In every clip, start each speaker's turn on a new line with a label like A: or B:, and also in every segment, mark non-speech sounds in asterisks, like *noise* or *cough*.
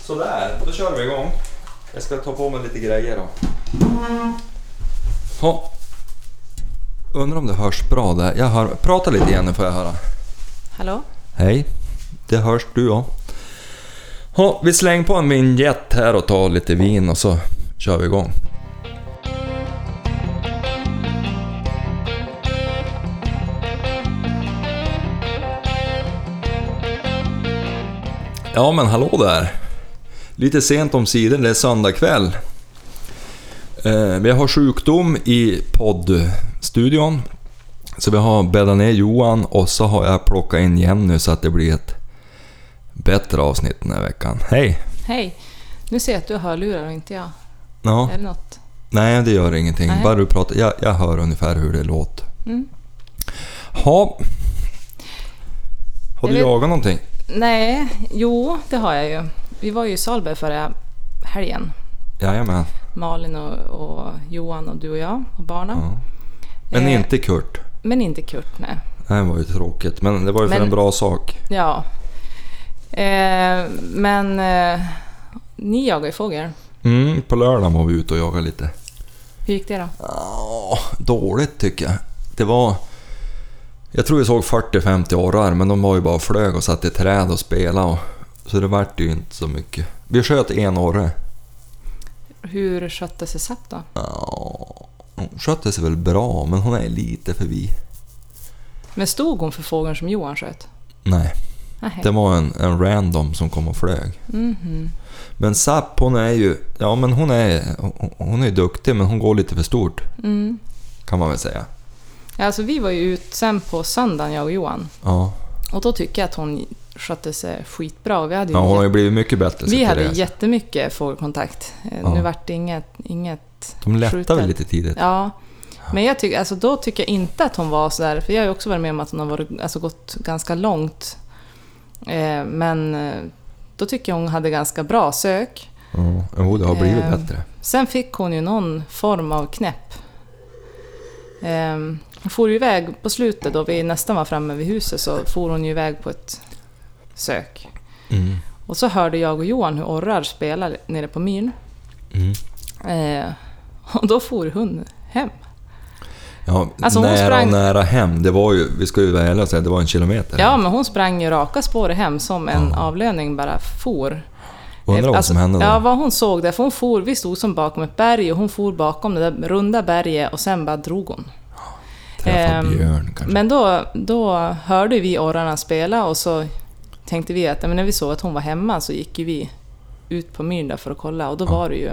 A: Sådär, då kör vi igång. Jag ska ta på mig lite grejer då. Ja. Undrar om det hörs bra där. Jag hör... Prata lite igen nu får jag höra.
B: Hallå?
A: Hej, det hörs du ja. Ja, vi slänger på en vinjett här och tar lite vin och så kör vi igång. Ja men hallå där! Lite sent om sidan, det är söndag kväll. Eh, vi har sjukdom i poddstudion. Så vi har bäddat ner Johan och så har jag plockat in Jenny så att det blir ett bättre avsnitt den här veckan. Hej!
B: Hej! Nu ser jag att du har hörlurar och inte jag.
A: Ja,
B: Är det något?
A: nej det gör ingenting.
B: Nej.
A: Bara du pratar. Jag, jag hör ungefär hur det låter.
B: Mm.
A: Ha. Har
B: Jag
A: du
B: vet-
A: jagat någonting?
B: Nej, jo det har jag ju. Vi var ju i Salberg förra helgen.
A: Jajamän.
B: Malin och, och Johan och du och jag och barnen.
A: Ja. Men
B: Eh.
A: inte Kurt.
B: Men inte Kurt, nej.
A: Det var ju tråkigt, men det var ju för
B: Men-
A: en bra sak.
B: Ja. Eh, men eh, ni jagar ju fågel.
A: Mm, på lördagen var vi ute och jagade lite.
B: Hur gick det då?
A: Ja, dåligt tycker jag. Det var... Jag tror jag såg 40-50 orrar, men de var ju bara och flög och satt i träd och spelade. Och, så det vart ju inte så mycket. Vi sköt en orre.
B: Hur skötte sig Sepp då?
A: Ja, hon skötte sig väl bra, men hon är lite förbi.
B: Men stod hon för fågeln som Johan sköt?
A: Nej,
B: Nej.
A: det var en, en random som kom och flög.
B: Mhm.
A: Men Zapp, hon är ju... Ja, men hon är hon- hon är duktig, men hon går lite för stort,
B: Mm.
A: kan man väl säga.
B: Alltså vi var ju ut sen på söndagen jag och Johan.
A: Ja,
B: Och då tycker jag att hon skötte sig skitbra. Och Vi hade ju,
A: ja hon har ju blivit mycket bättre.
B: vi
A: så
B: hade
A: Therese.
B: jättemycket fågelkontakt. Eh,
A: Ja.
B: Nu vart det inget... inget
A: De lättade väl
B: skjutet.
A: lite tidigt.
B: Ja. Men jag tycker, alltså, då tycker jag inte att hon var sådär, för jag har ju också varit med om att hon har varit, alltså, gått ganska långt. Eh, men eh, då tycker jag hon hade ganska bra sök.
A: Ja, jo, det har blivit
B: Ehm,
A: bättre.
B: Sen fick hon ju någon form av knäpp. Eh, hon for ju iväg på slutet, då vi nästan var framme vid huset, så for hon ju iväg på ett sök.
A: Mm.
B: Och så hörde jag och Johan hur orrar spelade nere på myren.
A: Mm.
B: Eh, och då for hon hem.
A: Ja,
B: Alltså, hon
A: nära och
B: sprang-
A: nära hem. Det var ju, vi ska ju vara ärliga och säga, det var en kilometer.
B: Ja, men hon sprang ju raka spåret hem som en
A: Ja.
B: avlöning bara for.
A: Undrar vad
B: Alltså,
A: som hände då.
B: Ja, vad hon såg där. För hon for, vi stod som bakom ett berg och hon for bakom det där runda berget och sen bara drog hon.
A: Träffa
B: ehm,
A: björn kanske.
B: Men då, då hörde vi orrarna spela och så tänkte vi att ja, men när vi såg att hon var hemma så gick ju vi ut på myren där för att kolla och då var det ju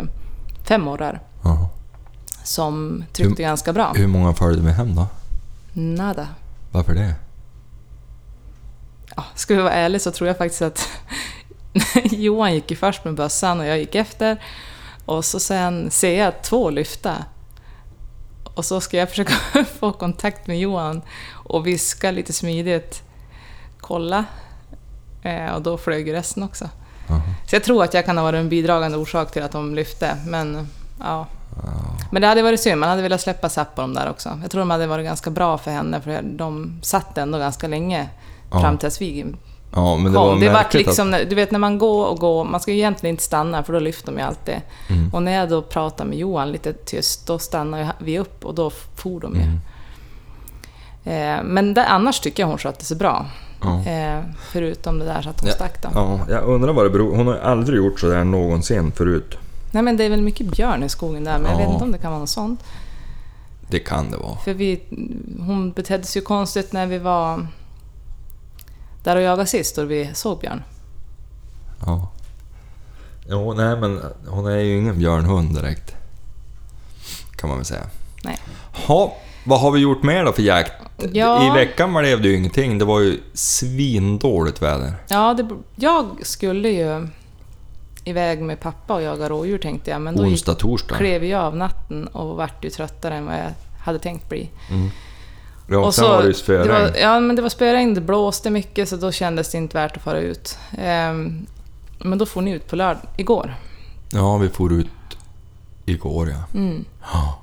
B: fem orrar
A: ja.
B: som tryckte ganska bra.
A: Hur många följde med hem då?
B: Nada.
A: Varför det?
B: Ja, ska vi vara ärliga så tror jag faktiskt att *laughs* Johan gick ju först med bössan och jag gick efter. Och så sen ser jag två lyfta. Och så ska jag försöka *laughs* få kontakt med Johan och viska lite smidigt. Kolla. Eh, och då flög ju resten också.
A: Jaha.
B: Så jag tror att jag kan ha varit en bidragande orsak till att de lyfte. Men, ja. men det hade varit synd, man hade velat släppa Zapp på dem där också. Jag tror de hade varit ganska bra för henne för de satt ändå ganska länge
A: Ja.
B: fram tills vi
A: Ja, men det var
B: kom. Det vart
A: märkligt
B: liksom, Du vet när man går och går, man ska ju egentligen inte stanna för då lyfter de ju alltid.
A: Mm.
B: Och när jag då pratar med Johan lite tyst, då stannar ju vi upp och då for de
A: Mm.
B: ju. Eh, Men där, annars tycker jag hon skötte sig bra.
A: Ja.
B: Eh, Förutom det där så att hon stack då.
A: Att, ja, jag undrar vad det beror Hon har ju aldrig gjort sådär någonsin förut.
B: Nej men det är väl mycket björn i skogen där, men jag
A: Ja.
B: vet inte om det kan vara något sånt.
A: Det kan det vara.
B: För vi, hon betedde sig ju konstigt när vi var där och jagade sist och vi såg björn.
A: Ja. Jo, nej men hon är ju ingen björnhund direkt. Kan man väl säga.
B: Nej.
A: Ha, vad har vi gjort mer då för jakt?
B: Ja.
A: I veckan blev det ju ingenting. Det var ju svindåligt väder.
B: Ja, det, jag skulle ju iväg med pappa och jaga rådjur tänkte jag, men då gick,
A: Onsdag, torsdag.
B: klev jag av natten och vart ju tröttare än vad jag hade tänkt bli.
A: Ja, och sen var det ju spöregn.
B: det var- Ja, men det var spöregn, det blåste mycket så då kändes det inte värt att fara ut. Ehm, men då får ni ut på lördag, igår.
A: Ja, vi for ut igår ja.
B: Mm.
A: ja.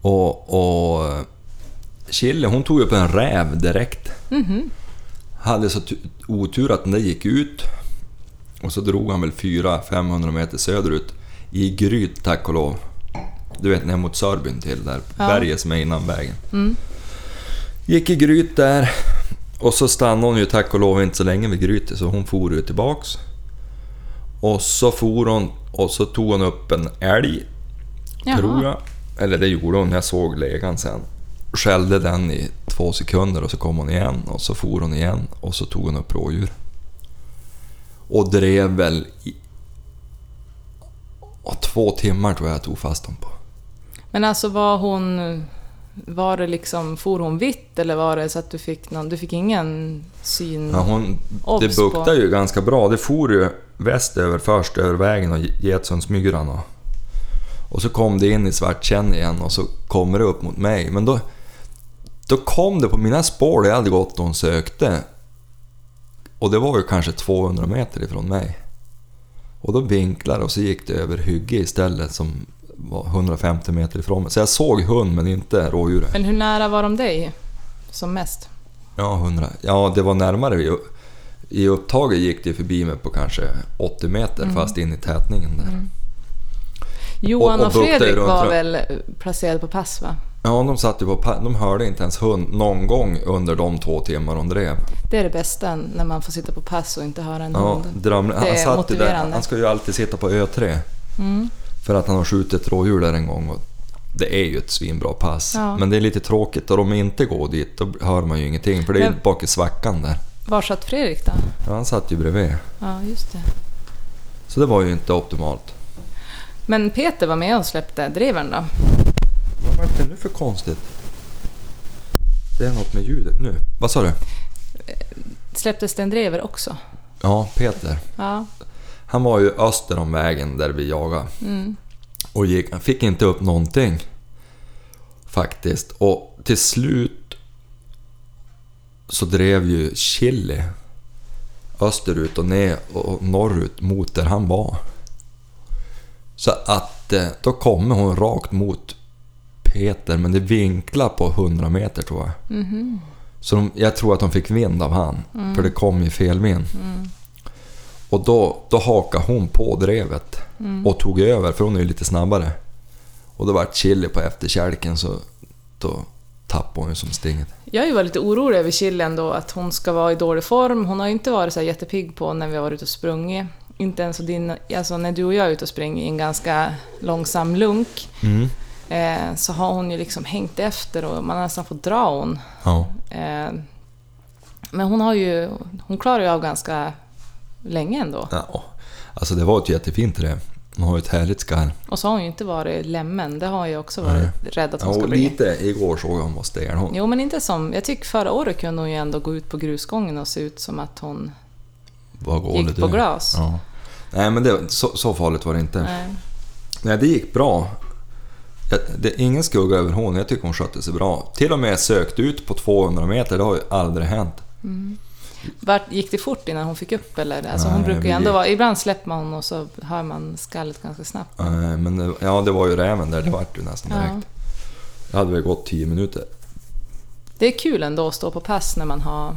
A: Och, och Chille, hon tog upp en
B: Mm-hmm.
A: räv direkt. Hade så tu- otur att den där gick ut. Och så drog han väl 400-500 meter söderut i gryt, tack och lov. Du vet, ner mot Sörbyn till där
B: Ja.
A: berget som är innan vägen.
B: Mm.
A: Gick i gryt där och så stannade hon ju tack och lov inte så länge vid grytet så hon for ju tillbaks. Och så for hon och så tog hon upp en älg
B: Jaha.
A: tror jag. Eller det gjorde hon, jag såg legan sen. Skällde den i två sekunder och så kom hon igen och så for hon igen och så tog hon upp rådjur. Och drev väl i... Och två timmar tror jag jag tog fast dem på.
B: Men alltså var hon... Var det liksom, for hon vitt eller var det så att du fick någon, du fick ingen syn?
A: Ja, hon, det
B: Obs på.
A: buktade ju ganska bra. Det for ju västöver först över vägen och Getsundsmyran och, och så kom det in i Svartkänn igen och så kommer det upp mot mig. Men då, då kom det på mina spår där jag hade gått och hon sökte. Och det var ju kanske 200 meter ifrån mig. Och då vinklade och så gick det över hygge istället som var 150 meter ifrån mig. Så jag såg hund men inte rådjuret.
B: Men hur nära var de dig som mest?
A: Ja, 100. Ja, det var närmare. vi- I upptaget gick det förbi mig på kanske 80 meter
B: Mm.
A: fast in i tätningen där.
B: Johan
A: och
B: och,
A: buktade
B: Fredrik
A: runt,
B: var
A: tror jag.
B: väl eh, placerade på pass va?
A: Ja, de satt ju på pa- De hörde inte ens hund någon gång under de två timmar hon drev.
B: Det är det bästa när man får sitta på pass och inte höra en
A: Ja,
B: hund.
A: dram,
B: Det
A: han
B: är
A: satt ju där.
B: motiverande.
A: Han ska ju alltid sitta på Ö3
B: Mm.
A: för att han har skjutit rådjur där en gång. Och det är ju ett svinbra pass.
B: Ja.
A: Men det är lite tråkigt och om inte går dit då hör man ju ingenting för det är ju
B: Men-
A: bak i svackan där.
B: Var satt Fredrik då?
A: Ja, Han satt ju bredvid.
B: Ja, just det.
A: Så det var ju inte optimalt.
B: Men Peter var med och släppte drivaren då?
A: Vad var det nu för konstigt? Det är något med ljudet nu. Vad sa du?
B: Släpptes det en drever också?
A: Ja, Peter.
B: Ja.
A: Han var ju öster om vägen där vi jagade.
B: Mm.
A: Och gick, han fick inte upp någonting. Faktiskt. Och till slut så drev ju Chili österut och ner och norrut mot där han var. Så att eh, då kommer hon rakt mot Peter men det vinklar på 100 meter tror jag. Så de, jag tror att de fick vind av han. För det kom ju fel vind. Och då, då hakade hon på drevet
B: Mm.
A: och tog över för hon är ju lite snabbare. Och då vart chili på efterkälken så då tappade hon ju som stinget.
B: Jag har ju varit lite orolig över Chillen då, att hon ska vara i dålig form. Hon har ju inte varit så här jättepigg på när vi har varit ute och sprungit. Inte ens din, alltså när du och jag är ute och springer i en ganska långsam lunk
A: Mm.
B: eh, så har hon ju liksom hängt efter och man har nästan fått dra hon.
A: Ja.
B: Eh, men hon, har ju, hon klarar ju av ganska länge ändå.
A: ja. Alltså det var ett jättefint drev. Hon har ju ett härligt skarv.
B: Och så har hon ju inte varit lämmen. Det har jag också varit rädd att
A: Ja,
B: hon ska
A: och
B: bli.
A: lite igår såg jag hon var stenhård.
B: Jo, men inte som... Jag tycker förra året kunde hon ju ändå gå ut på grusgången och se ut som att hon...
A: Vad
B: Gick
A: dåligt
B: på
A: det är.
B: glas. Eh,
A: Ja. Nej men det, så, så farligt var det inte. Nej,
B: Nej.
A: det gick bra. Jag, det är ingen skugga över hon. Jag tycker hon skötte sig bra. Till och med sökt ut på 200 meter. Det har ju aldrig hänt.
B: Vart, gick det fort innan hon fick upp eller? Alltså, hon
A: Nej,
B: brukar
A: vi
B: ju ändå
A: gick-
B: vara... Ibland släpper man och så hör man skallet ganska snabbt.
A: Nej, Eh, Men det- ja, det var ju räven där. Det vart ju nästan
B: Ja.
A: direkt. Det hade väl gått 10 minuter.
B: Det är kul ändå att stå på pass när man har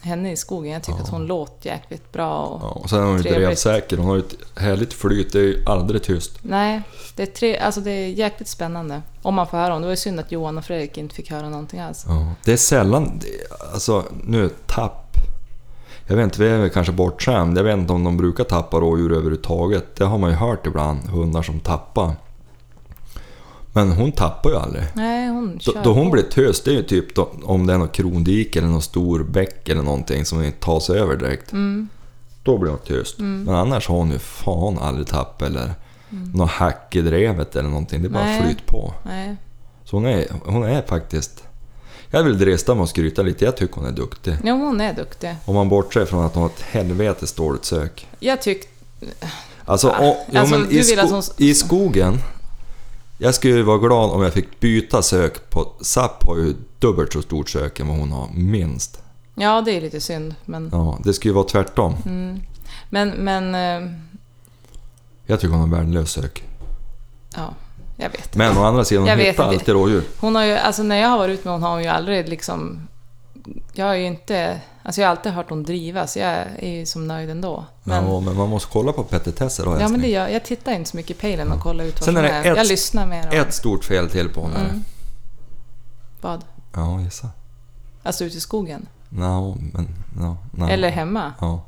B: henne i skogen. Jag tycker att hon låt jäkligt bra. Och,
A: Ja, och sen är hon ju
B: Trevligt.
A: drevsäker. Hon har ju ett härligt flyt. Det är ju aldrig tyst.
B: Nej, det är, tre, alltså det är jäkligt spännande. Om man får höra om. Det var ju synd att Johan och Fredrik inte fick höra någonting alls.
A: Ja. Det är sällan... det- Alltså, nu tapp. Jag vet inte, vi är väl kanske bortskämda. Jag vet inte om de brukar tappa rådjur överhuvudtaget. Det har man ju hört ibland, hundar som tappar. Men hon tappar ju aldrig.
B: Nej, hon
A: Då,
B: kör
A: då hon
B: på.
A: blir tös, det är ju typ då, om det är någon krondike eller någon stor bäck eller någonting som inte tar sig över direkt.
B: Mm.
A: Då blir hon tös. Men annars har hon ju fan aldrig tapp eller något hack i drevet eller någonting. Det är bara
B: Mm. Nej.
A: flyt på.
B: Nej.
A: Så hon är, hon är faktiskt... Jag vill drista mig och skryta lite. Jag tycker hon är duktig.
B: Ja, hon är duktig.
A: Om man bortser från att hon har ett helvetes dåligt sök.
B: Jag tyckte...
A: Alltså,
B: Ah,
A: om, ja,
B: alltså,
A: men
B: du
A: i,
B: vill att
A: sko-
B: hon-
A: i skogen... Jag skulle ju vara glad om jag fick byta sök på... SAP har ju dubbelt så stort sök än vad hon har, minst.
B: Ja, det är lite synd. Men,
A: Ja, det skulle ju vara tvärtom.
B: Mm. men, men eh,
A: Jag tycker hon har värdelös sök.
B: ja, jag vet inte.
A: Men å andra sidan,
B: Jag
A: hon
B: vet
A: hittar
B: inte.
A: alltid rådjur.
B: Hon har ju, alltså när jag har varit ute med hon har hon ju aldrig liksom... Jag har ju inte... Alltså jag har alltid hört hon driva, så jag är ju som nöjd ändå. Men,
A: Men, men man måste kolla på petitesser då
B: ja, men
A: älskling.
B: det gör, jag tittar inte så mycket i pejlen och kollar ut vad
A: Sen
B: som
A: är
B: är.
A: det ett-
B: jag lyssnar mer. Om,
A: Ett stort fel till på henne.
B: Mm. Vad?
A: Ja, gissa.
B: Alltså ute i skogen?
A: No, men... No, no.
B: Eller hemma?
A: Ja.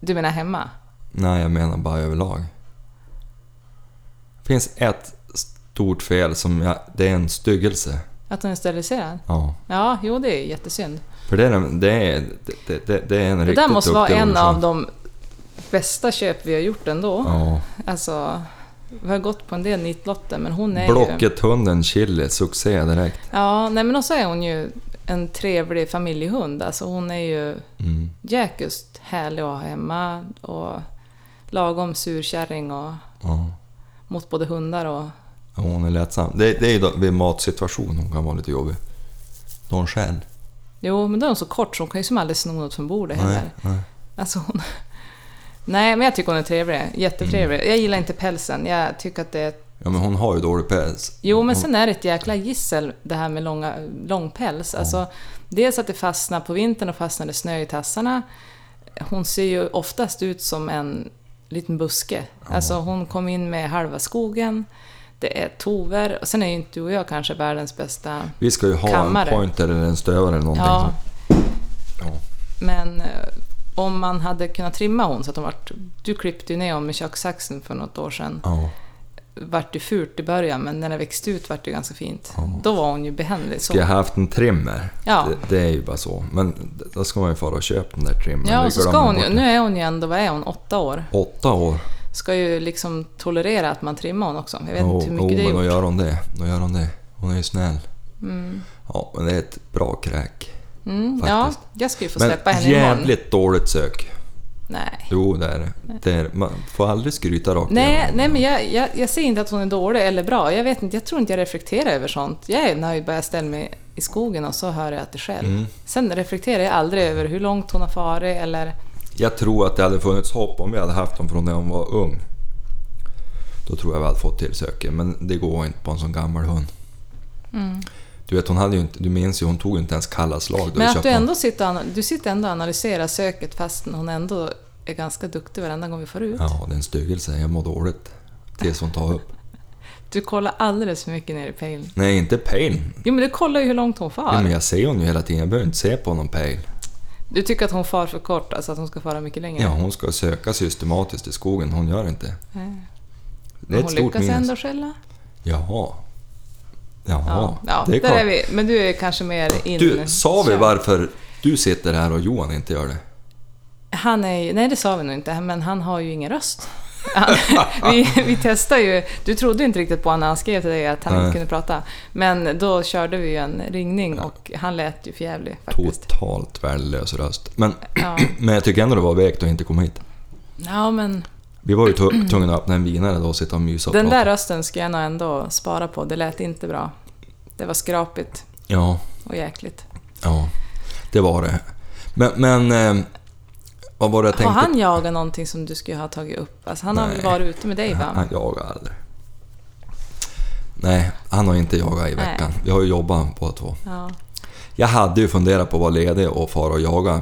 B: Du menar hemma?
A: Nej, jag menar bara överlag. Det finns ett stort fel som jag... Det är en styggelse.
B: Att hon är steriliserad?
A: Ja.
B: Ja, jo det är jättesynd.
A: För det är, en- det är, det, det, det är en
B: Det
A: riktigt
B: där måste vara
A: duktig
B: en
A: orsak.
B: av de bästa köp vi har gjort ändå.
A: Ja.
B: Alltså, vi har gått på en del nitlotter men hon är ju...
A: Blocket, hunden, chili, succé direkt.
B: Ja, nej men också är hon ju en trevlig familjehund. Alltså hon är ju
A: Mm.
B: jäkligt härlig att ha hemma och lagom surkärring och
A: Ja.
B: mot både hundar och...
A: Ja, Hon är lättsam. Det, det är ju då, vid matsituation hon kan vara lite jobbig. Då hon själv.
B: Jo, men då är hon så kort så hon kan ju som aldrig sno något från bordet
A: Nej,
B: heller.
A: nej.
B: Alltså hon... Nej, men jag tycker hon är trevlig. Jättetrevlig.
A: Mm.
B: Jag gillar inte pälsen. Jag tycker att det är
A: Ja, men hon har ju dålig päls.
B: Jo, men
A: Hon-
B: sen är det ett jäkla gissel det här med långa, lång päls. Alltså, dels att det fastnar på vintern och fastnar det snö i tassarna. Hon ser ju oftast ut som en liten buske. Alltså hon kom in med halva skogen, det är tover och sen är ju inte du och jag kanske världens bästa.
A: Vi ska ju ha
B: Kammare.
A: en pointer eller en stövare eller någonting.
B: Ja,
A: Ja. Ja.
B: men eh, om man hade kunnat trimma hon så att hon vart... Du klippte ju ner hon med kökssaxen för något år sedan.
A: Ja.
B: Vart ju fult i början men när det växte ut vart det ju ganska fint. Då var hon ju behändig. Så
A: Ska jag haft en trimmer?
B: Ja.
A: Det, det är ju bara så. Men då ska man ju fara och köpa den där trimmern.
B: Ja,
A: Det
B: och så ska
A: glömmer
B: hon ju,
A: bort.
B: nu är hon ju ändå, vad är hon, åtta år?
A: Åtta år.
B: Ska ju liksom tolerera att man trimmar hon också. Jag vet
A: Jo,
B: inte hur mycket
A: jo,
B: det
A: men då
B: är gjort.
A: gör hon det. Då gör hon det. Hon är ju snäll. Ja, men det är ett bra kräk.
B: Mm, ja,
A: faktiskt.
B: jag ska ju få
A: Men
B: släppa henne imorgon.
A: jävligt dåligt sök.
B: Nej.
A: Jo, det är det. det. är- Man får aldrig skryta rakt
B: Nej,
A: igenom.
B: nej, men jag, jag, jag säger inte att hon är dålig eller bra. Jag vet inte, jag tror inte jag reflekterar över sånt. Jag är nöjd bara jag ställer mig i skogen och så hör jag att det själv.
A: Mm.
B: Sen reflekterar jag aldrig över hur långt hon har farit eller...
A: Jag tror att det hade funnits hopp om vi hade haft dem från när hon var ung. Då tror jag vi hade fått till söke, men det går inte på en sån gammal hund.
B: Mm.
A: Du vet, hon hade ju inte, du minns ju, hon tog ju inte ens kalla slag. då vi
B: Men att
A: köpte
B: du
A: hon.
B: ändå sitter, och ana- du sitter ändå och analyserar söket fast hon ändå är ganska duktig varenda gång vi får ut.
A: Ja, det är en styggelse. Jag mår dåligt. Tills hon tar upp.
B: Du kollar alldeles för mycket ner i pejlen.
A: Nej, inte pejlen.
B: Jo men du kollar ju hur långt hon far.
A: Nej, men jag ser hon ju hela tiden. Jag behöver inte se på någon pejl.
B: Du tycker att hon far för kort, alltså att hon ska fara mycket längre?
A: Ja, hon ska söka systematiskt i skogen. Hon gör inte.
B: Nej.
A: Det är ett
B: hon
A: stort
B: lyckas
A: minus.
B: ändå skälla?
A: Jaha. Jaha.
B: Ja, ja
A: det är
B: där är
A: klart.
B: vi. Men du är kanske mer in...
A: Du, sa vi varför du sitter här och Johan inte gör det?
B: Han är ju... Nej, det sa vi nog inte, men han har ju ingen röst. Han, *laughs* vi, vi testar ju... Du trodde ju inte riktigt på honom när han skrev till dig att han
A: Nej.
B: inte kunde prata. Men då körde vi ju en ringning och han lät ju förjävlig faktiskt.
A: Totalt värdelös röst. Men,
B: Ja.
A: *clears throat* men jag tycker ändå det var vekt att inte komma hit.
B: ja, men
A: Vi var ju
B: *clears throat*
A: tu- tvungna att öppna en vinare då och sitta och mysa och
B: den
A: prata.
B: där rösten ska jag nog ändå spara på. Det lät inte bra. Det var skrapigt
A: Ja,
B: och jäkligt.
A: ja. Det var det. Men, men eh, vad var det jag tänkte?
B: Har han jagat någonting som du skulle ha tagit upp? Alltså, han har
A: Nej.
B: väl varit ute med dig
A: Han,
B: va?
A: han jagar aldrig. Nej, han har inte jagat i
B: Nej.
A: veckan. Vi har ju jobbat båda två.
B: Ja.
A: Jag hade ju funderat på att vara ledig och fara och jaga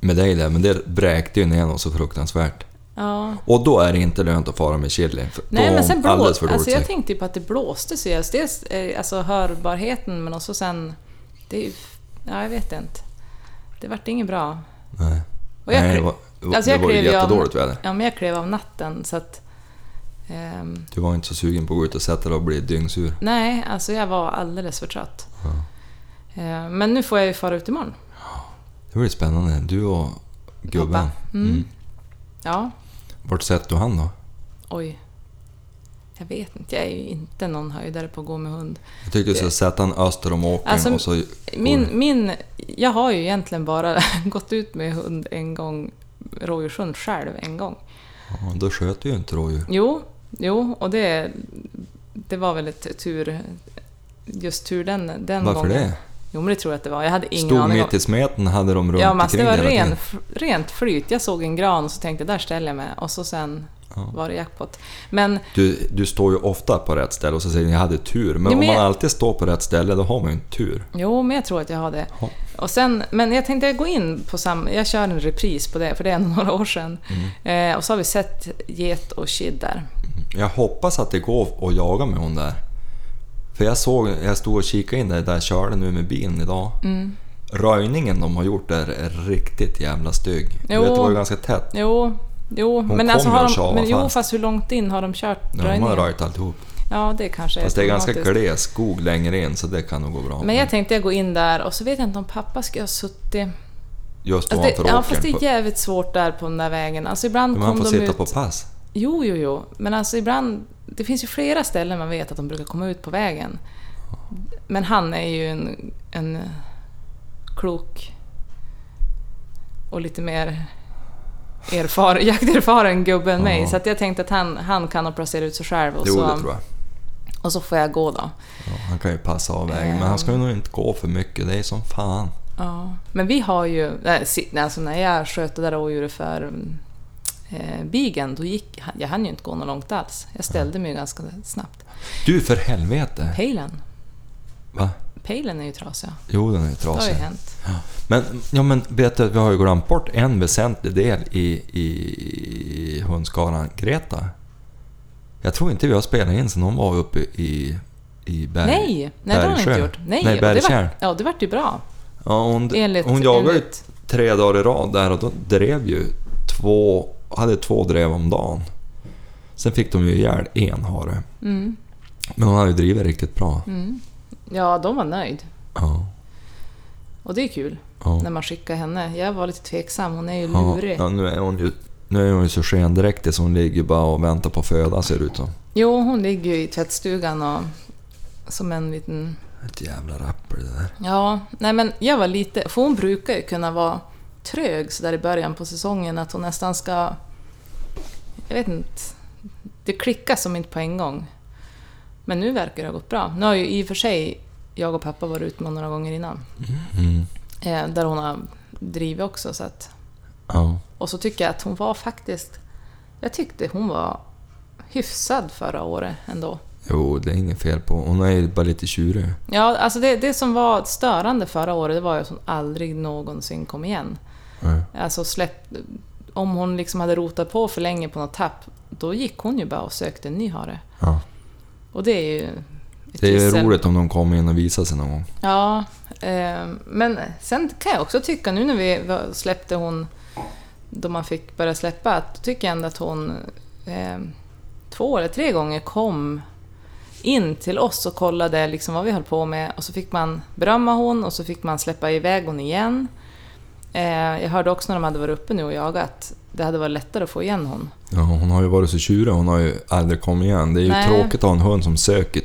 A: med dig där, men det bräkte ju ner något så fruktansvärt.
B: ja.
A: Och då är det inte lönt att fara med chili. För då
B: Nej
A: har
B: men
A: hon
B: sen
A: alldeles
B: blåste
A: för dåligt
B: alltså, Jag
A: säck.
B: tänkte ju på att det blåste så jag, dels eh, alltså, hörbarheten men också sen... Det är ju, ja, jag vet inte. Det vart inget bra.
A: Nej.
B: Och jag,
A: Nej, det
B: kre-
A: var,
B: alltså,
A: det
B: jag
A: var ju
B: klev ju av-
A: jättedåligt väder.
B: ja, men jag klev av natten så att... ehm,
A: Du var inte så sugen på att gå ut och sätta dig och bli dyngsur.
B: nej, alltså jag var alldeles för trött. Eh, men nu får jag ju fara ut imorgon.
A: Det blir spännande. Du och gubben.
B: Pappa. Mm.
A: Mm.
B: Ja,
A: Vart sätter du han då?
B: oj. Jag vet inte, jag är ju inte någon höjdare på att gå med hund.
A: Jag tycker du ska sätta han öster om åkern
B: Alltså,
A: och så...
B: Min, min, jag har ju egentligen bara *laughs* gått ut med hund en gång, rådjurshund själv en gång.
A: Ja, då sköt du ju inte rådjur.
B: Jo, jo och det, det var väl ett tur, just tur den, den
A: Varför
B: gången.
A: det?
B: Jo men det tror jag att det var, jag hade ingen
A: Stod
B: aning.
A: mitt i smeten hade de runt
B: Ja men alltså, det
A: omkring
B: var
A: hela tiden.
B: ren, f- rent flyt. Jag såg en gran och så tänkte jag, där ställer jag mig. Och så sen
A: Ja.
B: var det jackpot. Men
A: Du, du står ju ofta på rätt ställe och så säger ni jag hade tur. Men,
B: Ja, men
A: om man
B: jag-
A: alltid står på rätt ställe då har man ju inte tur.
B: jo, men jag tror att jag har det.
A: Ja.
B: Och sen, men jag tänkte gå in på samma... Jag kör en repris på det, för det är ändå *laughs* några år sedan.
A: Mm.
B: Eh, och så har vi sett get och kid där.
A: Jag hoppas att det går att jaga med hon där. För jag såg, jag stod och kikade in där, där jag körde nu med bilen idag.
B: Mm.
A: Röjningen de har gjort där är riktigt jävla stygg. Du
B: Jo.
A: vet, det var ju ganska tätt.
B: Jo, jo men
A: kom
B: alltså
A: ju
B: har
A: och tjavade
B: de... Men, jo,
A: fast.
B: fast hur långt in har de kört
A: Ja, de har röjt alltihop.
B: Ja, det kanske
A: Fast det är ganska
B: problematiskt.
A: gles skog längre in så det kan nog gå bra.
B: Men jag tänkte jag gå in där och så vet jag inte om pappa skulle ha suttit...
A: Just
B: Alltså
A: ovanför
B: det, ja, fast det är
A: åkern.
B: jävligt svårt där på den där vägen. Alltså ibland
A: Men man
B: kom
A: får
B: de
A: sitta
B: ut...
A: på pass.
B: Jo, jo, jo. Men alltså ibland... Det finns ju flera ställen man vet att de brukar komma ut på vägen. Men han är ju en, en klok och lite mer erfar, *laughs* jakterfaren gubbe än mig.
A: Ja.
B: Så att jag tänkte att han, han kan nog placera ut sig själv och,
A: Jo,
B: så,
A: det tror jag.
B: och så får jag gå då.
A: Ja, han kan ju passa av vägen. Men han ska
B: Ehm.
A: ju nog inte gå för mycket, det är som fan.
B: Ja, men vi har ju... nej, si- nej, Alltså när jag sköt det där rådjuret för mm, eh, bigen, då gick jag hann ju inte gå något långt alls. Jag ställde mig ju ganska snabbt.
A: Du för helvete!
B: Pejlen,
A: Va?
B: pejlen är ju trasiga.
A: Jo, den är ju
B: Det har ju
A: trasig.
B: hänt.
A: Men, ja, men vet du, vi har ju glömt bort en väsentlig del i, i hundskaran Greta. Jag tror inte vi har spelat in sen hon var uppe i, i Berg,
B: Nej, nej det har hon inte
A: Bergsjö.
B: gjort. Nej, och det
A: Bergkärr.
B: var, ja, det vart ju bra.
A: Ja, hon,
B: Enligt-
A: hon jagade ju
B: enligt-
A: tre dagar i rad där och då drev ju två, hade två drev om dagen. Sen fick de ju ihjäl en hare.
B: Mm,
A: Men hon hade ju drivit riktigt bra.
B: mm. Ja, de var nöjd.
A: Ja,
B: Och det är kul
A: ja.
B: när man skickar henne. Jag var lite tveksam, hon är ju
A: Ja,
B: lurig.
A: ja, nu är hon ju, nu är hon ju så skendräktig så hon ligger bara och väntar på föda ser det ut som.
B: Jo, hon ligger ju i tvättstugan och som en liten
A: Ett jävla rappel det där.
B: Ja, nej men jag var lite... För hon brukar ju kunna vara trög så där i början på säsongen att hon nästan ska... Jag vet inte. Det klickar som inte på en gång. Men nu verkar det ha gått bra. Nu har ju i och för sig jag och pappa varit ute med några gånger innan.
A: Mm.
B: Eh, där hon har drivit också. Så att,
A: Ja.
B: och så tycker jag att hon var faktiskt... Jag tyckte hon var hyfsad förra året ändå.
A: Jo, det är inget fel på. Hon är ju bara lite tjurig.
B: Ja, alltså det, det som var störande förra året det var ju att hon aldrig någonsin kom igen.
A: Ja.
B: Alltså släpp, om hon liksom hade rotat på för länge på något tapp, då gick hon ju bara och sökte en ny hare.
A: Ja.
B: Och det är ju ett
A: Det är ju
B: gissel.
A: roligt om de kommer in och visar sig någon gång.
B: Ja, eh, men sen kan jag också tycka nu när vi var- släppte hon, då man fick börja släppa, att då tycker jag ändå att hon eh, två eller tre gånger kom in till oss och kollade liksom vad vi höll på med och så fick man berömma hon och så fick man släppa iväg hon igen. Eh, jag hörde också när de hade varit uppe nu och jagat, det hade varit lättare att få igen hon.
A: Ja, hon har ju varit så tjurig, hon har ju aldrig kommit igen. Det är ju
B: Nej.
A: tråkigt att ha en hund som söker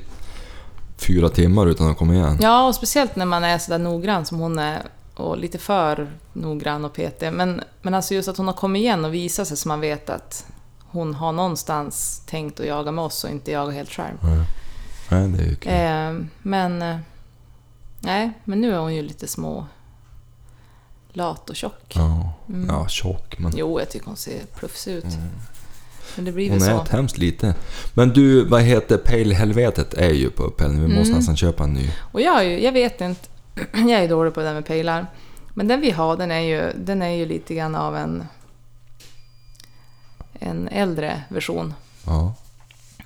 A: fyra timmar utan att komma igen.
B: Ja, och speciellt när man är sådär noggrann som hon är och lite för noggrann och petig. Men, men alltså just att hon har kommit igen och visat sig så man vet att hon har någonstans tänkt att jaga med oss och inte jaga helt själv.
A: Nej, det är ju kul.
B: Eh, men, eh, nej, men nu är hon ju lite små lat och tjock. Mm.
A: Ja. ja, tjock men...
B: Jo, jag tycker hon ser pluffsig ut. Men det blir väl
A: Hon
B: så.
A: äter hemskt lite. Men du, vad heter Pale-helvetet är ju på upphällning.
B: Mm.
A: Vi måste nästan köpa en ny.
B: Och jag, är ju, jag vet inte, *clears throat* jag är dålig på det där med pejlar. Men den vi har den är ju, den är ju lite grann av en, en äldre version.
A: Ja.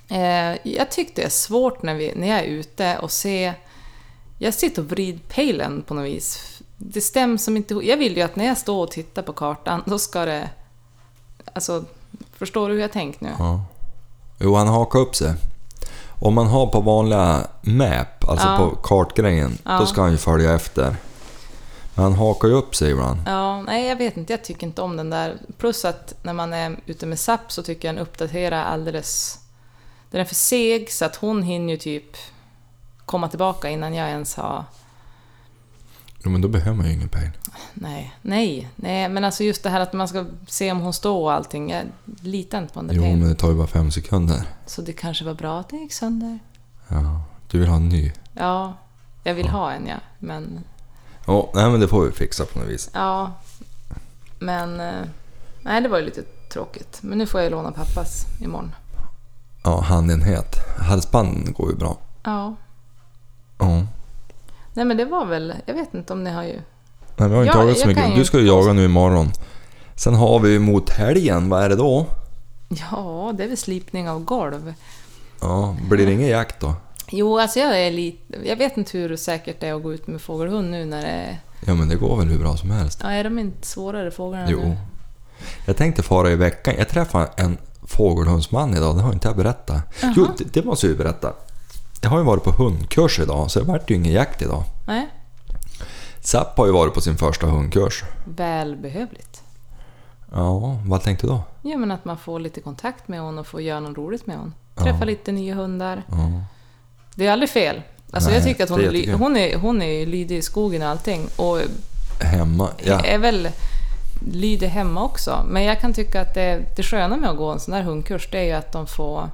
B: Eh, jag tyckte det är svårt när, vi, när jag är ute och se... Jag sitter och vrider pejlen på något vis. Det stämmer som inte... Jag vill ju att när jag står och tittar på kartan, då ska det... Alltså, förstår du hur jag tänkt nu?
A: ja. Jo, han hakar upp sig. Om man har på vanliga map, alltså
B: Ja.
A: på kartgrejen, då
B: Ja.
A: ska han ju följa efter. Men han hakar ju upp sig ibland.
B: Ja, nej jag vet inte, jag tycker inte om den där. Plus att när man är ute med SAP så tycker jag den uppdaterar alldeles... Den är för seg så att hon hinner ju typ komma tillbaka innan jag ens har...
A: Jo, men då behöver man ju ingen Pale.
B: Nej, nej, nej. Men alltså just det här att man ska se om hon står och allting. Jag litar inte på den där
A: Jo,
B: pejlen.
A: men det tar ju bara fem sekunder.
B: Så det kanske var bra att den gick sönder.
A: Ja. Du vill ha en ny?
B: Ja, jag vill ha en ja. Men
A: Ja, nej men det får vi fixa på något vis.
B: ja... Men... eh, Nej, det var ju lite tråkigt. Men nu får jag låna pappas imorgon.
A: Ja, handenhet. Halsbanden går ju bra.
B: Ja.
A: Ja.
B: Nej men det var väl, jag vet inte om ni har ju...
A: Nej, vi har
B: Ja,
A: inte jagat
B: jag
A: så
B: kan
A: mycket.
B: ju
A: Du ska ju jaga nu imorgon. Sen har vi ju mot helgen, vad är det då?
B: Ja, det är väl slipning av golv.
A: Ja, blir det ingen jakt då?
B: Jo, alltså jag är lite... Jag vet inte hur säkert det är att gå ut med fågelhund nu när det är...
A: Ja, men det går väl hur bra som helst.
B: Ja, är de inte svårare fåglarna
A: Jo.
B: nu?
A: Jag tänkte fara i veckan. Jag träffade en fågelhundsman idag, det har inte jag berättat. Jo, det, det måste jag ju berätta. Jag har ju varit på hundkurs idag, så det vart ju ingen jakt idag.
B: Nej,
A: Zapp har ju varit på sin första hundkurs.
B: välbehövligt.
A: Ja, vad tänkte du då?
B: Ja, men att man får lite kontakt med hon och får göra något roligt med hon. Träffa lite nya hundar.
A: Ja.
B: Det är aldrig fel. Alltså
A: Nej,
B: jag tycker att hon
A: det
B: är, ly-
A: jättekul.
B: hon, är, hon är ju lydig i skogen och allting. Och
A: Hemma? Ja.
B: är väl lydig hemma också. Men jag kan tycka att det, det sköna med att gå en sån här hundkurs, det är ju att de får...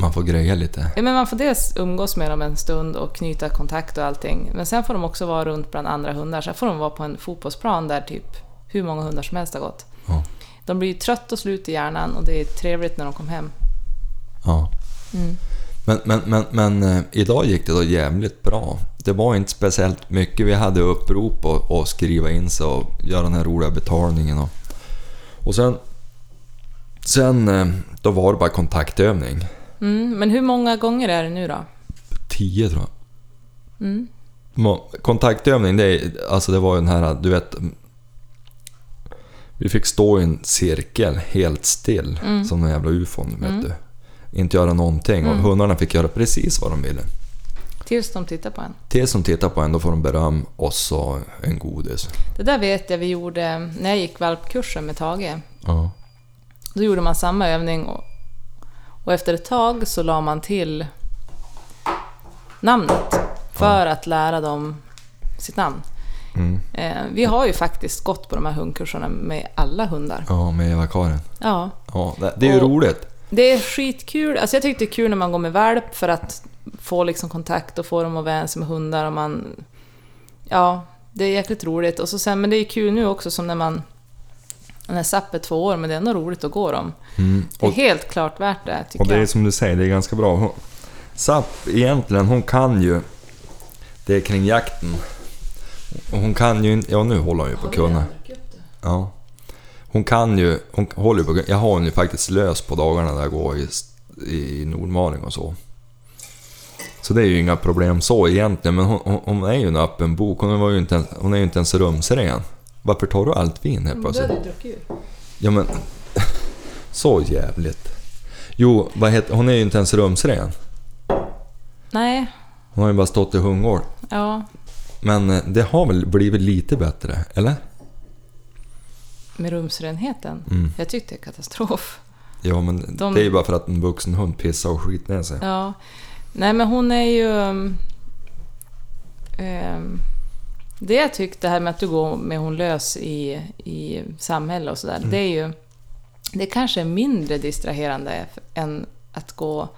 A: Man får greja lite.
B: Ja, men man får dels umgås med dem en stund och knyta kontakt och allting. Men sen får de också vara runt bland andra hundar. Sen får de vara på en fotbollsplan där typ hur många hundar som helst har gått.
A: Ja.
B: De blir ju trött och slut i hjärnan och det är trevligt när de kommer hem.
A: Ja.
B: Mm.
A: Men, men, men, men eh, idag gick det då jävligt bra. Det var inte speciellt mycket. Vi hade upprop och, och skriva in sig och göra den här roliga betalningen. Och, och sen... Sen eh, då var det bara kontaktövning.
B: Mm, men hur många gånger är det nu då?
A: Tio tror jag.
B: Mm.
A: Må- Kontaktövning, det, är, alltså det var ju den här, du vet... Vi fick stå i en cirkel helt still,
B: Mm.
A: som den jävla ufon, vet du. Inte göra någonting och hundarna fick göra precis vad de ville.
B: Tills de tittar på en.
A: Till som tittar på en, då får de beröm och så en godis.
B: Det där vet jag vi gjorde när jag gick valpkursen med Tage.
A: Ja.
B: Då gjorde man samma övning och, och efter ett tag så la man till namnet för att lära dem sitt namn. Eh, vi har ju faktiskt gått på de här hundkurserna med alla hundar.
A: Ja, med Eva-Karin.
B: Ja.
A: Ja, det, det är ju
B: Och-
A: roligt.
B: Det är skitkul. Alltså jag tyckte det är kul när man går med valp för att få liksom kontakt och få dem att vänja sig med hundar. Och man, ja, det är jäkligt roligt. Och så sen, men det är kul nu också som när man... När Zapp är två år, men det är ändå roligt att gå dem. det är
A: Mm, och-
B: helt klart värt det, tycker
A: Och det är
B: jag.
A: som du säger, det är ganska bra. Hon- Zapp egentligen, hon kan ju det är kring jakten. Och Hon kan ju inte... Ja, nu håller hon ju på att kunna. Ja. Hon kan ju... Hon håller ju på Jag har hon ju faktiskt lös på dagarna där jag går i, i Nordmaling och så. Så det är ju inga problem så egentligen, men hon, hon, hon är ju en öppen bok. Hon, var ju inte ens, hon är ju inte ens rumsren. Varför tar du allt vin helt plötsligt? Ja men... *laughs* Så jävligt. Jo, vad heter, hon är ju inte ens rumsren.
B: Nej,
A: Hon har ju bara stått i hungor.
B: ja.
A: Men eh, det har väl blivit lite bättre, eller?
B: Med rumsrenheten.
A: Mm.
B: Jag tyckte det är katastrof.
A: Ja, men
B: De-
A: det är ju bara för att en vuxen hund pissar och skiter ner sig.
B: Ja. Nej, men hon är ju... ehm, ehm, det jag tyckte här med att du går med hon lös i, i samhälle och
A: Mm.
B: sådär, det är ju... Det kanske är mindre distraherande än att gå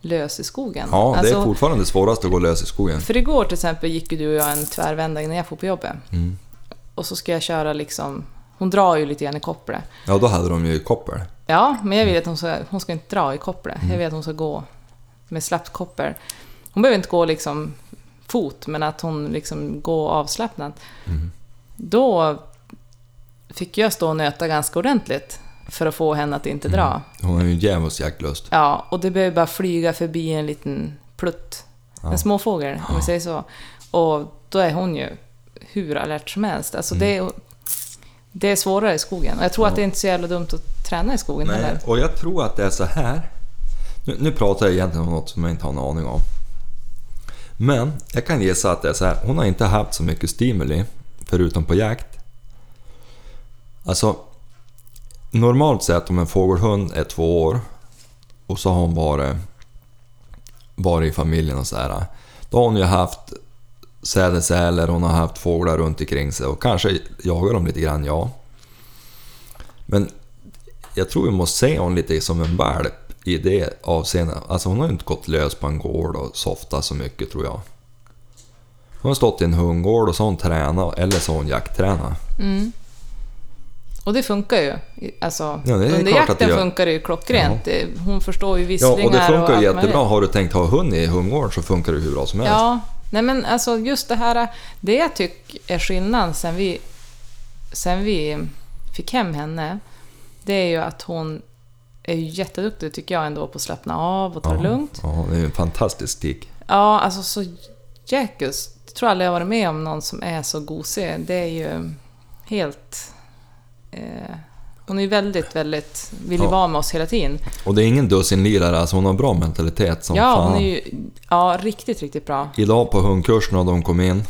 B: lös i skogen.
A: Ja, det är
B: Alltså,
A: fortfarande svårast att gå lös i skogen.
B: för igår till exempel gick ju du och jag en tvärvända innan jag får på jobbet.
A: Mm.
B: Och så ska jag köra liksom... Hon drar ju lite grann i kopplet.
A: Ja, då hade de ju koppel.
B: Ja, men jag vill att hon ska, hon ska inte dra i kopplet. Jag vill att hon ska gå med slappt koppel. Hon behöver inte gå liksom fot, men att hon liksom går avslappnat. Då fick jag stå och nöta ganska ordentligt för att få henne att inte dra.
A: Hon har ju en djävulsk jaktlust.
B: Ja, och det behöver bara flyga förbi en liten plutt. En småfågel, om vi säger så. Och då är hon ju hur alert som helst. Alltså det, är, det är svårare i skogen. Och jag tror att det är inte så jävla dumt att träna i skogen
A: Nej,
B: heller.
A: och jag tror att det är så här. Nu, nu pratar jag egentligen om något som jag inte har en aning om. Men jag kan gissa att det är så här. Hon har inte haft så mycket stimuli, förutom på jakt. Alltså, normalt sett om en fågelhund är två år och så har hon varit, varit i familjen och så här. Då har hon ju haft sädesärlor, hon har haft fåglar runt omkring sig och kanske jagar dem lite grann, ja. Men jag tror vi måste se hon lite som en valp i det avseendet. Alltså hon har ju inte gått lös på en gård och softat så mycket tror jag. Hon har stått i en hundgård och så har hon tränat eller så har hon jakttränat.
B: Och det funkar ju. Alltså,
A: Ja, det är
B: under
A: klart att det
B: jakten
A: gör.
B: funkar det ju klockrent. Det- Hon förstår ju
A: Ja,
B: visslingar
A: och det funkar
B: allt
A: ju
B: möjligt.
A: jättebra. Har du tänkt ha hund i hundgården så funkar det hur bra som helst.
B: Ja, nej men alltså just det här, det jag tycker är skillnaden sen vi, sen vi fick hem henne, det är ju att hon är ju jätteduktig tycker jag ändå på att slappna av och ta det lugnt.
A: Ja, det är en fantastisk tik.
B: Ja, alltså så jäkus. Jag tror aldrig jag varit med om någon som är så gosig. Det är ju helt... Eh, hon är ju väldigt, väldigt... Vill ju
A: Ja.
B: vara med oss hela tiden.
A: Och det är ingen dussinlirare, alltså hon har bra mentalitet som
B: ja,
A: fan.
B: hon är ju... Ja, riktigt, riktigt bra.
A: Idag på hundkursen när de kom in.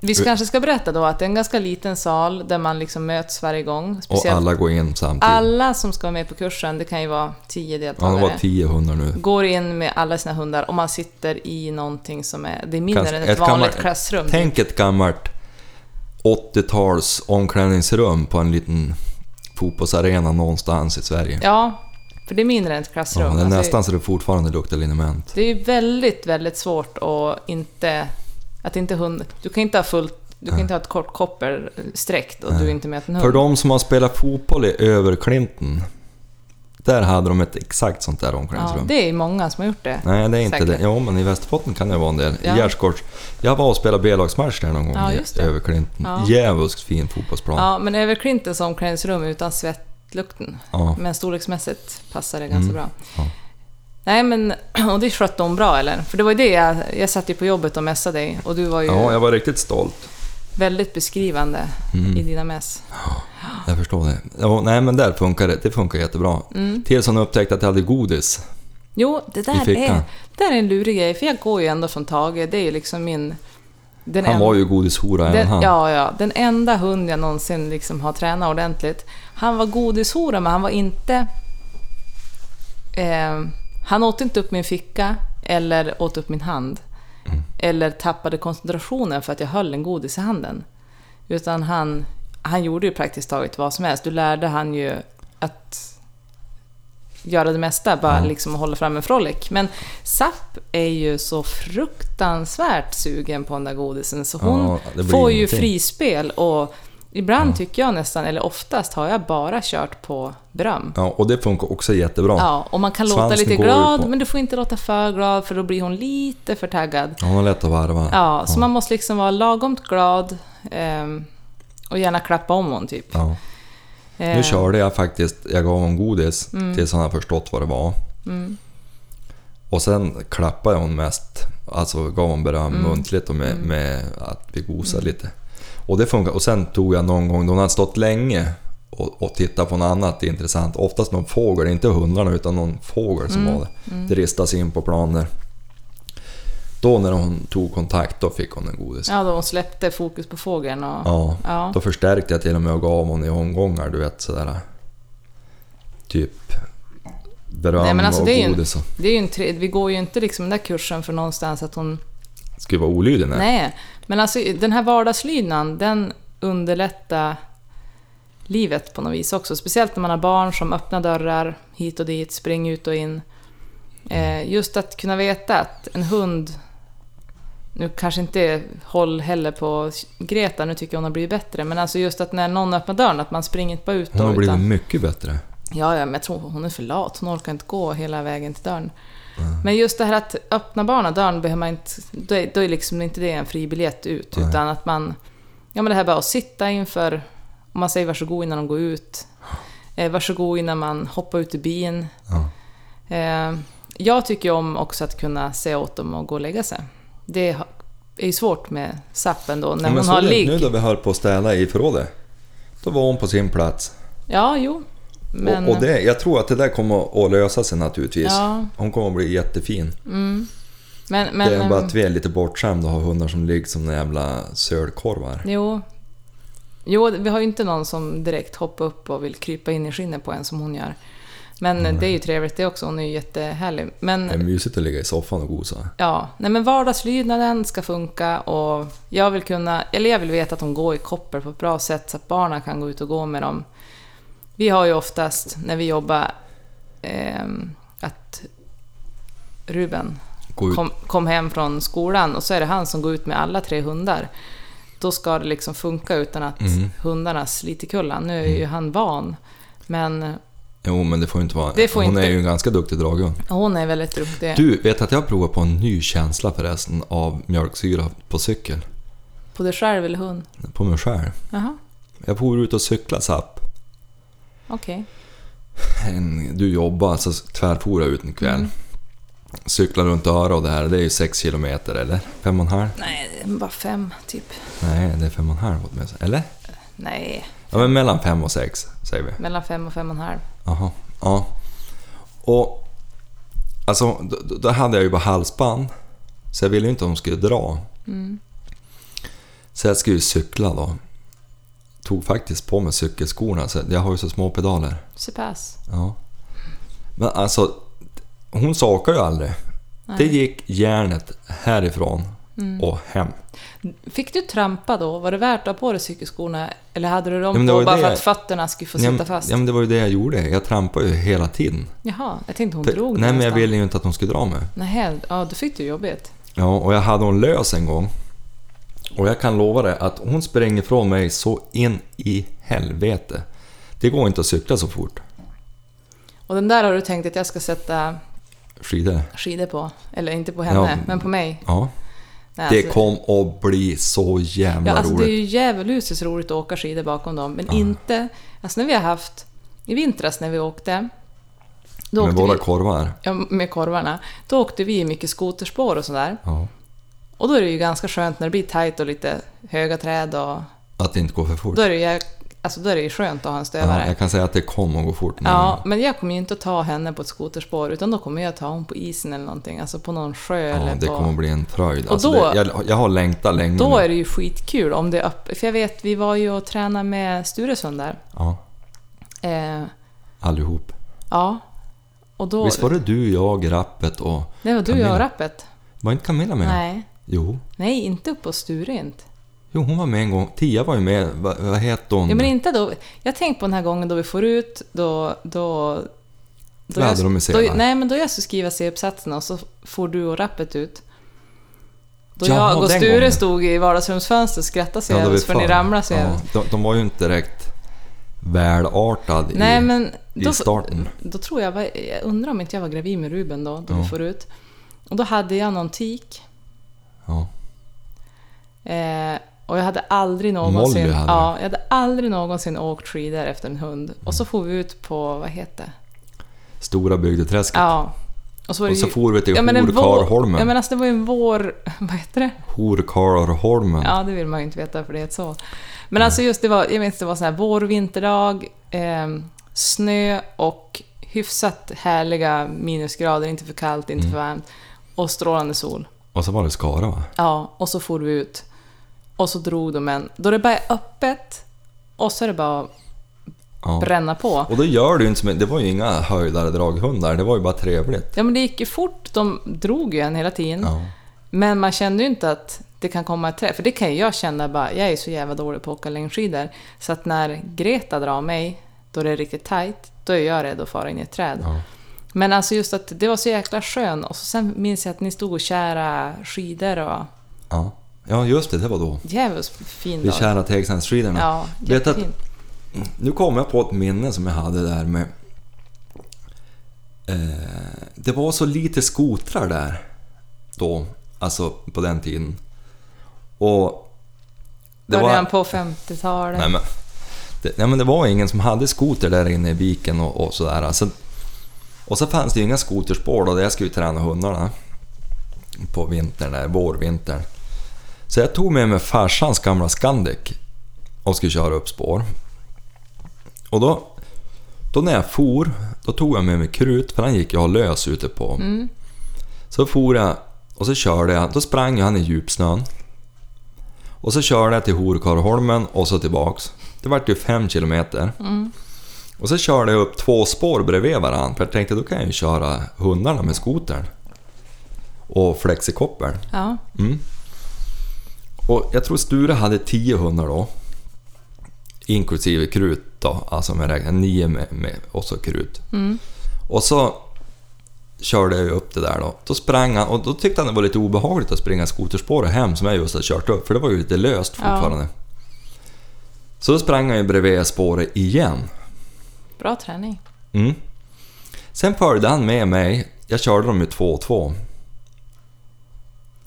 B: Vi
A: Vi-
B: kanske ska berätta då att det är en ganska liten sal där man liksom möts varje gång.
A: Och
B: Speciellt alla,
A: alla går in samtidigt.
B: som ska vara med på kursen, det kan ju vara tio
A: Ja, det
B: deltagare,
A: var tio hundar nu.
B: går in med alla sina hundar och man sitter i någonting som är... Det är mindre
A: Klass-
B: än ett, vanligt
A: gammalt-
B: klassrum.
A: Tänk ett gammalt 80-tals omklädningsrum på en liten fotbollsarena någonstans i Sverige.
B: Ja, för det är mindre än ett
A: Ja,
B: klassrum.
A: det är
B: Alltså,
A: nästan så det fortfarande luktar liniment.
B: Det är ju väldigt, väldigt svårt att inte... Att inte hund, du kan inte ha fullt... Du kan inte ha ett kort koppel sträckt och du är inte med en hund.
A: För de som har spelat fotboll i överklinten, där hade de ett exakt sånt där
B: ja,
A: omklädningsrum.
B: det är ju många som har gjort det.
A: Nej, det är inte
B: Säkert.
A: det. Jo, men i Västerbotten kan det vara en del. I
B: Ja.
A: Gärdsgårds... Jag var och spelade B-lagsmatch där någon gång
B: Ja,
A: i
B: just det.
A: överklinten.
B: Ja.
A: Djävulskt fin fotbollsplan.
B: Ja, men över Clintons omklädningsrum utan svettlukten.
A: Ja. Mm.
B: Men storleksmässigt passar det ganska bra.
A: Ja.
B: Nej, men... *clears throat* Och det skötte hon bra, eller? För det var ju det jag... Jag satt ju på jobbet och mässade dig och du var ju
A: ja, Mm. jag var riktigt stolt.
B: väldigt beskrivande i dina mäss.
A: Jag förstår det. Ja, nej men där funkar det. Det funkar jättebra.
B: Mm.
A: Tills hon upptäckte att jag hade godis.
B: Jo, det
A: I
B: där
A: fickan.
B: är, det där är en lurig grej, för jag går ju ändå från Tage. Det är ju liksom min... Den
A: Han
B: en-
A: var ju godishora även
B: den,
A: han.
B: ja, ja, den enda hund jag någonsin liksom har tränat ordentligt. Han var godishora, men han var inte... Eh, han åt inte upp min ficka eller åt upp min hand. Eller tappade koncentrationen för att jag höll en godis i handen. Utan han, han gjorde ju praktiskt taget vad som helst. Du lärde han ju att göra det mesta, bara liksom hålla fram en frolic. Men Zapp är ju så fruktansvärt sugen på den där godisen så hon
A: Ja, det blir
B: får ju
A: ingenting.
B: frispel och ibland tycker jag nästan, eller oftast har jag bara kört på beröm.
A: Ja, och det funkar också jättebra.
B: Ja, och man kan låta
A: Svansen
B: lite
A: går ju
B: glad,
A: på-
B: men du får inte låta för glad för då blir hon lite för taggad.
A: Hon har lätt att varva.
B: Ja, så man måste liksom vara lagomt glad ehm, och gärna klappa om hon typ.
A: Ja. Nu
B: Eh, Mm.
A: körde jag faktiskt, jag gav hon godis tills hon hade förstått vad det var. Och sen klappade hon mest, alltså gav hon beröm
B: Mm.
A: muntligt och med, med att vi gosade lite. Och det funkar. Och sen tog jag någon gång, då hon hade stått länge och, och tittat på något annat intressant, oftast någon fågel, inte hundarna utan någon fågel
B: Mm.
A: som var det. Det ristades in på plan där. Då när hon tog kontakt, då fick hon en godis.
B: Eh, Ja, då hon släppte fokus på fågeln och...
A: Ja,
B: Ja.
A: då förstärkte jag till och med och gav hon i omgångar, du vet sådär. Typ beröm
B: Nej, men alltså,
A: och
B: det är ju en-
A: godis. och-
B: Det är ju en tre... Vi går ju inte liksom den där kursen för någonstans att hon...
A: Skulle vara olydig nej.
B: Nej. Men alltså den här vardagslydnaden, den underlättar livet på något vis också. Speciellt när man har barn som öppnar dörrar hit och dit, springer ut och in. Eh, just att kunna veta att en hund... Nu kanske inte håll heller på Greta, nu tycker jag hon har blivit bättre. Men alltså just att när någon öppnar dörren, att man springer inte bara ut
A: Hon har
B: då,
A: blivit
B: utan-
A: mycket bättre.
B: Ja, ja, men jag tror hon är för lat. Hon orkar inte gå hela vägen till dörren. Men just det här att öppna barna dörren, behöver man inte, då är, då är liksom inte det en fribiljett ut. Utan att man... Ja, men det här bara att sitta inför... Om man säger varsågod innan de går ut. Eh, varsågod innan man hoppar ut ur bin.
A: Ja.
B: Eh, jag tycker ju om också att kunna säga åt dem att gå och lägga sig. Det ha- är ju svårt med sappen då, när
A: Men
B: hon
A: så
B: har
A: det,
B: ligg.
A: Nu då vi höll på att städa i förrådet. Då var hon på sin plats.
B: Ja, jo. Men,
A: Och, och det, jag tror att det där kommer att- att lösa sig naturligtvis.
B: Ja.
A: Hon kommer att bli jättefin.
B: men, men,
A: det är bara
B: ehm,
A: att vi är lite bortskämda och har hundar som ligger som jävla sölkorvar.
B: Jo. Jo, vi har ju inte någon som direkt hoppar upp och vill krypa in i skinnet på en som hon gör. Men det är ju trevligt det också, hon är ju jättehärlig. Men
A: Det är mysigt att ligga i soffan och gosa.
B: ja, nej men vardagslydnaden ska funka och jag vill kunna, eller jag vill veta att de går i koppel på ett bra sätt så att barnen kan gå ut och gå med dem. Vi har ju oftast när vi jobbar ehm, att Ruben
A: Gå ut.
B: kom, kom hem från skolan och så är det han som går ut med alla tre hundar. Då ska det liksom funka utan att
A: Mm.
B: hundarna sliter kullan. Nu är ju han van. Men eh,
A: Jo, men det får ju inte vara...
B: Det får
A: Hon
B: inte.
A: är ju en ganska duktig draghund.
B: hon är väldigt duktig
A: Du, vet att jag har provat på en ny känsla förresten av mjölksyra på cykel?
B: på dig själv eller hund.
A: På mig själv.
B: Jaha,
A: Jag for ut och cyklade sapp.
B: okej.
A: En- Du jobbade, så tvärfor jag ut en kväll. Cyklade runt Öra och det här, det är ju 6 kilometer eller? Fem och en halv?
B: Nej, det är bara fem typ.
A: Nej, det är fem och en halv åtminstone. Eller?
B: Nej,
A: Ja, men mellan fem och sex säger vi.
B: mellan fem och fem och en halv.
A: Jaha, ja. Och alltså, då- då, då hade jag ju bara halsband. Så jag ville ju inte att de skulle dra.
B: Mm.
A: Så jag skulle ju cykla då. Tog faktiskt på mig cykelskorna, så jag har ju så små pedaler.
B: Så pass.
A: Ja. Men alltså, hon sakar ju aldrig. Det gick järnet härifrån
B: Mm.
A: och hem.
B: Fick du trampa då? Var det värt att ha på dig cykelskorna? Eller hade du
A: men
B: dem
A: det var ju
B: på bara
A: det.
B: för att fötterna skulle få
A: Ja,
B: sitta
A: men-
B: fast?
A: Ja, men det var ju det jag gjorde. Jag trampade ju hela tiden.
B: Jaha, jag tänkte hon
A: För-
B: drog
A: Nej, men jag
B: nästan.
A: ville ju inte att hon skulle dra mig.
B: Nähä, ja då fick du jobbigt.
A: Ja, och jag hade hon lös en gång. Och jag kan lova dig att hon springer från mig så in i helvete. Det går inte att cykla så fort.
B: Och den där har du tänkt att jag ska sätta
A: Skidor.
B: skidor på. Eller inte på henne,
A: Ja.
B: men på mig.
A: Ja,
B: Nej,
A: det
B: alltså-
A: kom att bli så jävla
B: Ja, alltså det är
A: roligt.
B: ju djävulusiskt roligt att åka skidor bakom dem, men inte... Alltså när vi har haft... I vintras när vi åkte... Då
A: Med
B: åkte
A: våra
B: vi,
A: korvar.
B: ja, med korvarna. Då åkte vi mycket skoterspår och sådär.
A: Ja.
B: Och då är det ju ganska skönt när det blir tajt och lite höga träd och...
A: Att det inte går för fort.
B: Då är det ju, alltså då är det ju skönt att ha en
A: Ja,
B: stövare.
A: jag kan säga att det kom att gå fort. Men
B: Ja, men jag kommer ju inte att ta henne på ett skoterspår utan då kommer jag att ta hon på isen eller någonting, alltså på någon sjö
A: ja,
B: eller
A: det
B: på...
A: kommer att bli en fröjd.
B: Och
A: Alltså
B: då-
A: det, jag, jag har längtat länge
B: Då
A: nu.
B: är det ju skitkul om det är öppet. För jag vet, vi var ju och tränade med Sturesund där.
A: Ja,
B: Eh,
A: allihop.
B: ja. Och då...
A: Visst var det du, jag, Rappet och...
B: det var du och jag
A: Camilla?
B: och rappet?
A: Var inte Camilla med?
B: Nej.
A: Jo.
B: Nej, inte uppe på Sturint.
A: Jo, hon var med en gång. Tia var ju med. Vad, vad hette hon?
B: Ja, men inte då. Jag tänkte på den här gången då vi får ut, då... då då
A: Då hade de ju
B: då,
A: senare.
B: Nej, men då jag skulle skriva C-uppsatserna och så får du och rappet ut. Då
A: Jaha,
B: jag och
A: den
B: Sture
A: gången.
B: stod i vardagsrumsfönstret och skrattade så
A: Ja, då
B: jävligt
A: vi
B: för ni
A: fan.
B: ramlade så jävligt.
A: ja, de, de var ju inte direkt välartad
B: Nej,
A: i,
B: men då,
A: i starten.
B: då tror jag, var- jag undrar om inte jag var gravid med Ruben då, då
A: Ja.
B: vi får ut. Och då hade jag någon tik.
A: Ja.
B: Eh, och jag hade aldrig någonsin,
A: Molly hade
B: ja, jag hade aldrig någonsin åkt skidor efter en hund. Och så får vi ut på, vad heter det?
A: Stora bygdeträsket.
B: Ja. Och så, var
A: Och så
B: ju-
A: for vi till
B: en vår-
A: Horkarholmen.
B: Ja men alltså det var ju en vår, *laughs* vad heter det?
A: Horkarholmen.
B: Ja det vill man ju inte veta för det är ett så. Men alltså just det var, jag minns det var sån här vår, vinterdag, ehm, snö och hyfsat härliga minusgrader, inte för kallt, inte
A: Mm.
B: för varmt. Och strålande sol.
A: Och så var det Skara va?
B: Ja, och så for vi ut. Och så drog de en. Då det bara är öppet och så är det bara att
A: Ja.
B: bränna på.
A: Och då gör du ju inte som... Det var ju inga höjdare draghundar. Det var ju bara trevligt.
B: Ja men det gick ju fort, de drog ju en hela tiden.
A: Ja.
B: Men man kände ju inte att det kan komma ett träff. För det kan ju jag känna bara, jag är så jävla dålig på att åka längdskidor. Så att när Greta drar mig, då det är riktigt tajt, då är jag rädd att fara in i ett träd.
A: Ja.
B: Men alltså just att det var så jäkla skön. Och så sen minns jag att ni stod och kära skidor och
A: Ja, ja just det. Det var då.
B: djävulskt fin
A: Vi
B: dag.
A: kära Tegsandsskidorna.
B: Ja,
A: Vet att,
B: jättefin.
A: nu kom jag på ett minne som jag hade där med... Eh, det var så lite skotrar där. Då. Alltså på den tiden. Och... Det
B: Början
A: var,
B: på 50-talet.
A: nej, men, det, nej men det var ingen som hade skoter där inne i viken och, och sådär. Alltså, och så fanns det ju inga skoterspår då, där jag skulle ju träna hundarna. På vintern där, vårvintern. Så jag tog med mig farsans gamla Scandic och skulle köra upp spår. Och då, då när jag for, då tog jag med mig krut, för han gick jag lös ute på. Så for jag och så körde jag, då sprang han i djupsnön. Och så körde jag till Horkarholmen och så tillbaks. Det vart ju fem kilometer. Och så körde jag upp två spår bredvid varandra, för jag tänkte då kan jag ju köra hundarna med skotern. Och flexikoppeln.
B: Ja,
A: Och jag tror Sture hade 10 hundar då. Inklusive krut då, alltså om jag räknar nio med, med och så krut. Och så körde jag upp det där då. Då sprang han och då tyckte han det var lite obehagligt att springa skoterspåret hem som jag just hade kört upp, för det var ju lite löst
B: Ja.
A: fortfarande. Så då sprang han ju bredvid spåret igen.
B: Bra träning.
A: Mm. Sen följde han med mig. Jag körde dem ju två och två.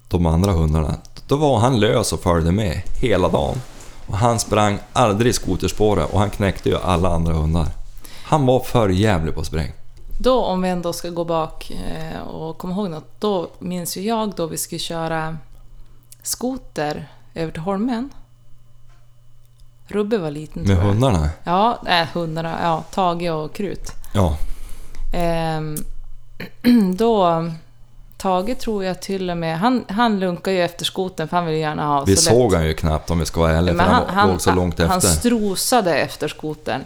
A: De andra hundarna. Då var han lös och följde med hela dagen. Och han sprang aldrig skoterspåret och han knäckte ju alla andra hundar. Han var för jävlig på spräng.
B: Då om vi ändå ska gå bak eh, och komma ihåg något, då minns ju jag då vi skulle köra skoter över till Holmen. Rubbe var liten
A: Med
B: tror jag.
A: hundarna?
B: Ja, nej, hundarna. Ja, Tage och Krut.
A: Ja.
B: Ehm, *clears throat* då... Tage tror jag till och med... Han, han lunkar ju efter skoten för han vill ju gärna ha
A: Vi
B: så lätt.
A: såg han ju knappt om vi ska vara ärliga, för
B: Men
A: han, låg så långt
B: han
A: efter. Mm.
B: strosade efter skotern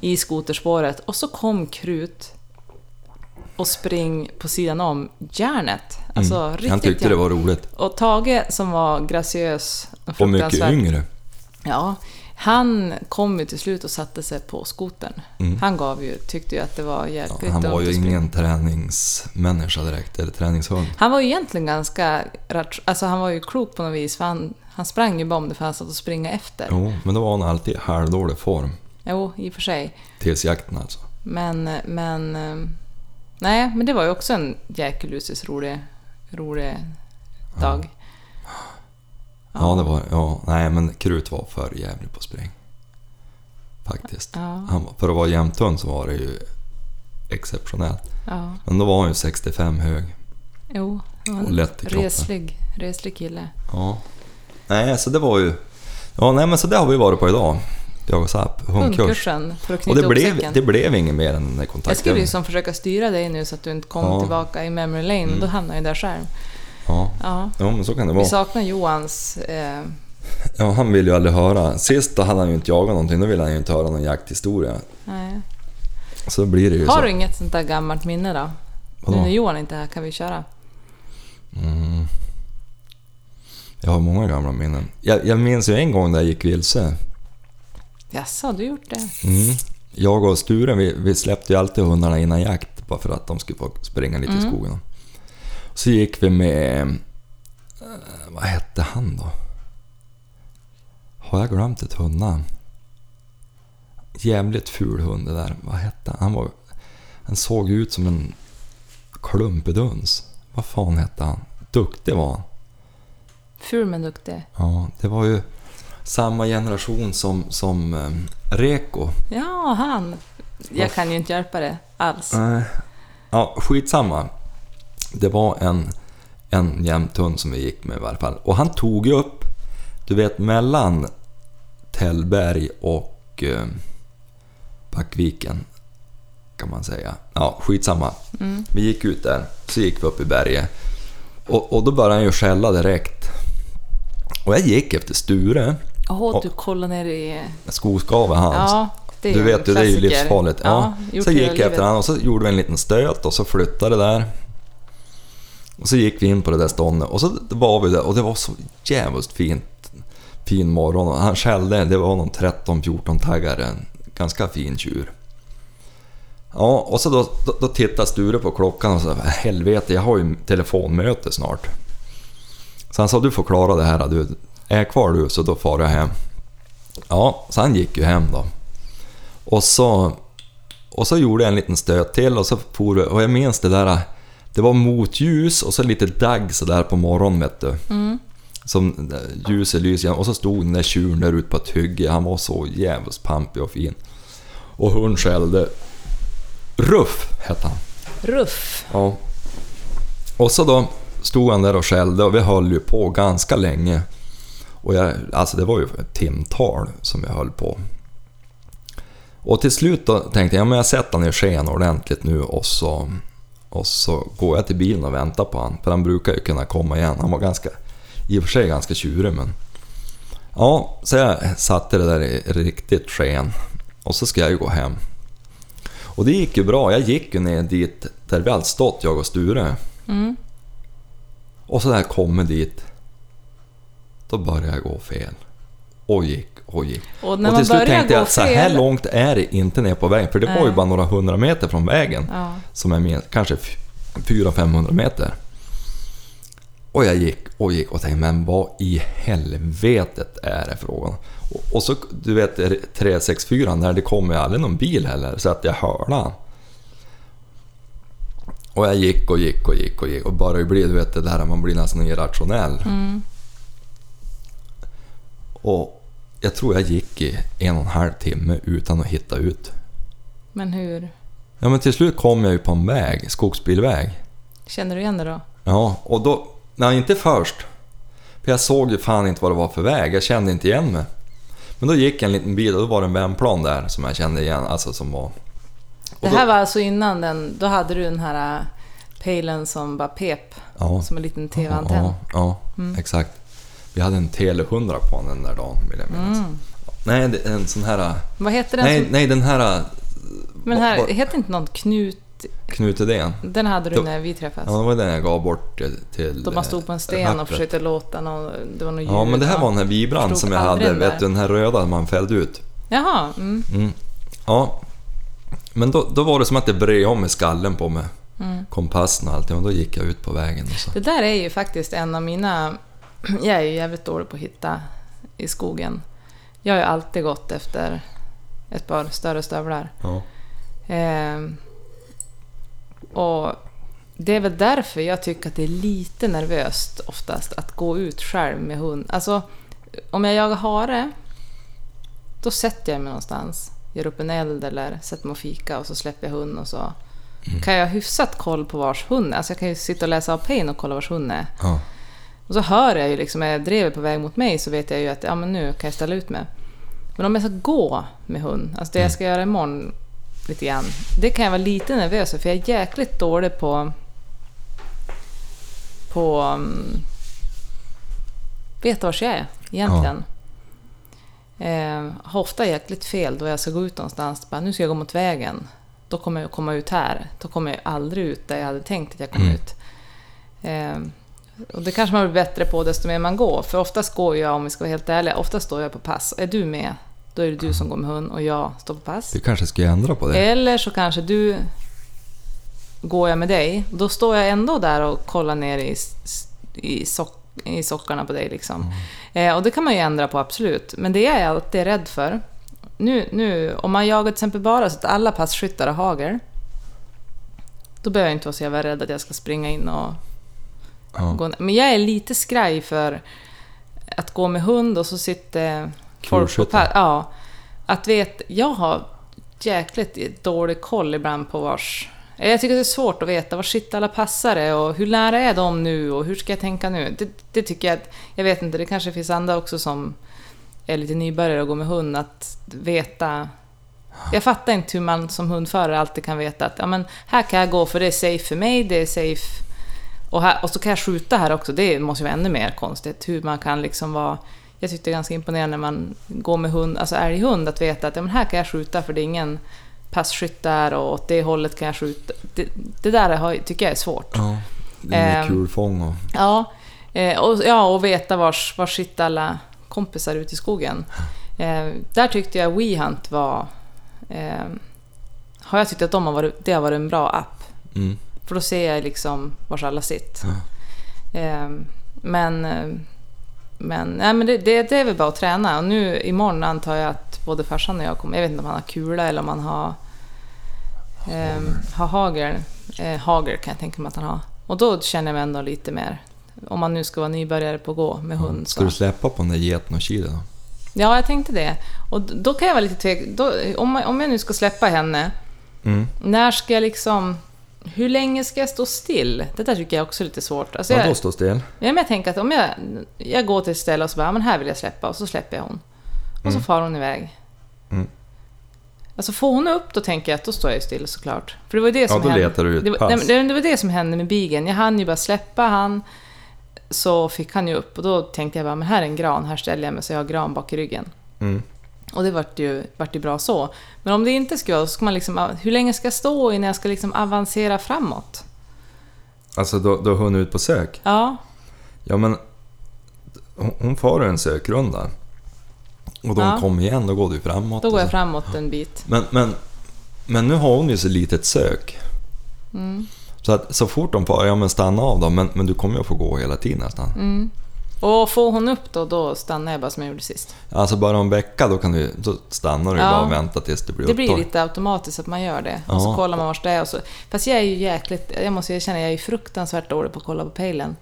B: i skoterspåret och så kom Krut och spring på sidan om järnet. Alltså, riktigt
A: Mm. Han tyckte det
B: järn.
A: var roligt.
B: Och Tage som var graciös
A: Och mycket
B: fruktansvärt-
A: yngre.
B: Ja, han kom ju till slut och satte sig på skotern. Han gav ju, tyckte ju att det var jäkligt
A: Mm. Han var
B: dumt
A: ju
B: att springa.
A: ingen träningsmänniska direkt, eller träningshund.
B: Han var ju egentligen ganska rat- alltså han var ju klok på något vis för han, han sprang ju bara om det fanns något att springa efter.
A: Jo, men då var han alltid i halvdålig form.
B: Jo, i och för sig.
A: Tills jakten alltså.
B: Men, men... eh, Nej, men det var ju också en jäkelusiskt rolig, rolig dag.
A: Ja. det var... Ja, nej men Krut var för jävlig på spring. Faktiskt.
B: Ja.
A: Han, var- för att vara jämthund så var det ju exceptionellt.
B: Ja,
A: Men då var han ju 65 hög
B: jo. det var en
A: och lätt i kroppen.
B: reslig, reslig kille.
A: Ja. Nej, så det var ju... Ja, nej men så det har vi varit på idag. Jag och Zapp, hundkurs.
B: Hundkursen för att
A: Och
B: knyta
A: det
B: ihop
A: blev,
B: säcken.
A: det blev inget mer än den där
B: Jag
A: kontakten.
B: skulle ju som försöka styra dig nu så att du inte kom
A: Ja.
B: tillbaka i memory lane, men då hamnar jag ju där själv.
A: Ja.
B: Ja.
A: ja, men så kan det
B: Vi
A: vara.
B: saknar Johans... Eh,
A: Ja, han ville ju aldrig höra. Sist då hade han ju inte jagat någonting, då ville han ju inte höra någon jakthistoria.
B: nej.
A: Så blir det ju
B: Har
A: så.
B: du inget sånt där gammalt minne då?
A: Vadå?
B: Nu när Johan inte är här kan vi köra.
A: Mm. Jag har många gamla minnen. Jag, jag minns ju en gång när jag gick vilse.
B: Jaså, har du gjort det?
A: Mm. Jag och Sture, vi, vi släppte ju alltid hundarna innan jakt bara för att de skulle få springa lite i skogen. Så gick vi med... eh, Vad hette han då? Har jag glömt ett hundnamn? Jävligt ful hund det där. Vad hette han? Han, var, han såg ut som en klumpeduns. Vad fan hette han? Duktig var han.
B: Ful men duktig.
A: Ja, det var ju samma generation som, som ehm, Reko.
B: Ja, han. Jag kan ju inte hjälpa det alls.
A: Nej. Ja, skitsamma. Det var en, en jämthund som vi gick med i varje fall. Och han tog ju upp, du vet mellan Tällberg och eh, Backviken kan man säga. Ja, skitsamma. Vi gick ut där, så gick vi upp i berget. Och, och då började han ju skälla direkt. Och jag gick efter Sture,
B: Åh, du kollar ner i...
A: skoskavet hans.
B: Ja, det är
A: Du
B: en
A: vet ju, det är ju
B: klassiker.
A: livsfarligt. Ja.
B: gjort
A: så
B: hela
A: gick jag
B: livet.
A: efter honom och så gjorde vi en liten stöt och så flyttade det där. Och så gick vi in på det där ståndet och så var vi där och det var så jävligt fint. Fin morgon och han skällde, det var någon 13-14 taggare, en ganska fin tjur. Ja, och så då, då, då tittar Sture på klockan och så helvete, jag har ju telefonmöte snart. Så han sa, du får klara det här du. Är jag kvar du så då far jag hem. Ja, så han gick ju hem då. Och så, och så gjorde jag en liten stöt till och så for vi- och jag minns det där, det var motljus och så lite dagg sådär på morgonen vet du. Som eh, ljuset lyser igenom. och så stod den där tjuren där ute på ett hygge, han var så jävligt pampig och fin. Och hon skällde. Ruff hette han.
B: Ruff.
A: Ja. Och så då stod han där och skällde och vi höll ju på ganska länge. Och jag, alltså det var ju ett timtal som jag höll på. Och till slut då tänkte jag, ja, men jag sätter han i sken ordentligt nu och så, och så går jag till bilen och väntar på han. För han brukar ju kunna komma igen. Han var ganska, i och för sig ganska tjurig men... Ja, så jag satte det där i riktigt sken. Och så ska jag ju gå hem. Och det gick ju bra. Jag gick ju ner dit där vi hade stått, jag och Sture.
B: Mm.
A: Och så när jag kommer dit, då började jag gå fel. Och gick och gick.
B: Och
A: Och,
B: när man
A: till slut
B: börjar
A: tänkte
B: gå
A: jag att så här
B: fel-
A: långt är det inte ner på vägen. För det var ju
B: Nej.
A: bara några hundra meter från vägen.
B: Ja.
A: Som jag minns, kanske f- 400-500 meter. Och jag gick och gick och tänkte, men vad i helvetet är det frågan? Och, och så, du vet 364 när det kommer ju aldrig någon bil heller, så att jag hörde han. Och jag gick och gick och gick och gick och bara bli, du vet det där man blir nästan irrationell. Och jag tror jag gick i en och en halv timme utan att hitta ut.
B: Men hur?
A: Ja men till slut kom jag ju på en väg, skogsbilväg.
B: Känner du igen det då?
A: Ja, och då... Nej, inte först. För jag såg ju fan inte vad det var för väg, jag kände inte igen mig. Men då gick jag en liten bit och då var det en vändplan där som jag kände igen, alltså som var...
B: Det
A: då-
B: här var alltså innan den, då hade du den här äh, pejlen som bara pep,
A: Ja,
B: som en liten TV-antenn.
A: ja, ja
B: Mm.
A: exakt. Vi hade en Tele100 på den där dagen, vill jag minnas. Nej, det är en sån här...
B: Vad heter Mm. den?
A: Nej,
B: som,
A: nej, den här
B: men den här,
A: var-
B: heter inte någon Knut?
A: Knut Idén.
B: Den hade du
A: Då-
B: när vi träffades.
A: Ja, det var den jag gav bort till- till...
B: Då man stod på en sten
A: rappet.
B: och försökte låta någon, det var någon
A: Ja, men det här var den här vibran
B: Förstod
A: som jag
B: aldrig
A: hade,
B: den
A: vet
B: där.
A: du, den här röda man fällde ut.
B: Jaha, mm.
A: Ja. Men då, då var det som att det bred om i skallen på mig.
B: Mm.
A: Kompassen och allting. Och då gick jag ut på vägen. Och så.
B: Det där är ju faktiskt en av mina... *clears throat* Jag är ju jävligt dålig på att hitta i skogen. Jag har ju alltid gått efter ett par större stövlar.
A: Ja.
B: Ehm, och det är väl därför jag tycker att det är lite nervöst oftast att gå ut själv med hund. Alltså, om jag jagar hare, då sätter jag mig någonstans. Gör upp en eld eller sätter mig och fika och så släpper jag hunden och så. Kan jag ha hyfsat koll på vars hund är? Alltså jag kan ju sitta och läsa av pain och kolla vars hund är.
A: Ja.
B: Och så hör jag ju liksom, är drevet på väg mot mig så vet jag ju att ja, men nu kan jag ställa ut mig. Men om jag ska gå med hund, alltså det jag ska göra imorgon lite grann, det kan jag vara lite nervös för för jag är jäkligt dålig på... på... Um, veta vars jag är egentligen. Eh, har ofta jäkligt fel då jag ska gå ut någonstans, bara, nu ska jag gå mot vägen. Då kommer jag komma ut här. Då kommer jag aldrig ut där jag hade tänkt att jag kom ut. Ehm, och det kanske man blir bättre på desto mer man går. För oftast går jag, om vi ska vara helt ärliga, oftast står jag på pass. Är du med, då är det du som går med hund och jag står på pass.
A: Du kanske ska ändra på det?
B: Eller så kanske du går jag med dig. Då står jag ändå där och kollar ner i, s- i, sock, i sockarna på dig. Liksom. Eh, och det kan man ju ändra på, absolut. Men det är jag alltid rädd för. Nu, nu, om man jagar till exempel bara så att alla passkyttar har hagel, då behöver jag inte vara så jävla rädd att jag ska springa in och
A: Ja.
B: gå ner. Men jag är lite skraj för att gå med hund och så sitter folk på
A: Kulskyttar.
B: pa- Ja. Att vet, jag har jäkligt dålig koll ibland på vars... Jag tycker det är svårt att veta var sitter alla passare och hur nära är de nu och hur ska jag tänka nu? Det, det tycker jag att, Jag vet inte, det kanske finns andra också som är lite nybörjare och går med hund att veta jag fattar inte hur man som hundförare alltid kan veta att ja, men här kan jag gå för det är safe för mig, det är safe... Och, här, och så kan jag skjuta här också, det måste ju vara ännu mer konstigt. Hur man kan liksom vara... Jag tyckte det är ganska imponerande när man går med hund, alltså älghund, att veta att ja, men här kan jag skjuta för det är ingen passkytt där och åt det hållet kan jag skjuta. Det, det där har, tycker jag är svårt.
A: ja. Det är
B: Ehm.
A: med kulfång och...
B: Ja, eh, och, ja, och veta vars, vars sitter alla kompisar ute i skogen. Eh, där tyckte jag WeHunt var... Eh, har jag tyckt att de har varit, det har varit en bra app.
A: Mm.
B: För då ser jag liksom vars alla sitter.
A: Ja.
B: Eh, men eh, men, nej, men det, det, det är väl bara att träna. Och nu imorgon antar jag att både farsan och jag kommer... Jag vet inte om han har kula eller om han har, eh, har hagel. Eh, hagel kan jag tänka mig att han har. Och då känner jag mig ändå lite mer... Om man nu ska vara nybörjare på att gå med hund.
A: Ska
B: Så.
A: du släppa på den där geten och kilen då?
B: Ja, jag tänkte det. Och d- då kan jag vara lite tvek... Då, om, man- om jag nu ska släppa henne,
A: Mm.
B: när ska jag liksom... Hur länge ska jag stå still? Det där tycker jag också är lite svårt. Alltså jag,
A: Vadå stå still?
B: Ja, men jag tänker att om jag, jag går till ett ställe och så bara, "Ja, men här vill jag släppa och så släpper jag hon. Och så far hon iväg.
A: Mm.
B: Alltså får hon upp då tänker jag att då står jag ju still såklart. För det var ju det
A: Ja,
B: som
A: då
B: hände.
A: letar du ut
B: det, var,
A: pass.
B: nej, men det, det var det som hände med bigen. Jag hann ju bara släppa han. Så fick han ju upp och då tänkte jag bara, men här är en gran, här ställer jag mig så jag har gran bak i ryggen.
A: Mm.
B: Och det vart ju, vart ju bra så. Men om det inte skulle vara så ska man liksom, hur länge ska jag stå innan jag ska liksom avancera framåt?
A: Alltså, då, då hon ut på sök?
B: Ja,
A: Ja, men... Hon, hon far en sökrunda. Och då
B: Ja.
A: hon kommer igen, då går du framåt.
B: då går
A: och
B: jag
A: så.
B: framåt en bit. Mm.
A: Men, men, men nu har hon ju så litet sök. Så att så fort de far, ja men stanna av då, men, men du kommer ju att få gå hela tiden nästan.
B: Mm. Och får hon upp då, då stannar jag bara som jag gjorde sist.
A: Alltså bara om en vecka då, kan du, då stannar du
B: Ja.
A: bara och väntar tills det blir
B: Det blir
A: upptag.
B: lite automatiskt att man gör det. Och
A: Ja.
B: så kollar man vars det är. Och så. Fast jag är ju jäkligt, jag måste erkänna, jag är ju fruktansvärt dålig på att kolla på pejlen.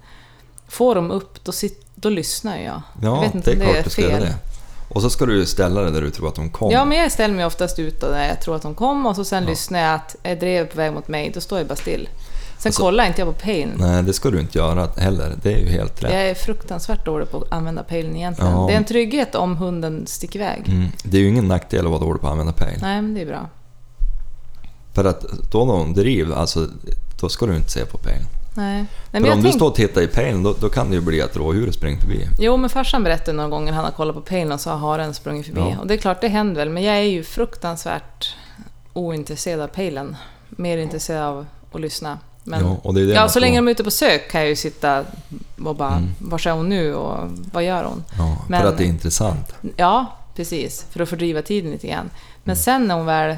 B: Får de upp, då, sit, då lyssnar jag. jag
A: Ja,
B: vet inte
A: det är
B: om det
A: klart
B: är
A: du ska göra
B: fel.
A: det. Och så ska du ju ställa det där du tror att de kommer.
B: Ja, men jag ställer mig oftast ut då när jag tror att de kom och så sen lyssnar jag att är drevet på väg mot mig, då står jag bara still. Sen
A: Alltså-
B: kollar inte jag på pejlen.
A: Nej, det ska du inte göra heller. Det är ju helt rätt.
B: Jag är fruktansvärt dålig på att använda pejlen egentligen.
A: Ja.
B: Det är en trygghet om hunden sticker iväg.
A: Mm. Det är ju ingen nackdel att vara dålig på att använda pejl.
B: Nej, men det är bra.
A: För att då någon driv, alltså, då ska du inte se på pejlen.
B: Nej. Nej, men
A: För
B: jag
A: om du
B: tänkte-
A: står och tittar i pejlen, då, då kan det ju bli att rådjuret springer förbi.
B: Jo, men farsan berättade någon gång när han har kollat på pejlen och så har haren sprungit förbi.
A: Ja.
B: Och det är klart, det händer väl. Men jag är ju fruktansvärt ointresserad av pejlen. Mer intresserad av att lyssna. Men,
A: Ja, och det är Mm. det
B: ja,
A: man
B: så
A: får-
B: länge de är ute på sök kan jag ju sitta och bara, var är hon nu och vad gör hon?
A: Ja,
B: Men-
A: För att det är intressant.
B: Ja, precis. För att fördriva tiden lite grann. Men
A: Mm.
B: sen när hon väl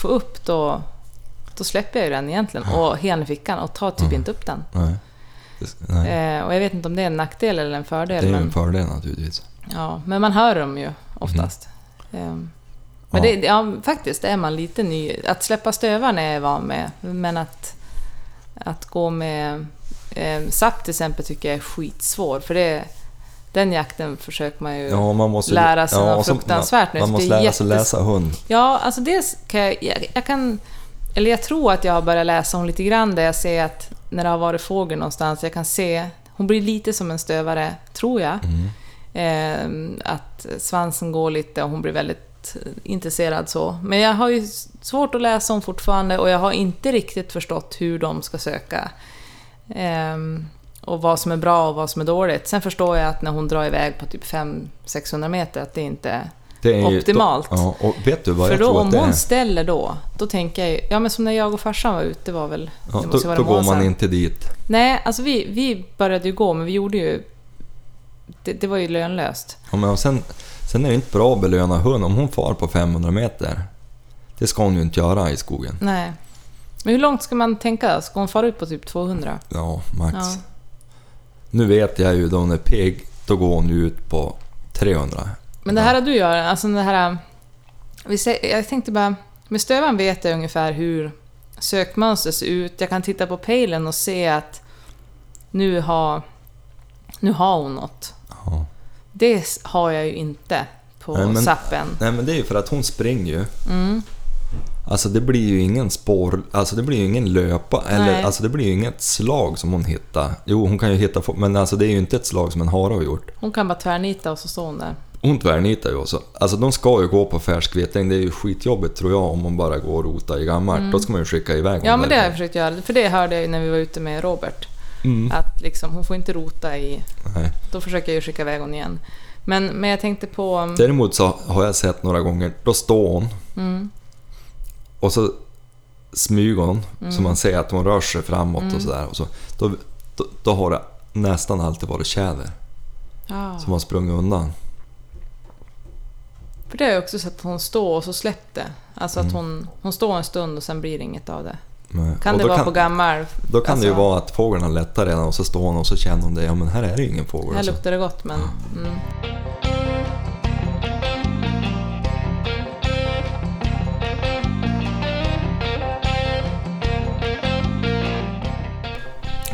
B: får upp då, då släpper jag ju den egentligen
A: Ah.
B: och hela fickan och tar typ inte upp den.
A: Nej. Det, Mm. nej.
B: Eh, och jag vet inte om det är en nackdel eller en fördel.
A: det är ju
B: men... Eh,
A: en fördel naturligtvis.
B: Ja, men man hör dem ju oftast. Ehm, Men
A: Ja.
B: det, det- ja, faktiskt det är man lite ny. Att släppa stövarna är jag van med, men att, att gå med eh, SAP till exempel tycker jag är skitsvår. För det, den jakten försöker man ju... Ja,
A: Ja, man måste,
B: Lära sig något
A: och så-
B: fruktansvärt nu,
A: Man, man
B: så
A: måste
B: det är
A: lära sig
B: jättes-
A: läsa hund.
B: alltså dels kan jag, jag, jag kan... Eller jag tror att jag har börjat läsa hon lite grann där jag ser att när det har varit fågel någonstans, jag kan se... Hon blir lite som en stövare, tror jag.
A: Mm.
B: Eh, att svansen går lite och hon blir väldigt intresserad så. Men jag har ju s- svårt att läsa om fortfarande och jag har inte riktigt förstått hur de ska söka. Eh, och vad som är bra och vad som är dåligt. Sen förstår jag att när hon drar iväg på typ 500-600 meter att det inte...
A: Det är ju-
B: Optimalt.
A: ja, och vet du vad
B: För
A: jag
B: då
A: tror
B: om
A: att det
B: hon
A: är?
B: ställer då, då tänker jag ju... Ja men som när jag och farsan var ute var väl...
A: Ja,
B: det måste
A: då
B: vara
A: då
B: några
A: går
B: år
A: man
B: sedan.
A: inte dit.
B: Nej, alltså vi, vi började ju gå men vi gjorde ju... Det, det var ju lönlöst.
A: Ja, men och sen, sen är det inte bra att belöna hund. Om hon far på 500 meter, det ska hon ju inte göra i skogen.
B: Nej. Men hur långt ska man tänka? Ska hon fara ut på typ 200?
A: Ja, max.
B: Ja.
A: Nu vet jag ju då hon är pigg, då går hon ju ut på 300.
B: Men det här har du gör, alltså det här... Vi säger, jag tänkte bara, med stövan vet jag ungefär hur sökmönster ser ut. Jag kan titta på pejlen och se att nu har, nu har hon något.
A: Ja.
B: Det s- har jag ju inte på
A: Nej, men-
B: sappen.
A: Nej men det är ju för att hon springer ju. Alltså det blir ju ingen spår, alltså det blir ju ingen löpa, eller
B: Nej.
A: alltså det blir ju inget slag som hon hittar. Jo, hon kan ju hitta, få- men alltså det är ju inte ett slag som en hare har gjort.
B: Hon kan bara tvärnita och så står hon där.
A: Hon tvärnitar ju också. Alltså de ska ju gå på färskvetling, det är ju skitjobbigt tror jag om man bara går och rotar i gammalt. Då ska man ju skicka iväg
B: Mm. Ja,
A: hon
B: men det har jag
A: därifrån.
B: försökt göra. För det hörde jag ju när vi var ute med Robert.
A: Mm.
B: Att liksom, hon får inte rota i...
A: Nej.
B: Då försöker jag ju skicka iväg hon igen. Men, men jag tänkte på... um,
A: Däremot så har jag sett några gånger, då står hon
B: Mm.
A: och så smyger hon,
B: Mm.
A: så man ser att hon rör sig framåt och sådär. Och så, då, då, då har det nästan alltid varit tjäder
B: Ja.
A: som har sprungit undan.
B: För det har jag också sett att hon står och så släppte. Alltså
A: Mm.
B: att hon, hon står en stund och sen blir det inget av det.
A: Men-
B: Kan
A: och
B: det
A: då
B: vara på gammal...
A: Då kan det ju
B: alltså,
A: vara att fågeln har lättat redan och så står hon och så känner hon det, ja men här är det ju ingen fågel.
B: Här
A: Och så.
B: luktar det gott men... Mm.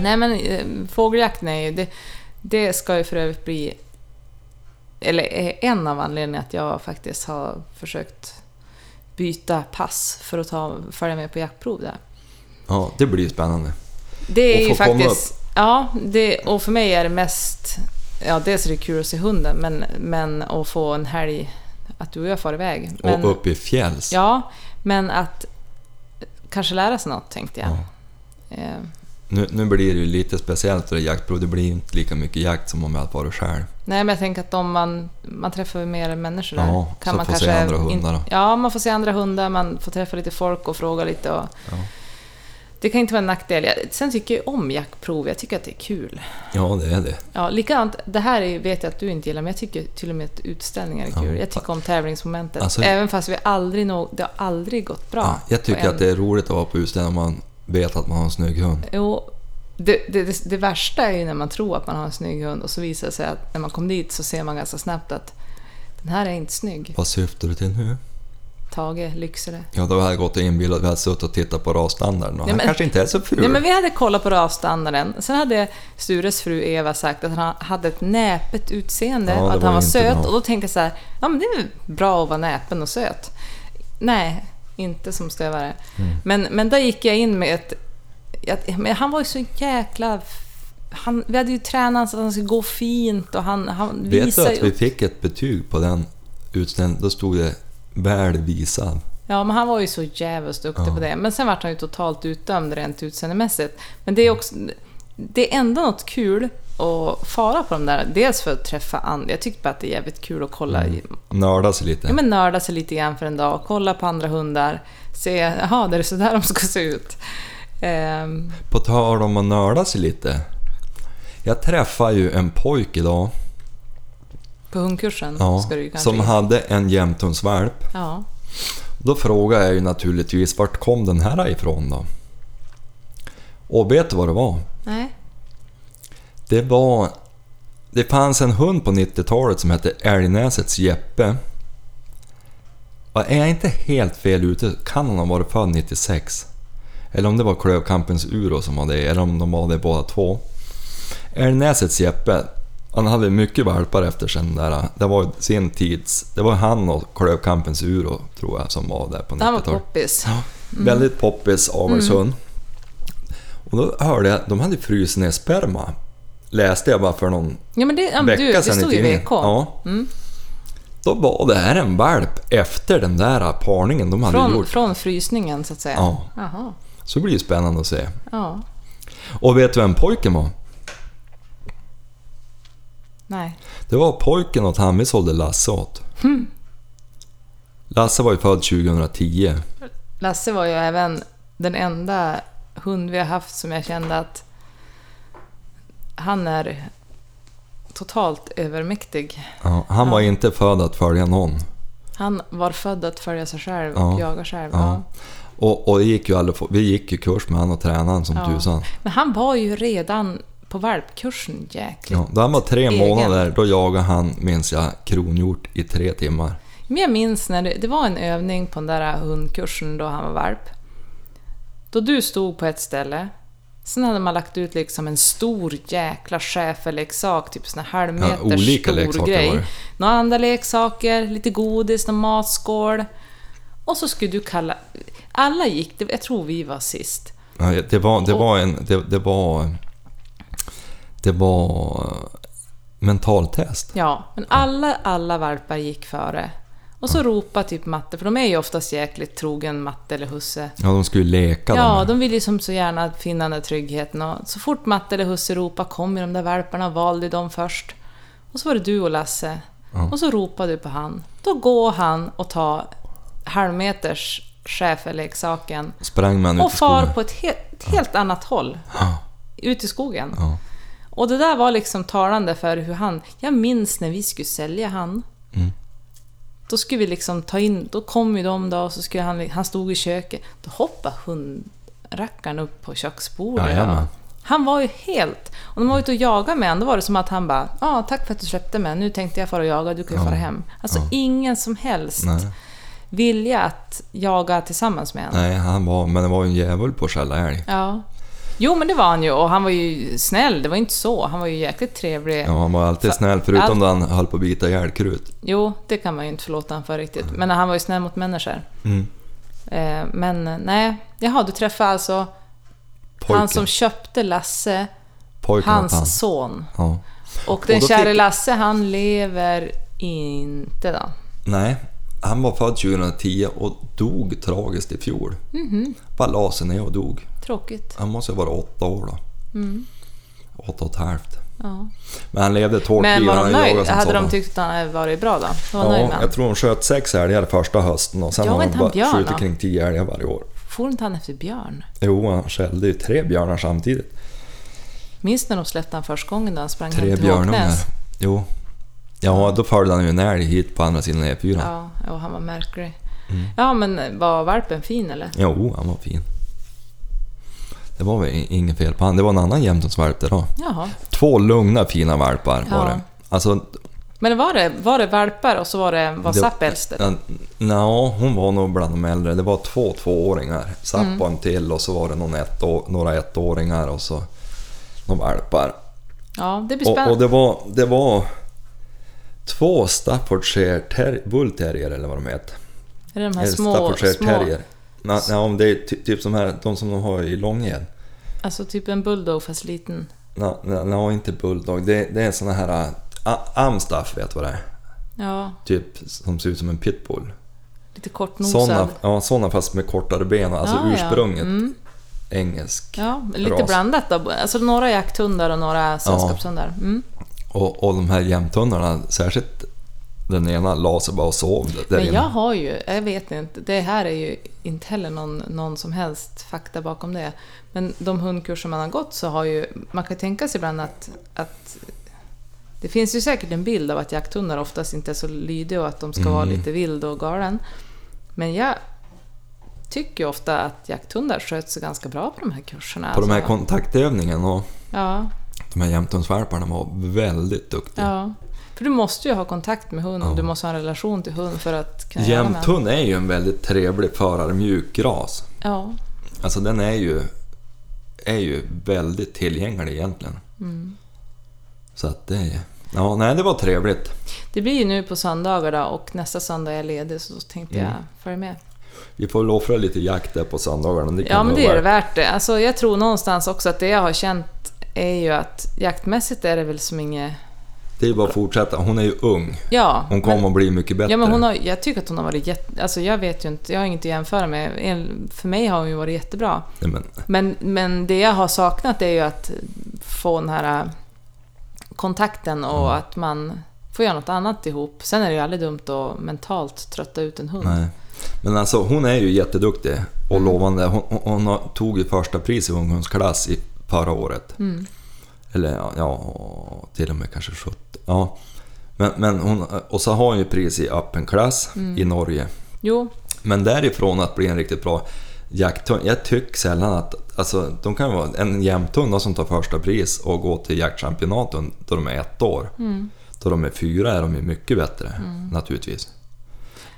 B: Nej men eh, fågeljakten är ju... Det, det ska ju för övrigt bli... Eller är en av anledningarna att jag faktiskt har försökt byta pass för att ta, följa med på jaktprov där.
A: Ja, det blir ju spännande.
B: Det
A: Och
B: är ju
A: få komma
B: faktiskt... Ja, det, och för mig är det mest... Ja, dels är det kul att se hunden, men, men att få en helg att du och jag far iväg. Men,
A: och upp i fjälls.
B: Ja, men att kanske lära sig något tänkte jag. Eh,
A: Nu, nu blir det ju lite speciellt för det jaktprov, det blir ju inte lika mycket jakt som om jag hade varit själv.
B: nej, men jag tänker att om man, man träffar mer människor där.
A: Ja, så
B: man
A: får se andra hundar då.
B: ja, man får se andra hundar, man får träffa lite folk och fråga lite. Och,
A: Ja.
B: Det kan inte vara en nackdel. Jag- Sen tycker jag om jaktprov, jag tycker att det är kul.
A: Ja, det är det.
B: Ja, likadant. Det här är, vet jag att du inte gillar, men jag tycker till och med att utställningar är kul.
A: Ja.
B: Jag tycker om tävlingsmomentet.
A: Alltså-
B: Även fast vi aldrig nå- det har aldrig gått bra.
A: Ja, jag
B: på
A: tycker
B: en-
A: att det är roligt att vara på utställning om man vet att man har en snygg hund.
B: Jo, det, det, det, det värsta är ju när man tror att man har en snygg hund och så visar det sig att när man kom dit så ser man ganska snabbt att den här är inte snygg.
A: Vad syftar du till nu?
B: Tage, Lycksele.
A: Ja, då har jag gått och inbillat vi hade suttit och tittat på rasstandarden och
B: Nej,
A: han
B: men-
A: kanske inte är så ful.
B: Nej, men vi hade kollat på rasstandarden. Sen hade Stures fru Eva sagt att han hade ett näpet utseende
A: Ja,
B: och
A: det
B: att
A: var
B: han var
A: inte
B: söt.
A: bra.
B: Och då tänkte jag så här, ja men det är väl bra att vara näpen och söt. Nej, inte som stövare.
A: Mm.
B: Men, men där gick jag in med ett... Jag, men han var ju så jäkla... Han, vi hade ju tränat så att han skulle gå fint och han, han
A: vet du
B: visade
A: att vi
B: ju...
A: fick ett betyg på den utställningen? Då stod det väl visad.
B: Ja, men han var ju så jävligt duktig
A: Ja.
B: på det. Men sen vart han ju totalt utdömd rent utseendemässigt. Men det är också... Det är ändå något kul att fara på de där. Dels för att träffa andra. Jag tyckte bara att det är jävligt kul att kolla
A: Mm,
B: i
A: Nörda sig lite.
B: Ja, men nörda sig lite grann för en dag, kolla på andra hundar, se, jaha, det är så där de ska se ut. Ehm,
A: På tal om att nörda sig lite. Jag träffade ju en pojk idag
B: på hundkursen
A: ja,
B: ska du ju kanske...
A: som hade en jämthundsvalp.
B: Ja,
A: Då frågade jag ju naturligtvis vart kom den här ifrån då? Och vet du vad det var?
B: nej.
A: Det var... Det fanns en hund på 90-talet som hette Älgnäsets Jeppe. Och är jag inte helt fel ute kan han ha varit född 96. Eller om det var Klövkampens Uro som var det, eller om de var det båda två. Älgnäsets Jeppe, han hade mycket valpar efter sen där. Det var sin tids... Det var han och Klövkampens Uro tror jag som var där på
B: Det här var
A: 90-talet.
B: poppis. Mm.
A: Väldigt poppis avelshund. Och då hörde jag, de hade frusit ner sperma. Läste jag bara för någon
B: Ja, men det, ja, men
A: vecka
B: du, det
A: sedan
B: stod ju i Mm. VK.
A: Ja. Då var det här en valp efter den där parningen de hade
B: Från,
A: gjort.
B: från frysningen, så att säga.
A: Ja.
B: Jaha.
A: Så det blir ju spännande att se.
B: Ja.
A: Och vet du vem pojken var?
B: Nej.
A: Det var pojken åt han vi sålde Lasse åt.
B: Hm.
A: Lasse var ju född 2010.
B: Lasse var ju även den enda hund vi har haft som jag kände att han är totalt övermäktig.
A: Ja, han var inte född att följa någon.
B: Han var född att följa sig själv
A: Ja.
B: och jaga själv.
A: Ja.
B: Ja.
A: Och, och det gick ju aldrig, få- vi gick ju kurs med han och tränade han som
B: Ja.
A: tusan.
B: Men han var ju redan på valpkursen jäkligt.
A: Ja, då han var tre
B: Egen.
A: månader, då jagade han, minns jag, kronhjort i tre timmar.
B: Men jag minns när det, det var en övning på den där hundkursen då han var valp. Då du stod på ett ställe, sen hade man lagt ut liksom en stor jäkla schäferleksak, typ sån här halvmeter
A: Ja, olika
B: stor
A: leksaker var
B: grej.
A: det.
B: Några andra leksaker, lite godis, någon matskål. Och så skulle du kalla... Alla gick, det- jag tror vi var sist.
A: Ja, det var, det var en, det, det var, det var mentaltest.
B: Ja, men alla, alla valpar gick före. Och så ropade typ matte, för de är ju oftast jäkligt trogen matte eller husse.
A: Ja, de skulle ju leka de
B: Ja,
A: här.
B: de vill ju som så gärna finna den där tryggheten. Och så fort Matte eller husse ropade kom ju de där valparna och valde dem först. Och så var det du och Lasse. Och så ropade du på han. Då går han och tar halvmeters schäferleksaken
A: Sprang man
B: och
A: ut i skogen.
B: far på ett helt, ett helt annat håll. Ut i skogen.
A: Ja.
B: Och det där var liksom talande för hur han... Jag minns när vi skulle sälja han.
A: Mm.
B: Då skulle vi liksom ta in... Då kom ju de då och så skulle han... Han stod i köket. Då hoppade hundrackaren upp på köksbordet.
A: Jajamän.
B: Han var ju helt... Och när man var ute och jagade med honom, då var det som att han bara ja ah, “Tack för att du släppte mig, nu tänkte jag fara och jaga, du kan ju fara hem”. Alltså ingen som helst
A: Nej.
B: vilja att jaga tillsammans med honom.
A: Nej, han var, men det var ju en djävul på att skälla älg.
B: Ja. Jo, men det var han ju och han var ju snäll, det var inte så. Han var ju jäkligt trevlig.
A: Ja, han var alltid
B: Fa-
A: snäll, förutom
B: allt-
A: då han höll på att bita ihjäl krut.
B: Jo, det kan man ju inte förlåta honom för riktigt. Men han var ju snäll mot människor.
A: Mm.
B: Eh, Men eh, nej, jaha, du träffade alltså
A: Pojken,
B: han som köpte Lasse,
A: Pojken
B: hans
A: åt han.
B: son.
A: Ja.
B: Och den
A: då
B: käre
A: fick-
B: Lasse, han lever inte då.
A: Nej, han var född 2010 och dog tragiskt i fjol.
B: Mhm.
A: Bara la sig ner och dog.
B: Tråkigt.
A: Han måste ha varit åtta år då.
B: Mm.
A: Åtta och ett halvt.
B: Ja.
A: Men han levde ett hårt
B: Men
A: liv.
B: var
A: han
B: de
A: jagade
B: nöjda?
A: som
B: Hade de
A: sådan.
B: tyckt att han hade varit bra då? De var nöjda
A: Ja,
B: med honom?
A: jag tror hon sköt sex älgar första hösten och sen
B: Ja,
A: har
B: men
A: hon
B: han
A: bara
B: björn
A: skjutit
B: då?
A: kring tio älgar varje år.
B: For inte han efter björn?
A: Jo, han skällde ju tre björnar samtidigt.
B: Minns när de släppte han första gången då han sprang
A: Tre
B: hem till
A: björnungar.
B: Håknäs?
A: Jo. Ja, då följde han ju en älg hit på andra sidan E E4.
B: Ja, och han var
A: Mm.
B: märklig. Ja, men var valpen fin eller?
A: Jo, han var fin. Det var väl i- inget fel på han. Det var en annan jämthundsvalp där då.
B: Jaha.
A: Två lugna fina valpar var
B: Ja.
A: det. Alltså,
B: Men var det, var det valpar och så var det var
A: Det-
B: Zapp äldst? eller?
A: ja, nja, hon var nog bland de äldre. Det var två tvååringar. Zapp
B: Mm.
A: var en till och så var det någon ettå, några ettåringar och så några valpar.
B: Ja, det blir
A: Och, och
B: spännande.
A: det, var, det var två Staffordshire ter- Bull Terrier eller vad de heter.
B: Är det de här
A: Eller
B: små,
A: Staffordshire
B: små
A: Terrier. Nej, nej, om det är ty- typ som här, de som de har i Långed.
B: alltså typ en bulldog fast liten?
A: Nej, nej, nej, inte Bulldog. Det, det är såna här... äh, A- Amstaff vet vad det är.
B: Ja,
A: Typ som ser ut som en pitbull.
B: lite kortnosad.
A: Såna, ja, såna fast med kortare ben. Alltså
B: Ja, ja.
A: ursprunget
B: Mm.
A: engelsk.
B: Ja, lite
A: ras.
B: blandat då. Alltså några jakthundar och några sällskapshundar. Mm.
A: Och, och de här jämthundarna, särskilt den ena, la sig bara och sov där
B: Men
A: inne.
B: jag har ju, jag vet inte, det här är ju inte heller någon, någon som helst fakta bakom det. Men de hundkurser man har gått så har ju, man kan tänka sig ibland att, att det finns ju säkert en bild av att jakthundar oftast inte är så lydiga och att de ska
A: Mm.
B: vara lite vild och galen. Men jag tycker ju ofta att jakthundar sköts ganska bra på de här kurserna.
A: På de här
B: Alltså,
A: kontaktövningarna och
B: ja,
A: de här jämthundsvalparna var väldigt duktiga.
B: ja. För du måste ju ha kontakt med hund, du måste ha en relation till hund för att kunna göra med
A: Jämthund är ju en väldigt trevlig förarmjuk ras.
B: Ja,
A: Alltså den är ju, är ju väldigt tillgänglig egentligen.
B: Mm.
A: Så att det är... Ja, nej det var trevligt.
B: Det blir ju nu på söndagar då och nästa söndag är jag ledig så tänkte jag följa med.
A: Vi får väl offra lite jakt där på söndagarna. Det kan
B: Ja men
A: vara
B: det är det
A: värt.
B: värt det. Alltså, jag tror någonstans också att det jag har känt är ju att jaktmässigt är det väl som inget...
A: Det är ju bara att fortsätta. Hon är ju ung.
B: Ja,
A: Hon kommer
B: men,
A: att bli mycket bättre.
B: ja, men hon har, jag tycker att hon har varit jätte... Alltså, jag vet ju inte, jag har inget att jämföra med. En- För mig har hon ju varit jättebra.
A: Nej, men,
B: Men, men det jag har saknat är ju att få den här äh, kontakten och att man får göra något annat ihop. Sen är det ju aldrig dumt att mentalt trötta ut en hund.
A: nej. men alltså hon är ju jätteduktig och
B: Mm.
A: lovande. Hon, hon, hon har- tog ju första pris i ungdomsklass i, förra året.
B: Mm.
A: Eller ja, ja, till och med kanske 70. Ja. Men, men hon, och så har hon ju pris i öppen klass
B: Mm.
A: i Norge.
B: Jo,
A: Men därifrån att bli en riktigt bra jakthund. Jag tycker sällan att... Alltså, de kan vara en jämthund då som tar första pris och går till jaktchampionaten då de är ett år.
B: Mm.
A: Då de är fyra är de ju mycket bättre, naturligtvis.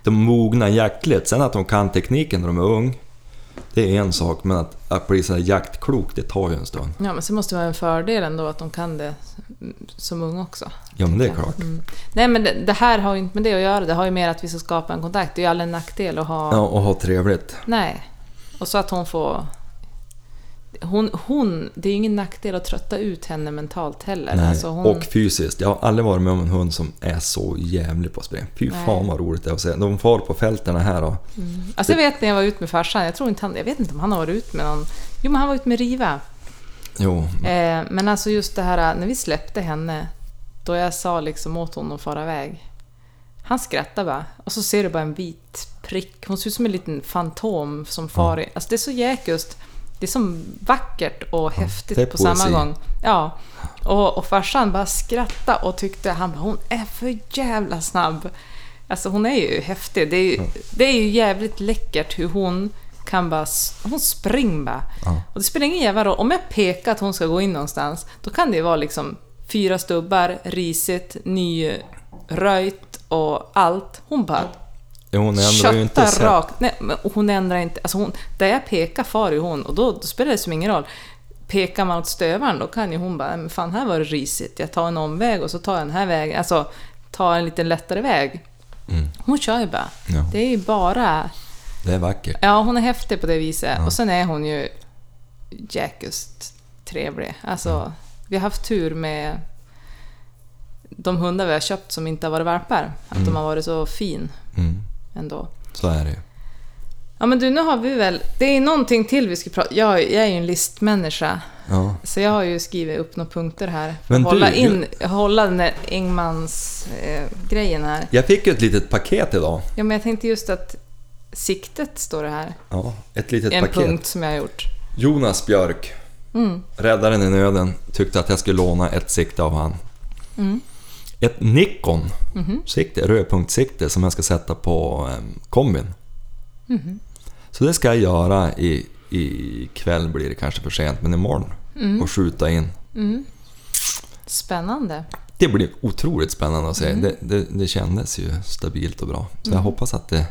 A: De mognar jaktligt. Sen att de kan tekniken när de är ung, det är en sak. Men att, att bli sådär jaktklok, det tar ju en stund.
B: Ja, men sen måste det vara en fördel ändå att de kan det som unga också.
A: Ja, men det är klart.
B: Mm. Nej, men det, det här har ju inte med det att göra. Det har ju mer att vi ska skapa en kontakt. Det är ju aldrig en nackdel att ha...
A: Ja, och ha trevligt.
B: Nej. Och så att hon får... Hon, hon, det är ju ingen nackdel att trötta ut henne mentalt heller.
A: Nej.
B: Alltså hon,
A: Och fysiskt. Jag har aldrig varit med om en hund som är så jävlig på spring. Fy
B: Nej.
A: fan vad roligt det är att se. De far på fälten här och
B: alltså jag vet när jag var ute med farsan, jag, tror inte han, jag vet inte om han har varit ute med någon. Jo, men han var ute med Riva.
A: Jo,
B: Eh, men alltså just det här när vi släppte henne, då jag sa liksom åt honom att fara iväg. Han skrattar bara och så ser du bara en vit prick. Hon ser ut som en liten fantom som far i. Alltså det är så jäkust. Det är som vackert och häftigt
A: det är
B: på samma
A: poesi.
B: gång. Ja. Och, och farsan bara skrattade och tyckte han bara, hon är för jävla snabb. Alltså hon är ju häftig. Det är ju, det är ju jävligt läckert hur hon kan bara... s- Hon springer bara. Och det spelar ingen jävla roll. Om jag pekar att hon ska gå in någonstans, då kan det ju vara liksom fyra stubbar, risigt, nyröjt och allt. Hon bara
A: jo hon ändrar ju inte
B: köttar
A: sätt.
B: rakt. Nej, men hon ändrar inte. Alltså hon, där jag pekar far ju hon och då, då spelar det som ingen roll. Pekar man åt stövaren då kan ju hon bara, "Nej, men fan här var det risigt. Jag tar en omväg och så tar jag den här vägen. Alltså ta en lite lättare väg. Hon kör ju bara.
A: Mm. Ja.
B: Det är ju bara...
A: Det är vackert.
B: Ja, hon är häftig på det viset. Och sen är hon ju jäkligt trevlig. Alltså, vi har haft tur med de hundar vi har köpt som inte har varit valpar. Att de har varit så fin
A: Mm,
B: ändå.
A: så är det ju.
B: Ja men du, nu har vi väl... Det är någonting till vi ska prata... Jag, jag är ju en listmänniska.
A: Ja.
B: Så jag har ju skrivit upp några punkter här. För
A: Men
B: att hålla,
A: du,
B: in, hålla den där Engmans eh, grejen här.
A: Jag fick ju ett litet paket idag.
B: Ja men jag tänkte just att siktet står det här.
A: Ja, ett litet
B: En
A: paket.
B: punkt Mm. som jag har gjort.
A: Jonas Björk, räddaren i nöden, tyckte att jag skulle låna ett sikte av han.
B: Mm.
A: Ett Nikon
B: Mhm.
A: sikte, rödpunktssikte ehm,
B: Mhm.
A: som jag ska sätta på eh, kombin. Så det ska jag göra i, ikväll blir det kanske för sent, men imorgon.
B: Mm.
A: Och skjuta in.
B: Mm. Spännande.
A: Det blir otroligt spännande att se.
B: Mm.
A: Det, det, det kändes ju stabilt och bra. Så jag hoppas att det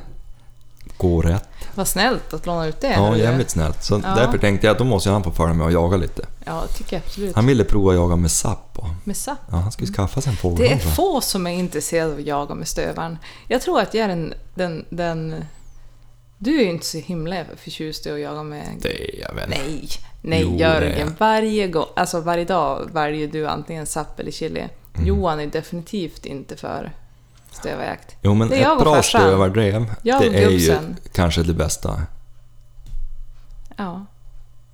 A: går rätt.
B: Vad snällt att låna ut det.
A: Ja,
B: eller?
A: jävligt snällt. Så
B: Ja.
A: därför tänkte jag att då måste han få följa med och jaga lite.
B: Ja, det tycker jag absolut.
A: Han ville prova att jaga med sapp. Och,
B: Med sapp.
A: ja, han skulle skaffa sig en fågel.
B: Det är
A: tror jag.
B: få som är intresserade av att jaga med stövaren. Jag tror att jag är den... den, den du är ju inte så himla förtjust i att jaga med...
A: Det är jag väl.
B: Nej, nej
A: Jo, det är
B: Jörgen.
A: jag.
B: Varje, gång, alltså varje dag väljer du antingen sapp eller chili.
A: Mm.
B: Johan är definitivt inte för stövarjakt.
A: Jo, men
B: Det är jag
A: ett
B: och
A: bra
B: farsan.
A: stövardrev, det
B: Jag och
A: är ju
B: gubbsen.
A: kanske det bästa.
B: Ja.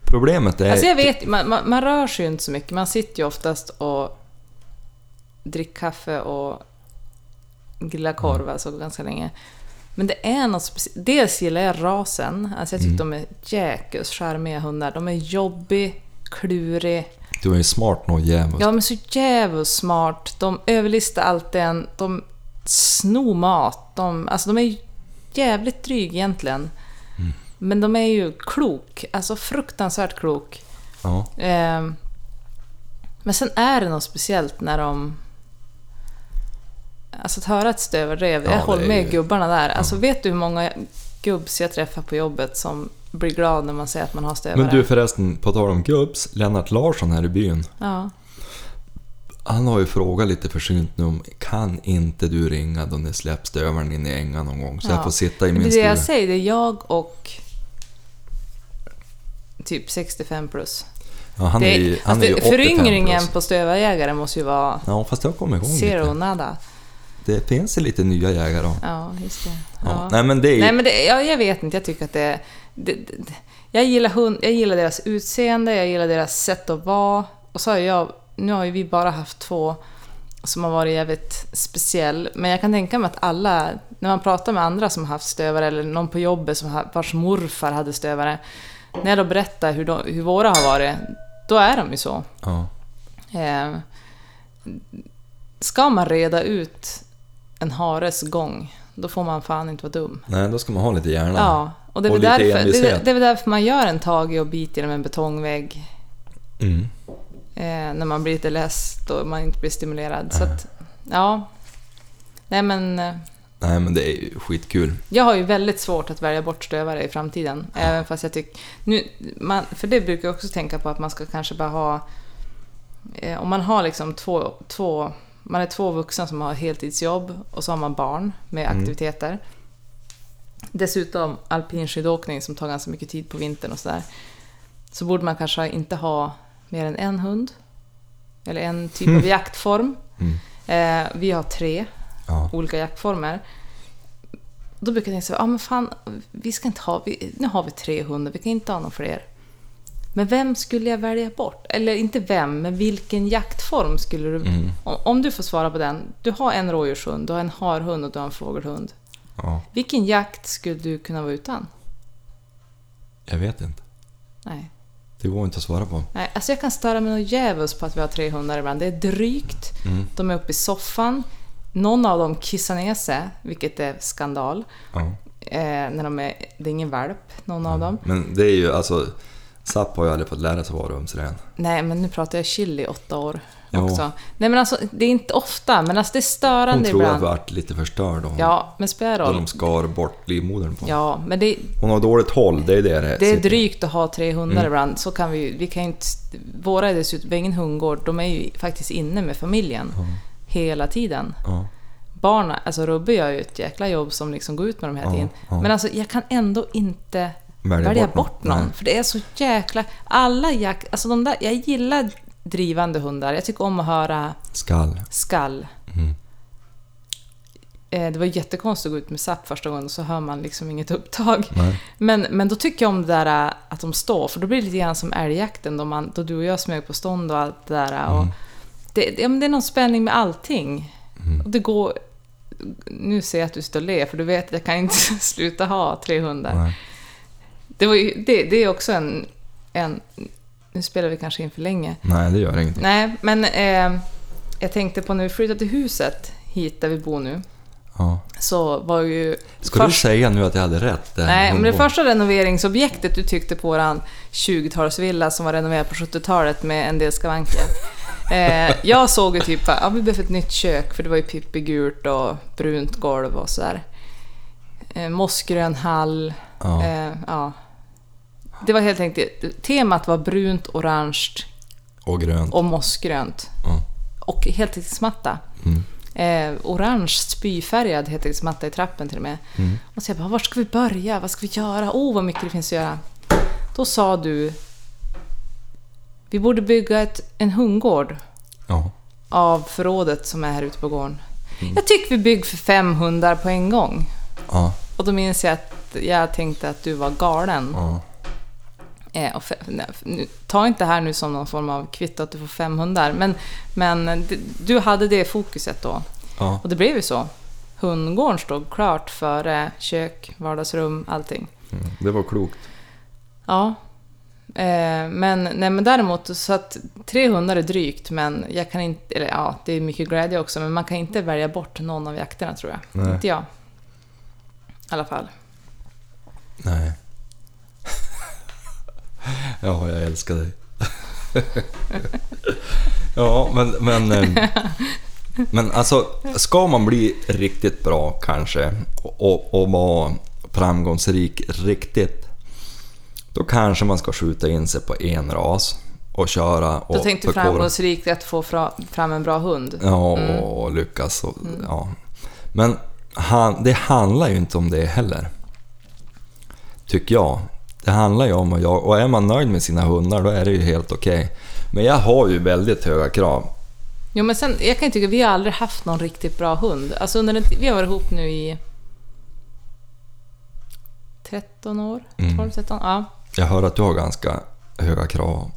A: Problemet är...
B: Alltså jag vet, man, man, man rör sig ju inte så mycket. Man sitter ju oftast och dricker kaffe och grillar
A: Mm.
B: korv alltså ganska länge. Men det är något speciellt. Dels gillar jag rasen. Alltså jag
A: Mm.
B: tycker de är jäkligt charmiga hundar. De är jobbig, klurig.
A: Du är ju smart nog jävel.
B: Ja, de är så jävligt smart. De överlistar alltid en. De snor mat. De, alltså de är ju jävligt dryg egentligen.
A: Mm.
B: Men de är ju klok. Alltså fruktansvärt klok.
A: Ja.
B: Ehm, men sen är det något speciellt när de... Alltså att höra ett stövarrev,
A: Ja,
B: jag
A: det är
B: håller med
A: ju-
B: gubbarna där. Alltså vet du hur många gubbs jag träffar på jobbet som blir glad när man säger att man har stövare?
A: Men du förresten, på tal om gubbs, Lennart Larsson här i byn.
B: Ja.
A: Han har ju frågat lite försynt nu om kan inte du ringa då ni släpps stövaren in i ängan någon gång så
B: Ja.
A: jag får sitta i
B: Men
A: min
B: det är det
A: stuga.
B: jag säger, det är jag och typ 65 plus.
A: Ja, han
B: det,
A: är ju, han är
B: alltså,
A: ju 85
B: föryngringen
A: plus.
B: på stövarjägare måste ju vara
A: Ja, fast jag kommer ihåg
B: zero
A: lite.
B: nada.
A: Det finns ju lite nya jägare. Ja.
B: Ja, just det. Ja.
A: Ja. Nej men det är ju...
B: Nej, men det, jag, jag vet inte. Jag tycker att det, det, det jag, gillar hund, jag gillar deras utseende, jag gillar deras sätt att vara. Och så har jag, nu har ju vi bara haft två som har varit jävligt speciell. Men jag kan tänka mig att alla, när man pratar med andra som har haft stövare eller någon på jobbet som har, vars morfar hade stövare. När jag då berättar hur, de, hur våra har varit, då är de ju så.
A: ja.
B: Eh, ska man reda ut en hares gång, då får man fan inte vara dum.
A: Nej, då ska man ha lite hjärna.
B: Ja, och det är,
A: Och
B: väl
A: lite
B: därför, det, är-
A: envishet.
B: det är väl därför man gör en tagig och bit genom en betongvägg
A: Mm.
B: eh, när man blir lite less och man inte blir stimulerad. Så att, ja. Nej men, eh,
A: Nej men det är ju skitkul.
B: jag har ju väldigt svårt att välja bort stövare i framtiden. Även fast jag tycker... Nu, man, för det brukar jag också tänka på att man ska kanske bara ha... Eh, om man har liksom två, två... Man är två vuxna som har heltidsjobb och så har man barn med aktiviteter. Dessutom alpinskidåkning som tar ganska mycket tid på vintern och sådär. Så borde man kanske inte ha mer än en hund. Eller en typ av jaktform. Eh, vi har tre
A: Ja.
B: olika jaktformer. Då brukar jag tänka så här, ah, men fan, vi ska inte ha, vi, nu har vi 300, vi kan inte ha någon fler. Men vem skulle jag välja bort? Eller inte vem, men vilken jaktform skulle du...
A: Mm.
B: Om, om du får svara på den. Du har en rådjurshund, du har en harhund och du har en fågelhund.
A: ja.
B: Vilken jakt skulle du kunna vara utan?
A: Jag vet inte.
B: Nej.
A: Det går inte att svara på.
B: Nej, alltså jag kan störa mig något djävulskt på att vi har 300 ibland. Det är drygt, de är uppe i soffan, någon av dem kissar ner sig, vilket är skandal.
A: Ja.
B: Eh, när de är, det är ingen valp, någon
A: Mm.
B: av dem.
A: Men det är ju alltså... Sapp har ju aldrig fått lära sig vara rumsren.
B: Nej, men nu pratar jag chili i åtta år
A: Ja.
B: också. Nej, men alltså det är inte ofta, men alltså det är
A: Hon
B: störande
A: tror att
B: ibland.
A: vi vart lite förstörd då.
B: Ja, men spelar
A: Då
B: roll.
A: de skar bort livmodern på henne.
B: Ja, men det,
A: Hon har dåligt håll, det är det det
B: det är
A: sitter- Mm.
B: drygt att ha 300 ibland. Så kan vi, ju- vi kan ju inte, våra är dessutom, vi har ingen hundgård, de är ju faktiskt inne med familjen hela tiden.
A: Ja.
B: Barnen, alltså Rubbe gör ju ett jäkla jobb som liksom går ut med dem hela
A: Ja,
B: tiden.
A: ja.
B: Men alltså jag kan ändå inte
A: Välja
B: välja bort,
A: bort någon.
B: någon.
A: Nej.
B: För det är så jäkla... Alla jack... Alltså de där, jag gillar drivande hundar. Jag tycker om att höra
A: Skall.
B: skall.
A: Mm.
B: Eh, Det var jättekonstigt att gå ut med SAP första gången och så hör man liksom inget upptag.
A: Nej.
B: Men, men då tycker jag om det där äh, att de står, för då blir det lite grann som älgjakten då, man, då du och jag smög på stånd och allt det där. äh, Och
A: Mm.
B: det, det, ja, men det är någon spänning med allting.
A: Mm.
B: Och det går... Nu ser jag att du står och ler, för du vet att jag kan inte *laughs* sluta ha 300.
A: Nej.
B: Det, var ju, det, det är också en, en... Nu spelar vi kanske in för länge.
A: Nej, det gör ingenting.
B: Nej, men eh, jag tänkte på när vi flyttade till huset hit där vi bor nu.
A: Ja.
B: så var ju...
A: Ska
B: först-
A: du säga nu att jag hade rätt? där?
B: Nej, men det
A: Hon-
B: första renoveringsobjektet du tyckte på våran 20-talsvilla som var renoverad på 70-talet med en
A: *laughs*
B: del skavanker. Eh, jag såg ju typ att ja, vi behöver ett nytt kök för det var ju pippigult och brunt golv och sådär. Eh, mossgrön hall.
A: Ja.
B: Eh, ja. Det var helt enkelt, temat var brunt, orange
A: Och grönt.
B: och mossgrönt.
A: Ja.
B: Och heltäckningsmatta.
A: Mm.
B: Eh, orange spyfärgad heltäckningsmatta i trappen till och med.
A: Mm.
B: Och så jag bara, var ska vi börja? Vad ska vi göra? Åh, oh, vad mycket det finns att göra. Då sa du, vi borde bygga ett, en hundgård
A: Ja.
B: av förrådet som är här ute på gården.
A: Mm.
B: Jag tycker vi bygger för fem hundar på en gång.
A: Ja.
B: Och då minns jag att jag tänkte att du var galen.
A: ja.
B: Eh, och fe- nej, f- nu, ta inte det här nu som någon form av kvitto att du får 500 men, men d- du hade det fokuset då.
A: ja.
B: Och det blev ju så. Hundgården stod klart före kök, vardagsrum, allting.
A: Mm. Det var klokt.
B: Ja. Eh, men, nej, men däremot, så att 300 är drygt, men jag kan inte... Eller ja, det är mycket glädje också, men man kan inte välja bort någon av jakterna tror jag.
A: Nej.
B: Inte jag. I alla fall.
A: Nej. *laughs* ja, jag älskar dig. *laughs* ja, men... Men, eh, men alltså, ska man bli riktigt bra kanske och, och vara framgångsrik riktigt, då kanske man ska skjuta in sig på en ras och köra och
B: Då tänkte du
A: förkovra-
B: framgångsrikt att få fra- fram en bra hund.
A: Ja,
B: Mm.
A: och lyckas. Och, ja. Men han, det handlar ju inte om det heller. Tycker jag. Det handlar ju om att jag, och är man nöjd med sina hundar då är det ju helt okej. Men jag har ju väldigt höga krav.
B: Jo, men sen, jag kan tycka vi har aldrig haft någon riktigt bra hund. Alltså under den, ti- vi har varit ihop nu i 13 år,
A: Mm.
B: 12, 13, ja.
A: Jag hör att du har ganska höga krav.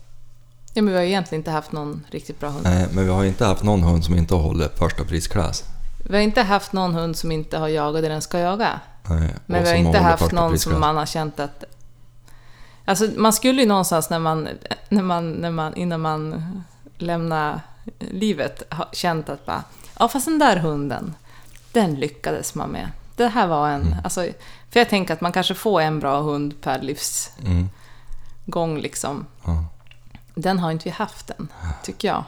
B: ja men vi har ju egentligen inte haft någon riktigt bra hund.
A: Nej, men vi har inte haft någon hund som inte håller första prisklass.
B: Vi har inte haft någon hund som inte har jagat det den ska jaga.
A: Nej,
B: Men
A: och
B: vi har
A: som
B: inte
A: håller
B: haft
A: första
B: någon
A: prisklass.
B: som man har känt att... Alltså man skulle ju någonstans när man, när man, när man innan man lämnar livet ha känt att bara, ja fast den där hunden, den lyckades man med. Det här var en...
A: Mm.
B: Alltså, för jag tänker att man kanske får en bra hund per livsgång
A: Mm,
B: liksom.
A: ja.
B: Den har inte vi haft än, tycker jag.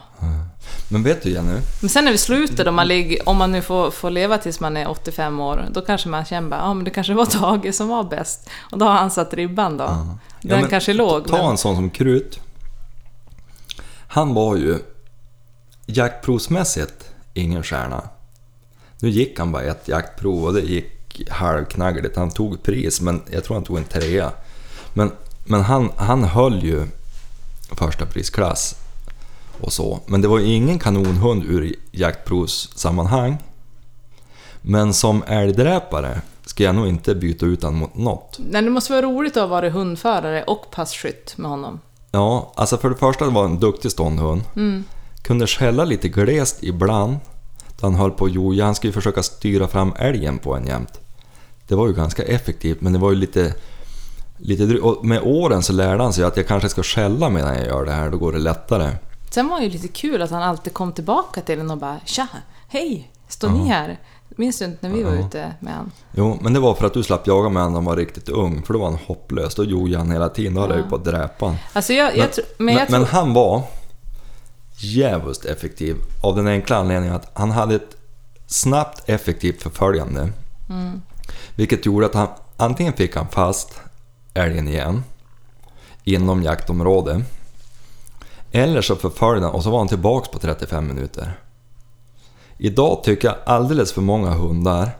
A: Men vet du Jenny?
B: Men sen när vi slutar, om man, ligger, om man nu får, får leva tills man är 85 år, då kanske man känner bara, ja men det kanske var Tage som var bäst. Och då har han satt ribban då.
A: Ja,
B: Den
A: men
B: kanske är låg.
A: Ta
B: men-
A: en sån som Krut. Han var ju jaktprovsmässigt ingen stjärna. Nu gick han bara ett jaktprov och det gick halvknaggligt. Han tog pris, men jag tror han tog en trea. Men, men han, han höll ju första prisklass och så. Men det var ju ingen kanonhund ur jaktprovssammanhang. Men som älgdräpare ska jag nog inte byta ut han mot något.
B: Nej, det måste vara roligt att vara hundförare och passkytt med honom.
A: Ja, alltså för det första var han en duktig ståndhund. Kunde skälla lite glest ibland. Då han höll på att joja. Han skulle försöka styra fram älgen på en jämt. Det var ju ganska effektivt, men det var ju lite... lite dry- och med åren så lärde han sig att jag kanske ska skälla medan jag gör det här, då går det lättare.
B: Sen var det ju lite kul att han alltid kom tillbaka till en och bara, tja, hej, står ni här? Minns du inte när vi var ute med honom?
A: Jo, men det var för att du slapp jaga med honom när han var riktigt ung, för då var han hopplös. Då jojade han hela tiden, då höll jag ju på att dräpa honom.
B: Alltså jag, jag, tror- men jag
A: men, men
B: tror...
A: han var djävulskt effektiv av den enkla anledningen att han hade ett snabbt effektivt förföljande.
B: Mm.
A: Vilket gjorde att han antingen fick han fast älgen igen inom jaktområdet. Eller så förföljde han och så var han tillbaks på 35 minuter. Idag tycker jag alldeles för många hundar,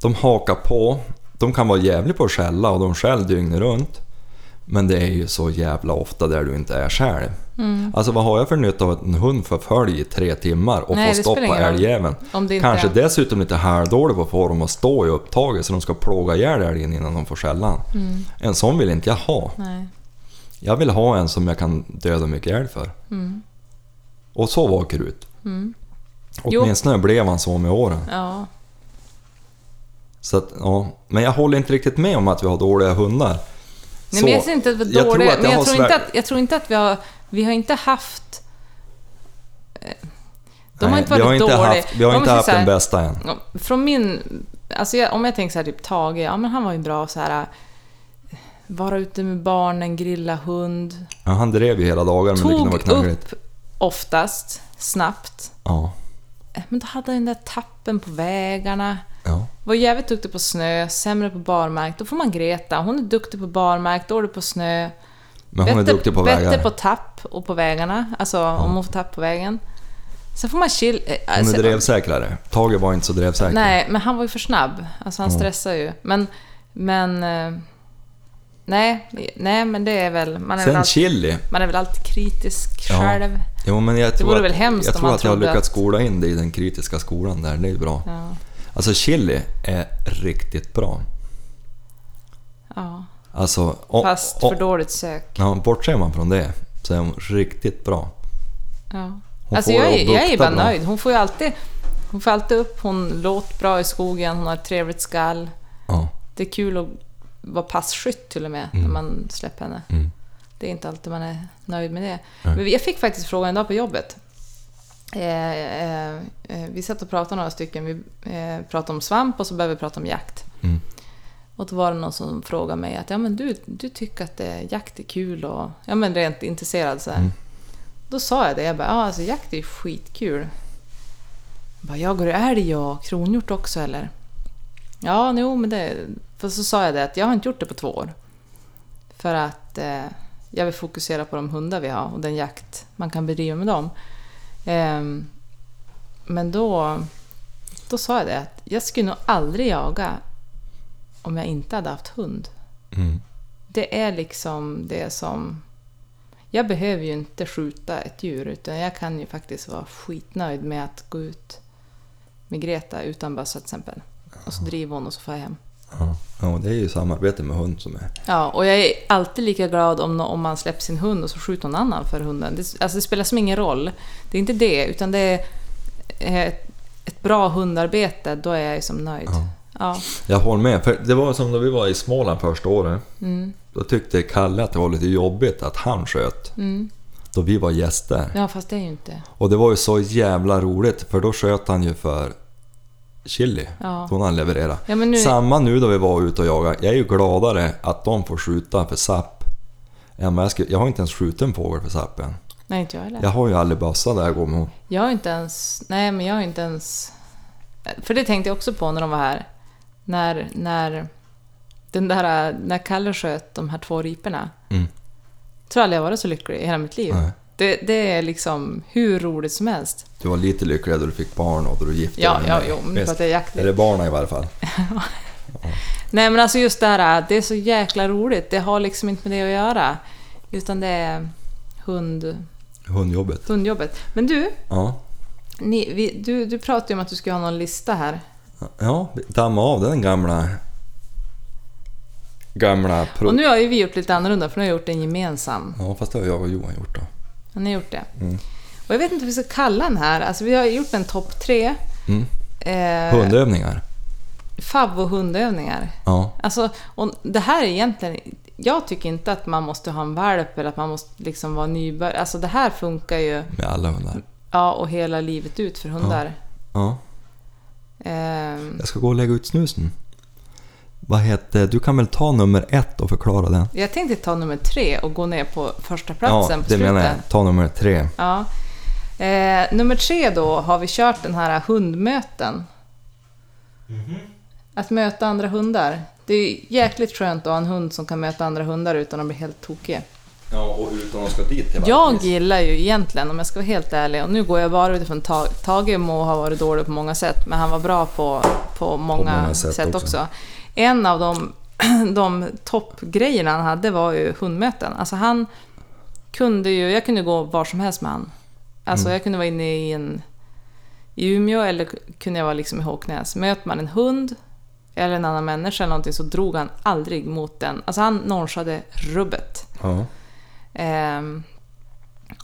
A: de hakar på, de kan vara jävligt på att skälla och de skäller dygnet runt. Men det är ju så jävla ofta där du inte är själv.
B: Mm.
A: Alltså vad har jag för nytta av att en hund förföljer i tre timmar och
B: Nej,
A: får
B: det
A: stopp
B: spelar
A: på
B: ingen roll.
A: älgjäveln?
B: Om det inte
A: Kanske
B: är-
A: dessutom lite halvdålig på att få dem att stå i upptaget så de ska plåga ihjäl älgen innan de får skällan.
B: Mm.
A: En sån vill inte jag ha.
B: Nej.
A: Jag vill ha en som jag kan döda mycket älg för.
B: Mm.
A: Och så var Krut.
B: Jo.
A: Åtminstone blev han så med åren.
B: Ja.
A: Så att, ja. Men jag håller inte riktigt med om att vi har dåliga hundar.
B: Nej,
A: Så,
B: men jag ser inte att det
A: jag
B: var
A: tror
B: dåligt.
A: att jag
B: Men
A: har
B: jag tror inte
A: svär-
B: att, jag tror inte att vi har... Vi har inte haft... eh, De har
A: Nej,
B: inte varit
A: vi har inte
B: dåliga.
A: haft, vi har
B: Om
A: inte
B: säger
A: haft
B: så här,
A: den bästa än.
B: Från min Alltså jag, om jag tänker så här, typ Tage, ja men han var ju bra så här äh, vara ute med barnen, grilla hund.
A: Ja, han drev ju hela dagen men det kunde
B: Tog
A: vara knarkigt.
B: upp oftast, snabbt.
A: Ja,
B: Eh, Men då hade han den där tappen på vägarna.
A: ja,
B: Var jävligt duktig på snö, sämre på barmark. Då får man Greta. Hon är duktig på barmark, dålig på snö.
A: men hon är duktig på
B: bättre
A: vägar.
B: på tapp och på vägarna. Alltså om hon får tapp på vägen. Sen får man chill... eh,
A: Hon
B: alltså-
A: är drevsäkrare. Tage var inte så drevsäker.
B: Nej, men han var ju för snabb. Alltså han stressar ju. Men... men eh, nej, nej, men det är väl... Man är, väl
A: Sen
B: alltid,
A: chili.
B: man är väl alltid kritisk
A: Ja.
B: själv.
A: Jo, men jag tror
B: vore
A: att,
B: väl hemskt
A: jag
B: om
A: tror
B: man
A: att jag har
B: trodde
A: lyckats
B: att-
A: skola in det i den kritiska skolan där. Det är bra.
B: Ja.
A: Alltså chili är riktigt bra.
B: ja.
A: Alltså, o-
B: Fast
A: o-
B: för dåligt sök.
A: Ja, bortser man från det så är hon riktigt bra.
B: Ja.
A: Hon
B: Alltså
A: får
B: jag,
A: det
B: är-
A: att
B: jag är
A: bukta
B: bara
A: bra.
B: nöjd. Hon får ju alltid, hon får alltid upp, hon låter bra i skogen, hon har ett trevligt skall.
A: Ja,
B: Det är kul att vara passkytt till och med när man släpper henne. Det är inte alltid man är nöjd med det. Men jag fick faktiskt frågan en dag på jobbet. Eh, eh, eh, vi satt och pratade några stycken. Vi eh, pratade om svamp och så började vi prata om jakt.
A: Mm.
B: Och då var det någon som frågade mig att ja, men du, du tycker att eh, jakt är kul och ja, men rent intresserad. Så här. Då sa jag det. Jag bara, ja, alltså, jakt är ju skitkul. Jag, bara, jag går du älg och kronhjort också eller? Ja, jo, men det... För så sa jag det att jag har inte gjort det på två år. För att eh, jag vill fokusera på de hundar vi har och den jakt man kan bedriva med dem. Ehm, men då, då sa jag det att jag skulle nog aldrig jaga om jag inte hade haft hund.
A: mm.
B: Det är liksom det som... Jag behöver ju inte skjuta ett djur utan jag kan ju faktiskt vara skitnöjd med att gå ut med Greta utan bössa till exempel. Och så driver hon och så får jag hem.
A: ja. ja det är ju samarbete med hund som är...
B: Ja, och jag är alltid lika glad om, nå- om man släpper sin hund och så skjuter någon annan för hunden. Det, alltså det spelar som ingen roll. Det är inte det, utan det är eh, ett, ett bra hundarbete, då är jag ju som nöjd. Ja.
A: Jag håller med, för det var som när vi var i Småland första året.
B: Mm.
A: Då tyckte Kalle att det var lite jobbigt att han sköt.
B: Mm.
A: Då vi var gäster.
B: ja, fast det är ju inte...
A: Och det var ju så jävla roligt för då sköt han ju för chili.
B: Ja.
A: Hon han levererade.
B: Ja, men nu-
A: Samma nu då vi var ute och jagade. Jag är ju gladare att de får skjuta för sapp. än vad Jag, skulle- jag har inte ens skjutit en fågel för sapp än.
B: Nej, inte jag heller.
A: Jag har ju aldrig bössa där jag går mot.
B: Jag har inte ens... Nej, men jag har inte ens... För det tänkte jag också på när de var här. När, när, den där, när Kalle sköt de här två riporna.
A: Mm.
B: Jag tror aldrig jag varit så lycklig i hela mitt liv.
A: Nej.
B: Det, det är liksom hur roligt som helst.
A: Du var lite lycklig då du fick barn och då du gifte
B: Ja,
A: dig
B: ja,
A: med
B: jo, men
A: Visst.
B: för att jag är jaktlig.
A: Eller barnen i varje fall.
B: Nej, men alltså just det här, det är så jäkla roligt. Det har liksom inte med det att göra. Utan det är hund,
A: Hundjobbet.
B: hundjobbet. Men du,
A: Ja.
B: ni, vi, du, du pratade ju om att du skulle ha någon lista här.
A: Ja, damma av den gamla... Gamla... Pro-
B: Och nu har ju vi gjort lite annorlunda, för nu har jag gjort en gemensam.
A: Ja, fast det har jag och Johan gjort då.
B: Har ni gjort det?
A: Mm.
B: Och jag vet inte vad vi ska kalla den här. Alltså, vi har gjort en topp tre.
A: Mm.
B: Eh,
A: Hundövningar.
B: fav och hundövningar.
A: Ja.
B: Alltså, och det här är egentligen... Jag tycker inte att man måste ha en valp eller att man måste liksom vara nybörjare. Alltså det här funkar ju
A: Med alla hundar.
B: ja, och hela livet ut för hundar.
A: Ja.
B: Ehm,
A: Jag ska gå och lägga ut snusen. Vad heter... Du kan väl ta nummer ett och förklara den?
B: jag tänkte ta nummer tre och gå ner på första platsen
A: ja,
B: på
A: det
B: slutet.
A: menar jag. Ta nummer tre.
B: Ja. Eh, nummer tre då har vi kört den här hundmöten. Att möta andra hundar. Det är jäkligt skönt att ha en hund som kan möta andra hundar utan att bli helt tokig.
A: Ja, och utan att ska dit till
B: Jag gillar ju egentligen, om jag ska vara helt ärlig, och nu går jag bara utifrån Tage, Tage må ha varit dålig på många sätt, men han var bra på, på många,
A: många sätt
B: sätt,
A: också.
B: också. En av de, *clears throat* de toppgrejerna han hade var ju hundmöten. Alltså han kunde ju, jag kunde gå var som helst med han. Alltså
A: Mm.
B: jag kunde vara inne i en i Umeå eller kunde jag vara liksom i Håknäs. Möter man en hund eller en annan människa eller någonting så drog han aldrig mot den. Alltså han nonchade rubbet.
A: Ja.
B: Ehm,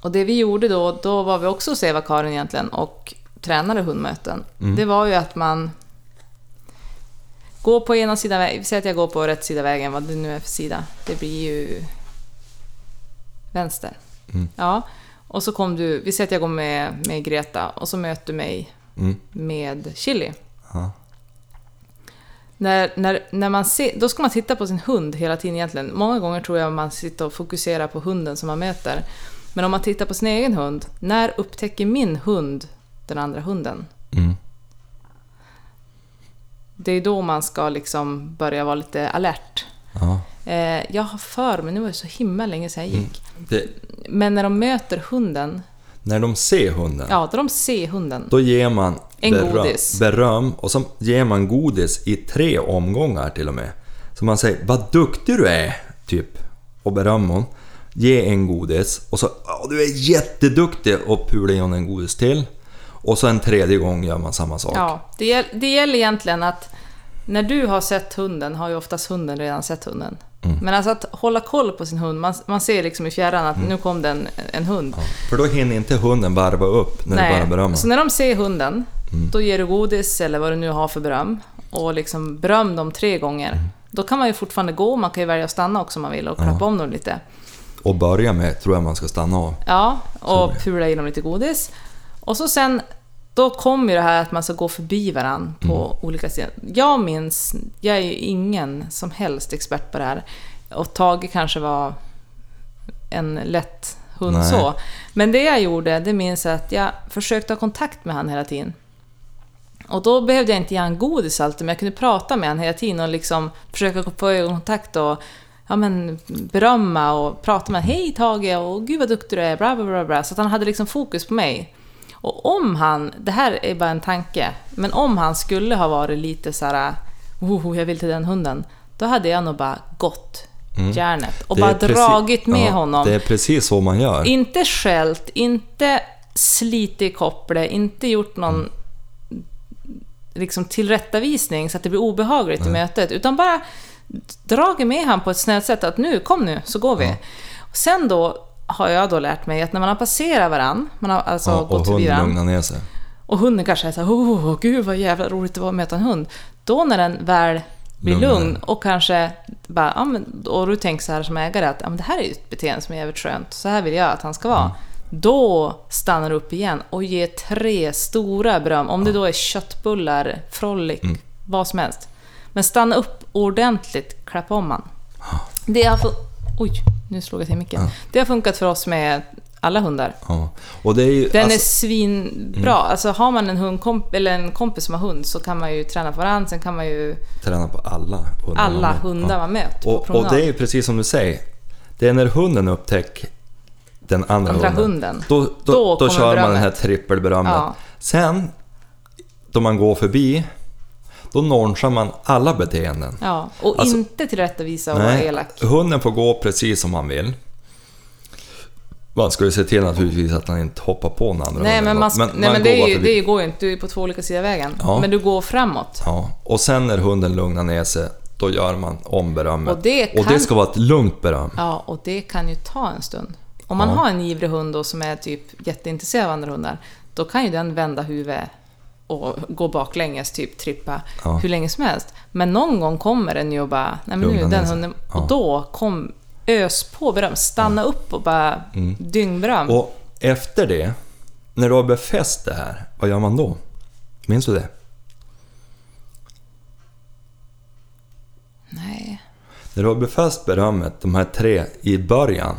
B: och det vi gjorde då, då var vi också hos Eva-Karin egentligen och tränade hundmöten. Det var ju att man går på ena sidan vägen, säg att jag går på rätt sida vägen, vad det nu är för sida. Det blir ju vänster.
A: Mm.
B: Ja, och så kom du, vi säger att jag går med, med Greta och så möter du mig
A: Mm.
B: med Chili.
A: Ja.
B: När, när, när man ser, då ska man titta på sin hund hela tiden egentligen. Många gånger tror jag man sitter och fokuserar på hunden som man möter. Men om man tittar på sin egen hund, när upptäcker min hund den andra hunden?
A: Mm.
B: Det är då man ska liksom börja vara lite alert.
A: Ja.
B: Eh, jag har för mig, nu var det så himla länge sedan jag gick.
A: Det,
B: Men när de möter hunden,
A: när de ser hunden,
B: ja då de ser hunden.
A: då ger man
B: En
A: beröm,
B: godis.
A: beröm och så ger man godis i tre omgångar till och med. Så man säger ”Vad duktig du är” typ och berömmer hon. Ge en godis och så "Ja, ”Du är jätteduktig” och pular i hon en godis till. Och så en tredje gång gör man samma sak.
B: Ja, det, gäll, det gäller egentligen att när du har sett hunden har ju oftast hunden redan sett hunden. Men alltså att hålla koll på sin hund, man, man ser liksom i fjärran att nu kom det en, en hund.
A: För då hinner inte hunden varva upp när du bara berömmer.
B: Så när de ser hunden, då ger du godis eller vad du nu har för beröm och liksom beröm dem tre gånger. Då kan man ju fortfarande gå, man kan ju välja att stanna också om man vill och klappa om dem lite.
A: Och börja med tror jag man ska stanna av.
B: Ja, och pula i dem lite godis. Och så sen, då kommer ju det här att man ska gå förbi varandra på olika ställen. Jag minns, jag är ju ingen som helst expert på det här. Och Tage kanske var en lätt hund
A: Nej.
B: så. Men det jag gjorde, det minns jag att jag försökte ha kontakt med han hela tiden. Och då behövde jag inte ge han godis alltid, men jag kunde prata med han hela tiden och liksom försöka få ögonkontakt och ja, men, berömma och prata med honom. Hej Tage, och gud vad duktig du är, bla bla bla. bla. Så att han hade liksom fokus på mig. Och om han, det här är bara en tanke, men om han skulle ha varit lite så här, oh, jag vill till den hunden, då hade jag nog bara gått järnet och
A: Mm. Det är
B: bara
A: precis-
B: dragit med
A: Ja,
B: honom.
A: Det är precis så man gör.
B: Inte skällt, inte slitit i kopplet, inte gjort någon
A: Mm.
B: liksom tillrättavisning så att det blir obehagligt i mötet, utan bara dragit med han på ett snällt sätt att nu, kom nu, så går vi. Sen då har jag då lärt mig att när man har passerat varann, man har alltså
A: Ja, och
B: gått förbi
A: hunden
B: varann,
A: lugnar ner sig.
B: och hunden kanske är såhär oh, oh, gud vad jävla roligt det var att möta en hund. Då när den väl blir
A: Lugnar
B: lugn och kanske bara, ja, men, och du tänker så här som ägare att ja, men det här är ju ett beteende som är jävligt skönt, så här vill jag att han ska vara. Då stannar du upp igen och ger tre stora beröm, om det då är köttbullar, frolic, vad som helst. Men stanna upp ordentligt, klappa om man. Det har, fun- Oj, nu slog jag till micken. Det har funkat för oss med alla hundar.
A: Ja. Och det är ju, alltså,
B: Den
A: Mm.
B: är svinbra. Alltså har man en, hundkomp- eller en kompis som har hund så kan man ju träna på varandra, sen kan man ju
A: träna på alla hundar.
B: alla
A: Ja.
B: hundar man möter på
A: Och, och
B: promenad.
A: det är ju precis som du säger. Det är när hunden upptäcker den andra,
B: Andra
A: hunden.
B: hunden.
A: Då, då,
B: Då
A: då,
B: kommer
A: kör man
B: berömmet.
A: den här trippelberömmet.
B: Ja.
A: Sen, då man går förbi, då nonchar man alla beteenden.
B: Ja, och
A: Alltså-
B: inte tillrättavisa och vara
A: Nej,
B: elak.
A: hunden får gå precis som han vill. Man ska ju se till naturligtvis att han inte hoppar på den andra
B: Nej
A: hunden
B: men,
A: eller
B: man,
A: något,
B: nej, men det,
A: går
B: är ju,
A: förbi.
B: det går ju inte, du är på två olika sidor av vägen.
A: Ja.
B: Men du går framåt.
A: Ja, och sen när hunden lugnar ner sig, då gör man om berömmet.
B: Och det
A: och det
B: kan-
A: ska vara ett lugnt beröm.
B: Ja, och det kan ju ta en stund. Om man
A: Ja.
B: har en ivrig hund då som är typ jätteintresserad av andra hundar, då kan ju den vända huvudet och gå baklänges, typ trippa,
A: Ja.
B: hur länge som helst. Men någon gång kommer den ju och bara, nej men nu
A: Lugna
B: är
A: ner
B: den
A: sig.
B: hunden...
A: Ja.
B: Och då kom, ös på beröm, stanna upp och bara dyngberöm.
A: Mm. Och efter det, när du har befäst det här, vad gör man då? Minns du det?
B: Nej.
A: När du har befäst berömmet, de här tre, i början.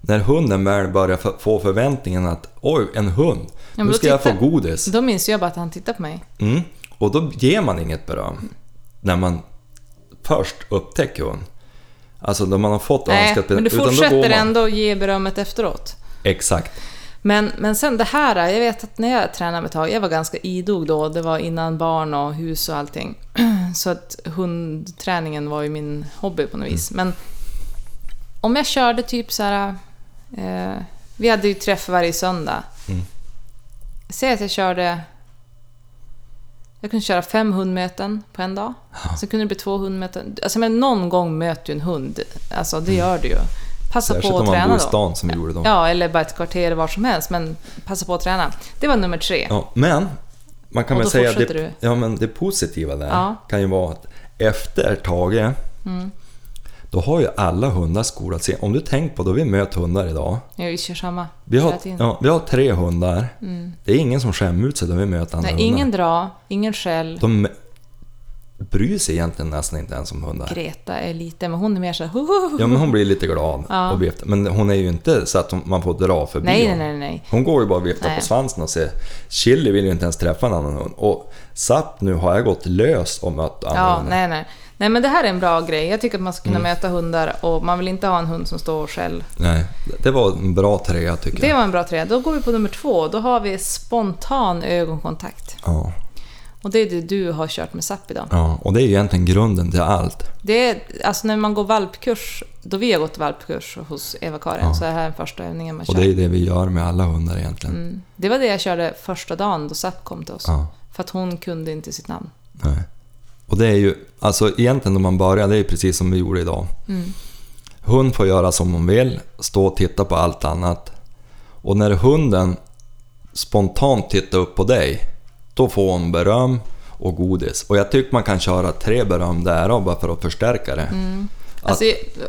A: När hunden väl börjar f- få förväntningen att oj, en hund,
B: men
A: nu
B: då
A: ska jag få
B: tittar-
A: godis.
B: Då minns jag bara att han tittade på mig.
A: Mm. Och då ger man inget beröm. När man först upptäcker hund. Alltså när man har fått
B: Nej,
A: önskat
B: men du
A: utan då går
B: fortsätter Alltså,
A: man-
B: ändå ge berömmet efteråt.
A: Exakt.
B: Men, men sen det här, jag vet att när jag tränade med tag, jag var ganska idog då, det var innan barn och hus och allting. *clears throat* Så att hundträningen var ju min hobby på något vis.
A: Mm.
B: Men om jag körde typ så här, eh, vi hade ju träff varje söndag.
A: Mm.
B: Säg att jag körde, jag kunde köra fem hundmöten på en dag. Sen kunde det bli två hundmöten. Alltså men någon gång möter ju en hund, alltså det gör du ju. Passa
A: Mm. Särskilt
B: på
A: om
B: att
A: man
B: träna
A: bor i
B: då.
A: stan som vi gjorde då.
B: Ja, eller bara ett kvarter var som helst, men passa på att träna. Det var nummer tre.
A: Ja, men man kan
B: Och
A: väl
B: då
A: säga att
B: fortsätter
A: det, ja, men det positiva där
B: Ja. Mm.
A: kan ju vara att efter Tage, då har ju alla hundar skolat sig. Om du tänker på då vi möter hundar idag.
B: Ja. Vi kör samma
A: Vi har,
B: hela tiden.
A: ja, vi har tre hundar. Det är ingen som skämmer ut sig då vi möter andra
B: Mm. Nej,
A: hundar.
B: ingen dra, ingen skäll.
A: De, bryr sig egentligen nästan inte ens om hundar.
B: Greta är lite, men hon är mer så här, "Hohoho."
A: Ja, men hon blir lite glad
B: Ja.
A: och viftar. Men hon är ju inte så att hon, man får dra förbi
B: nej, nej,
A: honom.
B: nej, nej.
A: Hon går ju bara och viftar
B: Nej.
A: på svansen och säger Chili vill ju inte ens träffa en annan hund. Och Zapp nu har jag gått lös och mött andra
B: Ja,
A: hundar.
B: nej, nej. Nej, men det här är en bra grej. Jag tycker att man ska
A: Mm.
B: kunna möta hundar och man vill inte ha en hund som står själv.
A: Nej, det var en bra trea tycker
B: Det
A: jag.
B: var en bra trea. Då går vi på nummer två. Då har vi spontan ögonkontakt.
A: Ja,
B: Och det är det du har kört med Zapp idag.
A: ja, och det är ju egentligen grunden till allt.
B: Det är, alltså när man går valpkurs, då vi har gått valpkurs hos Eva-Karin, så är det här första övningen man kör.
A: Och det är ju det vi gör med alla hundar egentligen.
B: Mm. Det var det jag körde första dagen då Zapp kom till oss.
A: Ja,
B: För att hon kunde inte sitt namn.
A: nej. Och det är ju, alltså egentligen när man börjar, det är ju precis som vi gjorde idag.
B: Mm.
A: Hund får göra som hon vill, stå och titta på allt annat. Och när hunden spontant tittar upp på dig, då får hon beröm och godis. Och jag tycker man kan köra tre beröm därav bara för att förstärka det. Att-
B: Alltså,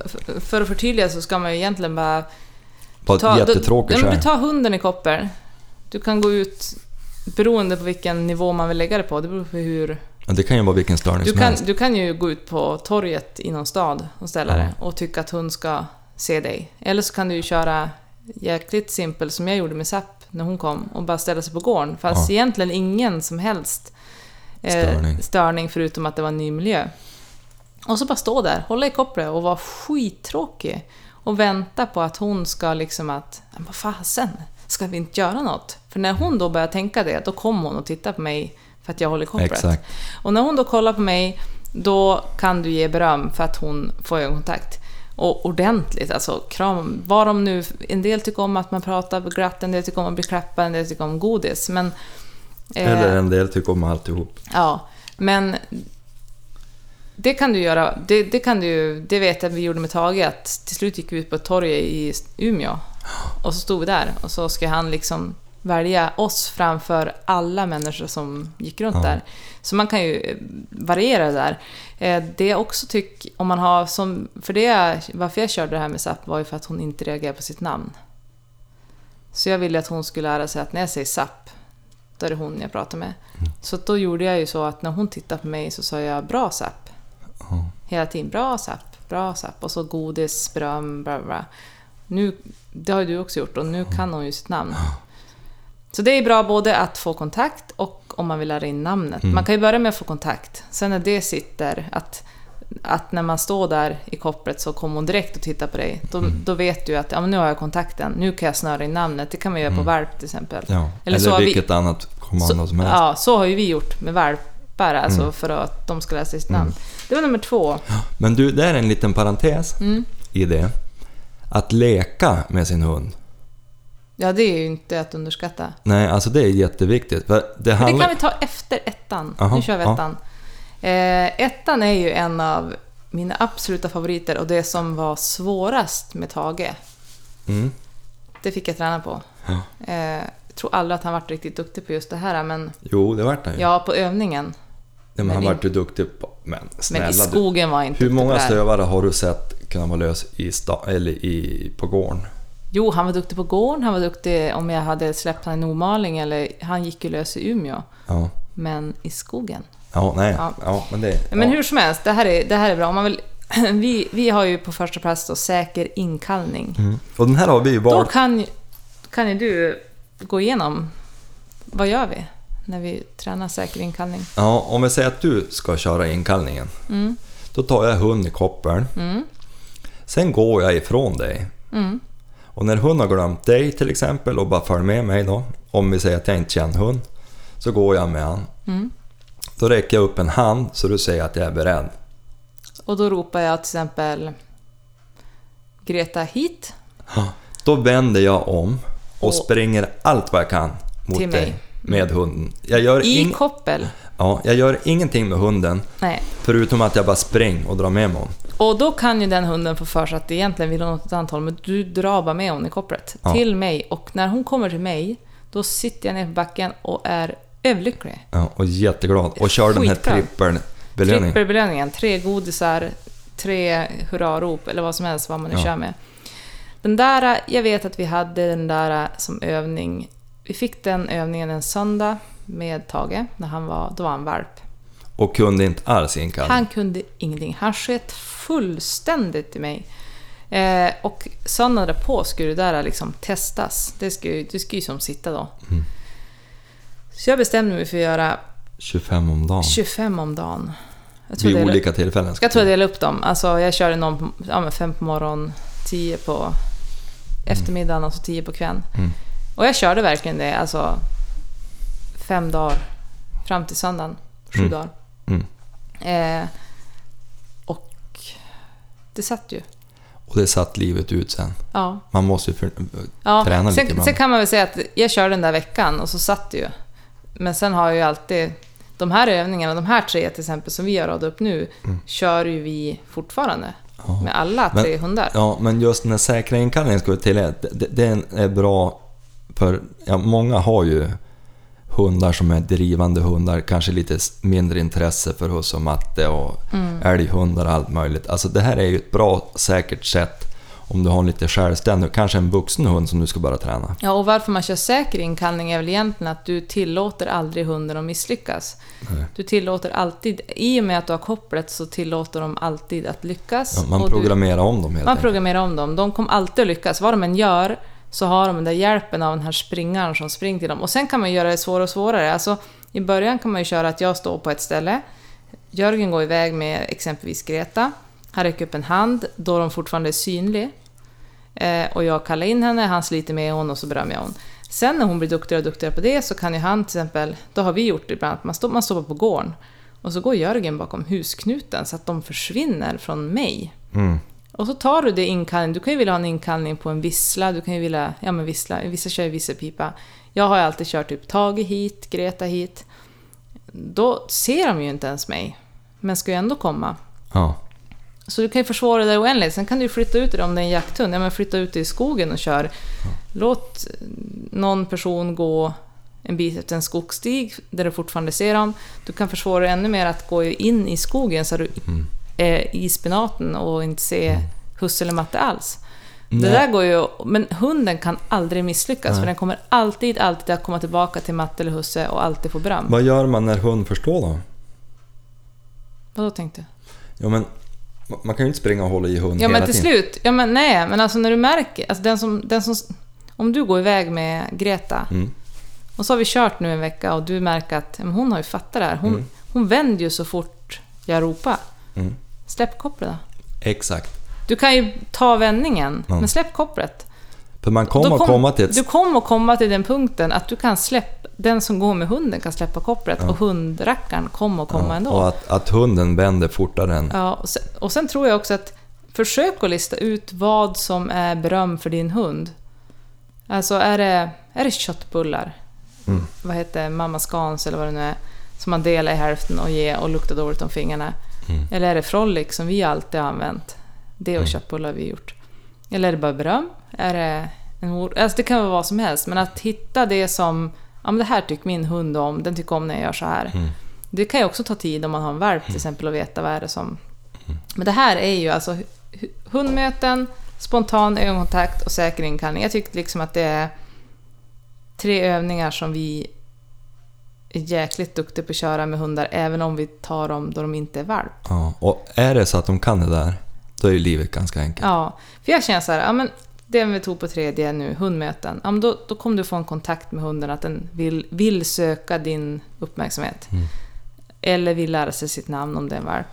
B: f- för att förtydliga så ska man ju egentligen bara...
A: På ett
B: Ta,
A: jättetråkigt
B: du, nej, men
A: sätt.
B: du tar hunden i koppel. Du kan gå ut beroende på vilken nivå man vill lägga det på. Det beror på hur...
A: Ja, Det kan ju vara vilken störning
B: Du
A: som
B: kan,
A: helst.
B: du kan ju gå ut på torget i någon stad och ställa det och tycka att hon ska se dig. Eller så kan du ju köra jäkligt simpel som jag gjorde med Zapp när hon kom och bara ställa sig på gården. Fast egentligen ingen som helst eh,
A: Störning.
B: störning förutom att det var en ny miljö. Och så bara stå där, hålla i kopplet och vara skittråkig. Och vänta på att hon ska liksom att, "Men vad fasen, ska vi inte göra något? För när hon då börjar tänka det, då kommer hon och tittar på mig för att jag håller i kopplet.
A: Exakt.
B: Och när hon då kollar på mig, då kan du ge beröm för att hon får ögonkontakt. Och ordentligt, alltså kram. Vad de nu... En del tycker om att man pratar glatt, en del tycker om att bli klappad, en del tycker om godis. Men... eh,
A: Eller en del tycker om alltihop.
B: Ja, men det kan du göra. Det, det, kan du, det vet jag att vi gjorde med Tage, att till slut gick vi ut på ett torg i Umeå och så stod vi där och så ska han liksom välja oss framför alla människor som gick runt där. Så man kan ju eh, variera där. Eh, Det jag också tycker, om man har som, för det jag, varför jag körde det här med Zapp var ju för att hon inte reagerade på sitt namn. Så jag ville att hon skulle lära sig att när jag säger Zapp, då är det hon jag pratar med. Så att då gjorde jag ju så att när hon tittade på mig så sa jag bra Zapp. Hela tiden, bra Zapp, bra Zapp. Och så godis, beröm, bla bla, bla. Nu, det har ju du också gjort och nu kan hon ju sitt namn. Så det är bra både att få kontakt och om man vill lära in namnet.
A: Mm.
B: Man kan ju börja med att få kontakt. Sen när det sitter, att, att när man står där i kopplet så kommer hon direkt och tittar på dig. Då,
A: Mm.
B: då vet du att ja, men nu har jag kontakten, nu kan jag snöra in namnet. Det kan man göra på valp till exempel.
A: Mm. Ja. Eller,
B: så har vi-
A: vilket annat kommando som helst. Mm.
B: Ja, så har ju vi gjort med valpar, alltså för att de ska lära sig sitt namn. Det var nummer två.
A: Men du, det är en liten parentes
B: Mm.
A: i det. Att leka med sin hund.
B: Ja, det är ju inte att underskatta.
A: Nej, alltså det är jätteviktigt. För det
B: Men det
A: handlar...
B: kan vi ta efter ettan.
A: Jaha,
B: nu kör vi
A: ja.
B: ettan. Eh, ettan är ju en av mina absoluta favoriter och det som var svårast med Tage,
A: mm.
B: det fick jag träna på. Eh, jag tror aldrig att han varit riktigt duktig på just det här, men
A: Jo, det vart han ju.
B: ja, på övningen.
A: Nej, men han
B: men-
A: vart ju duktig på... Men snälla
B: Men i skogen var jag inte
A: du. Hur
B: duktig på
A: många
B: det här.
A: stövare har du sett kunna vara lös i sta... eller i... på gården?
B: Jo, han var duktig på gården, han var duktig om jag hade släppt han i Nordmaling eller han gick ju lös i Umeå.
A: Ja.
B: Men i skogen?
A: Ja, nej.
B: Ja.
A: Ja, men det... Ja.
B: Men hur som helst, det här är, det här är bra. Om Man vill, *clears throat* vi, vi har ju på första plats då säker inkallning.
A: Mm. Och den här har vi ju
B: Då
A: valt.
B: kan, ju- kan ju du gå igenom, vad gör vi när vi tränar säker inkallning?
A: Ja, om vi säger att du ska köra inkallningen.
B: Mm.
A: Då tar jag hunden i koppeln. Sen går jag ifrån dig.
B: Mm.
A: Och när hon har glömt dig till exempel och bara följer med mig då. Om vi säger att jag inte känner hund. Så går jag med han.
B: Mm.
A: Då räcker jag upp en hand så du säger att jag är beredd.
B: Och då ropar jag till exempel Greta hit
A: Då vänder jag om och
B: Och-
A: springer allt vad jag kan mot
B: Till
A: dig.
B: mig. Mm.
A: Med hunden. Jag gör,
B: i
A: ing-
B: koppel.
A: ja, jag gör ingenting med hunden
B: Nej.
A: förutom att jag bara springer och drar med mig honom.
B: Och då kan ju den hunden få för sig att egentligen vill hon åt ett antal, men du drar bara med hon i kopplet.
A: Ja.
B: Till mig. Och när hon kommer till mig, då sitter jag ner på backen och är överlycklig.
A: Ja, och jätteglad. Och kör den här
B: Skitbra.
A: trippeln belöning.
B: Trippelbelöningen. Tre godisar, tre hurrarop eller vad som helst vad man nu
A: Ja.
B: kör med. Den där, jag vet att vi hade den där som övning. Vi fick den övningen en söndag med Tage, när han var, då var han valp.
A: och kunde inte alls inkalla.
B: Han kunde ingenting. Han sket fullständigt i mig. Eh, och söndagen därpå skulle det där liksom testas. Det skulle, det skulle ju som sitta då. Så jag bestämde mig för att göra
A: 25 om dagen.
B: 25 om dagen. Jag tror
A: Vid
B: det är-
A: olika tillfällen.
B: Jag tror jag delade upp dem. Alltså jag körde någon på, ja, men fem på morgonen, tio på eftermiddagen och så tio på kvällen.
A: Mm.
B: Och jag körde verkligen det alltså fem dagar fram till söndagen. Sju
A: Mm.
B: dagar.
A: Mm.
B: Eh, och det satt ju.
A: Och det satt livet ut sen.
B: Ja.
A: Man måste ju för...
B: ja.
A: Träna lite
B: sen,
A: ibland.
B: sen kan man väl säga att jag körde den där veckan och så satt det ju. Men sen har jag ju alltid de här övningarna, de här tre till exempel som vi har radat upp nu, kör ju vi fortfarande.
A: Mm. Ja.
B: Med alla
A: Men-
B: tre hundar.
A: Ja, men just den här säkra inkallningen ska vi tillägga, det- den är bra för... Ja, många har ju hundar som är drivande hundar, kanske lite s- mindre intresse för husse och matte och
B: Mm.
A: älghundar och allt möjligt. Alltså det här är ju ett bra, säkert sätt om du har en lite självständig, kanske en vuxen hund som du ska börja träna.
B: Ja, och varför man kör säker inkallning är väl egentligen att du tillåter aldrig hunden att misslyckas.
A: Nej.
B: Du tillåter alltid, i och med att du har kopplet så tillåter de alltid att lyckas.
A: Ja, man
B: och du,
A: programmerar om dem helt
B: man
A: enkelt.
B: programmerar om dem. De kommer alltid att lyckas. Vad de än gör så har de den där hjälpen av den här springaren som springer till dem. Och sen kan man göra det svårare och svårare. Alltså, I början kan man ju köra att jag står på ett ställe, Jörgen går iväg med exempelvis Greta, han räcker upp en hand då de fortfarande är synlig. Eh, och jag kallar in henne, han sliter med hon och så berömmer jag hon. Sen när hon blir duktigare och duktigare på det så kan ju han till exempel, då har vi gjort det ibland, att man, står, man står på gården och så går Jörgen bakom husknuten så att de försvinner från mig.
A: Mm.
B: Och så tar du det inkallning, du kan ju vilja ha en inkallning på en vissla, du kan ju vilja, ja men vissla, vissa kör ju visselpipa. Jag har ju alltid kört typ Tage hit, Greta hit. Då ser de ju inte ens mig, men ska ju ändå komma.
A: Ja.
B: Så du kan ju försvara det där oändligt. Sen kan du ju flytta ut det om det är en jakthund. Ja, men flytta ut det i skogen och kör. Låt någon person gå en bit efter en skogsstig där du fortfarande ser dem. Du kan försvåra det ännu mer att gå in i skogen så du är i spenaten och inte ser husse eller matte alls. Det
A: Nej.
B: där går ju, men hunden kan aldrig misslyckas för den kommer alltid, alltid att komma tillbaka till matte eller husse och alltid få beröm.
A: Vad gör man när hund förstår då?
B: Vadå tänkte du?
A: Ja, men ma- man kan ju inte springa och hålla i hund
B: Ja
A: hela
B: men till
A: tiden.
B: slut, ja men nej, men alltså när du märker, alltså den som, den som, om du går iväg med Greta
A: Mm.
B: och så har vi kört nu en vecka och du märker att ja, men hon har ju fattat det här, hon, hon vänder ju så fort jag ropar.
A: Mm.
B: Släpp kopplet då.
A: Exakt.
B: Du kan ju ta vändningen,
A: Ja.
B: men släpp kopplet.
A: För man
B: Då
A: kommer att
B: kom-
A: komma till ett
B: Du kommer att komma till den punkten att du kan släppa, den som går med hunden kan släppa kopplet och hundrackaren kommer att komma ändå.
A: Och att, att hunden vänder fortare än...
B: Ja, och, sen, och sen tror jag också att försök att lista ut vad som är beröm för din hund. Alltså är det, är det köttbullar? Vad heter det? Mamma Scans eller vad det nu är. Som man delar i hälften och ger och luktar dåligt om fingrarna. Eller är det Frolic som vi alltid har använt? Det och köttbullar har vi gjort. Eller är det bara beröm? Är det en mor- alltså det kan vara vad som helst. Men att hitta det som, ja men det här tycker min hund om, den tycker om när jag gör så här. Det kan ju också ta tid om man har en valp till exempel och veta vad är det som... Men det här är ju alltså hu- hundmöten, spontan ögonkontakt och säker inkallning. Jag tyckte liksom att det är tre övningar som vi är jäkligt duktiga på att köra med hundar även om vi tar dem då de inte är valp.
A: Ja. Och är det så att de kan det där, då är ju livet ganska enkelt.
B: Ja, för jag känner så här, ja men det vi tog på tredje nu, hundmöten, ja, men då, då kommer du få en kontakt med hunden att den vill, vill söka din uppmärksamhet. Eller vill lära sig sitt namn om det är en valp.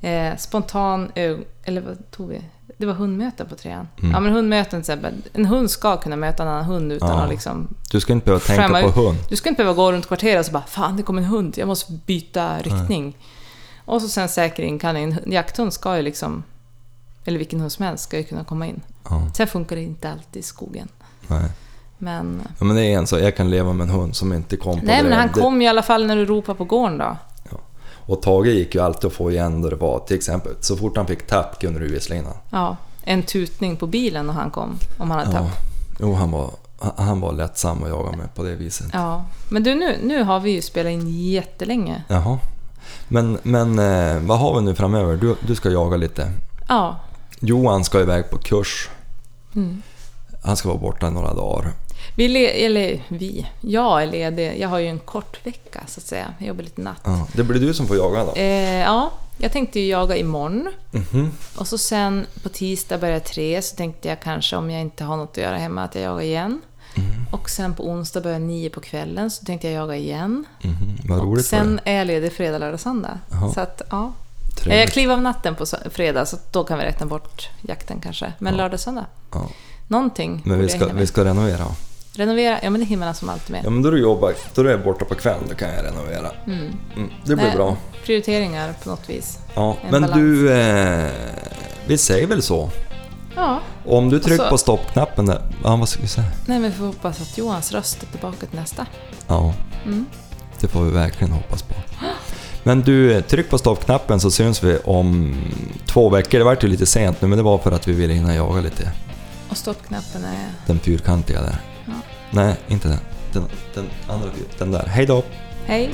B: Eh, spontan ögon... Eller vad tog vi? Det var hundmöten på trean. Ja men hundmöten till exempel. En hund ska kunna möta en annan hund utan
A: Ja.
B: att liksom
A: Du ska inte behöva tänka
B: skämma
A: på
B: ut.
A: hund.
B: Du ska inte behöva gå runt kvarteret och så bara “Fan, det kom en hund, jag måste byta riktning”. Och så sen säker inkallning. En jakthund ska ju liksom... Eller vilken hund som helst ska ju kunna komma in.
A: Ja,
B: Sen funkar det inte alltid i skogen.
A: nej.
B: Men...
A: Ja, men det är en sak, jag kan leva med en hund som inte kom på
B: Nej,
A: det.
B: men han
A: Det-
B: kom i alla fall när du ropade på gården då.
A: Ja. Och Tage gick ju alltid att få igen där det var. Till exempel, så fort han fick tapp kunde du vissla innan.
B: Ja, en tutning på bilen och han kom. Om han hade
A: Ja.
B: tappat.
A: Jo, han var, han- han var lättsam att jaga med på det viset.
B: Ja. Men du, nu, nu har vi ju spelat in jättelänge.
A: Jaha. Men, men eh, vad har vi nu framöver? Du, du ska jaga lite.
B: Ja. Mm.
A: Johan ska iväg på kurs. Han ska vara borta några dagar.
B: Vi, le- eller vi, jag är ledig. Jag har ju en kort vecka så att säga. Jag jobbar lite natt.
A: Ja, det blir du som får jaga då.
B: Eh, ja, jag tänkte ju jaga imorgon.
A: Mhm.
B: Och så sen på tisdag börjar tre, så tänkte jag kanske om jag inte har något att göra hemma att jag jagar igen.
A: Mhm.
B: Och sen på onsdag börjar nio på kvällen, så tänkte jag jaga igen.
A: Mhm, Vad roligt var
B: sen Eh,
A: det.
B: är jag ledig fredag, lördag, söndag. Så att, ja.
A: Trevligt.
B: Jag kliver av natten på sö- fredag, så då kan vi räkna bort jakten kanske. Men lördag, söndag.
A: Ja.
B: Någonting
A: Men
B: borde
A: vi
B: jag
A: ska,
B: hinna
A: vi
B: med.
A: ska renovera.
B: Renovera, ja men det hinner man som alltid med.
A: Ja, men då du jobbar, då du är borta på kvällen, då kan jag renovera. Mm, det blir
B: Nej,
A: bra.
B: Prioriteringar på något vis.
A: Ja,
B: Eh, En
A: men
B: balans.
A: du, eh, vi säger väl så.
B: Ja,
A: Om du trycker
B: så-
A: på stoppknappen där, ja, vad ska vi säga?
B: nej men vi får hoppas att Johans röst är tillbaka till nästa.
A: Ja, det får vi verkligen hoppas på. Men du, eh, tryck på stoppknappen så syns vi om två veckor. Det vart ju lite sent nu, men det var för att vi ville hinna jaga lite.
B: Och stoppknappen är...
A: Den fyrkantiga där.
B: Ja.
A: Nej, inte den. Den, den andra, fyr- den där. Hej då!
B: Hej!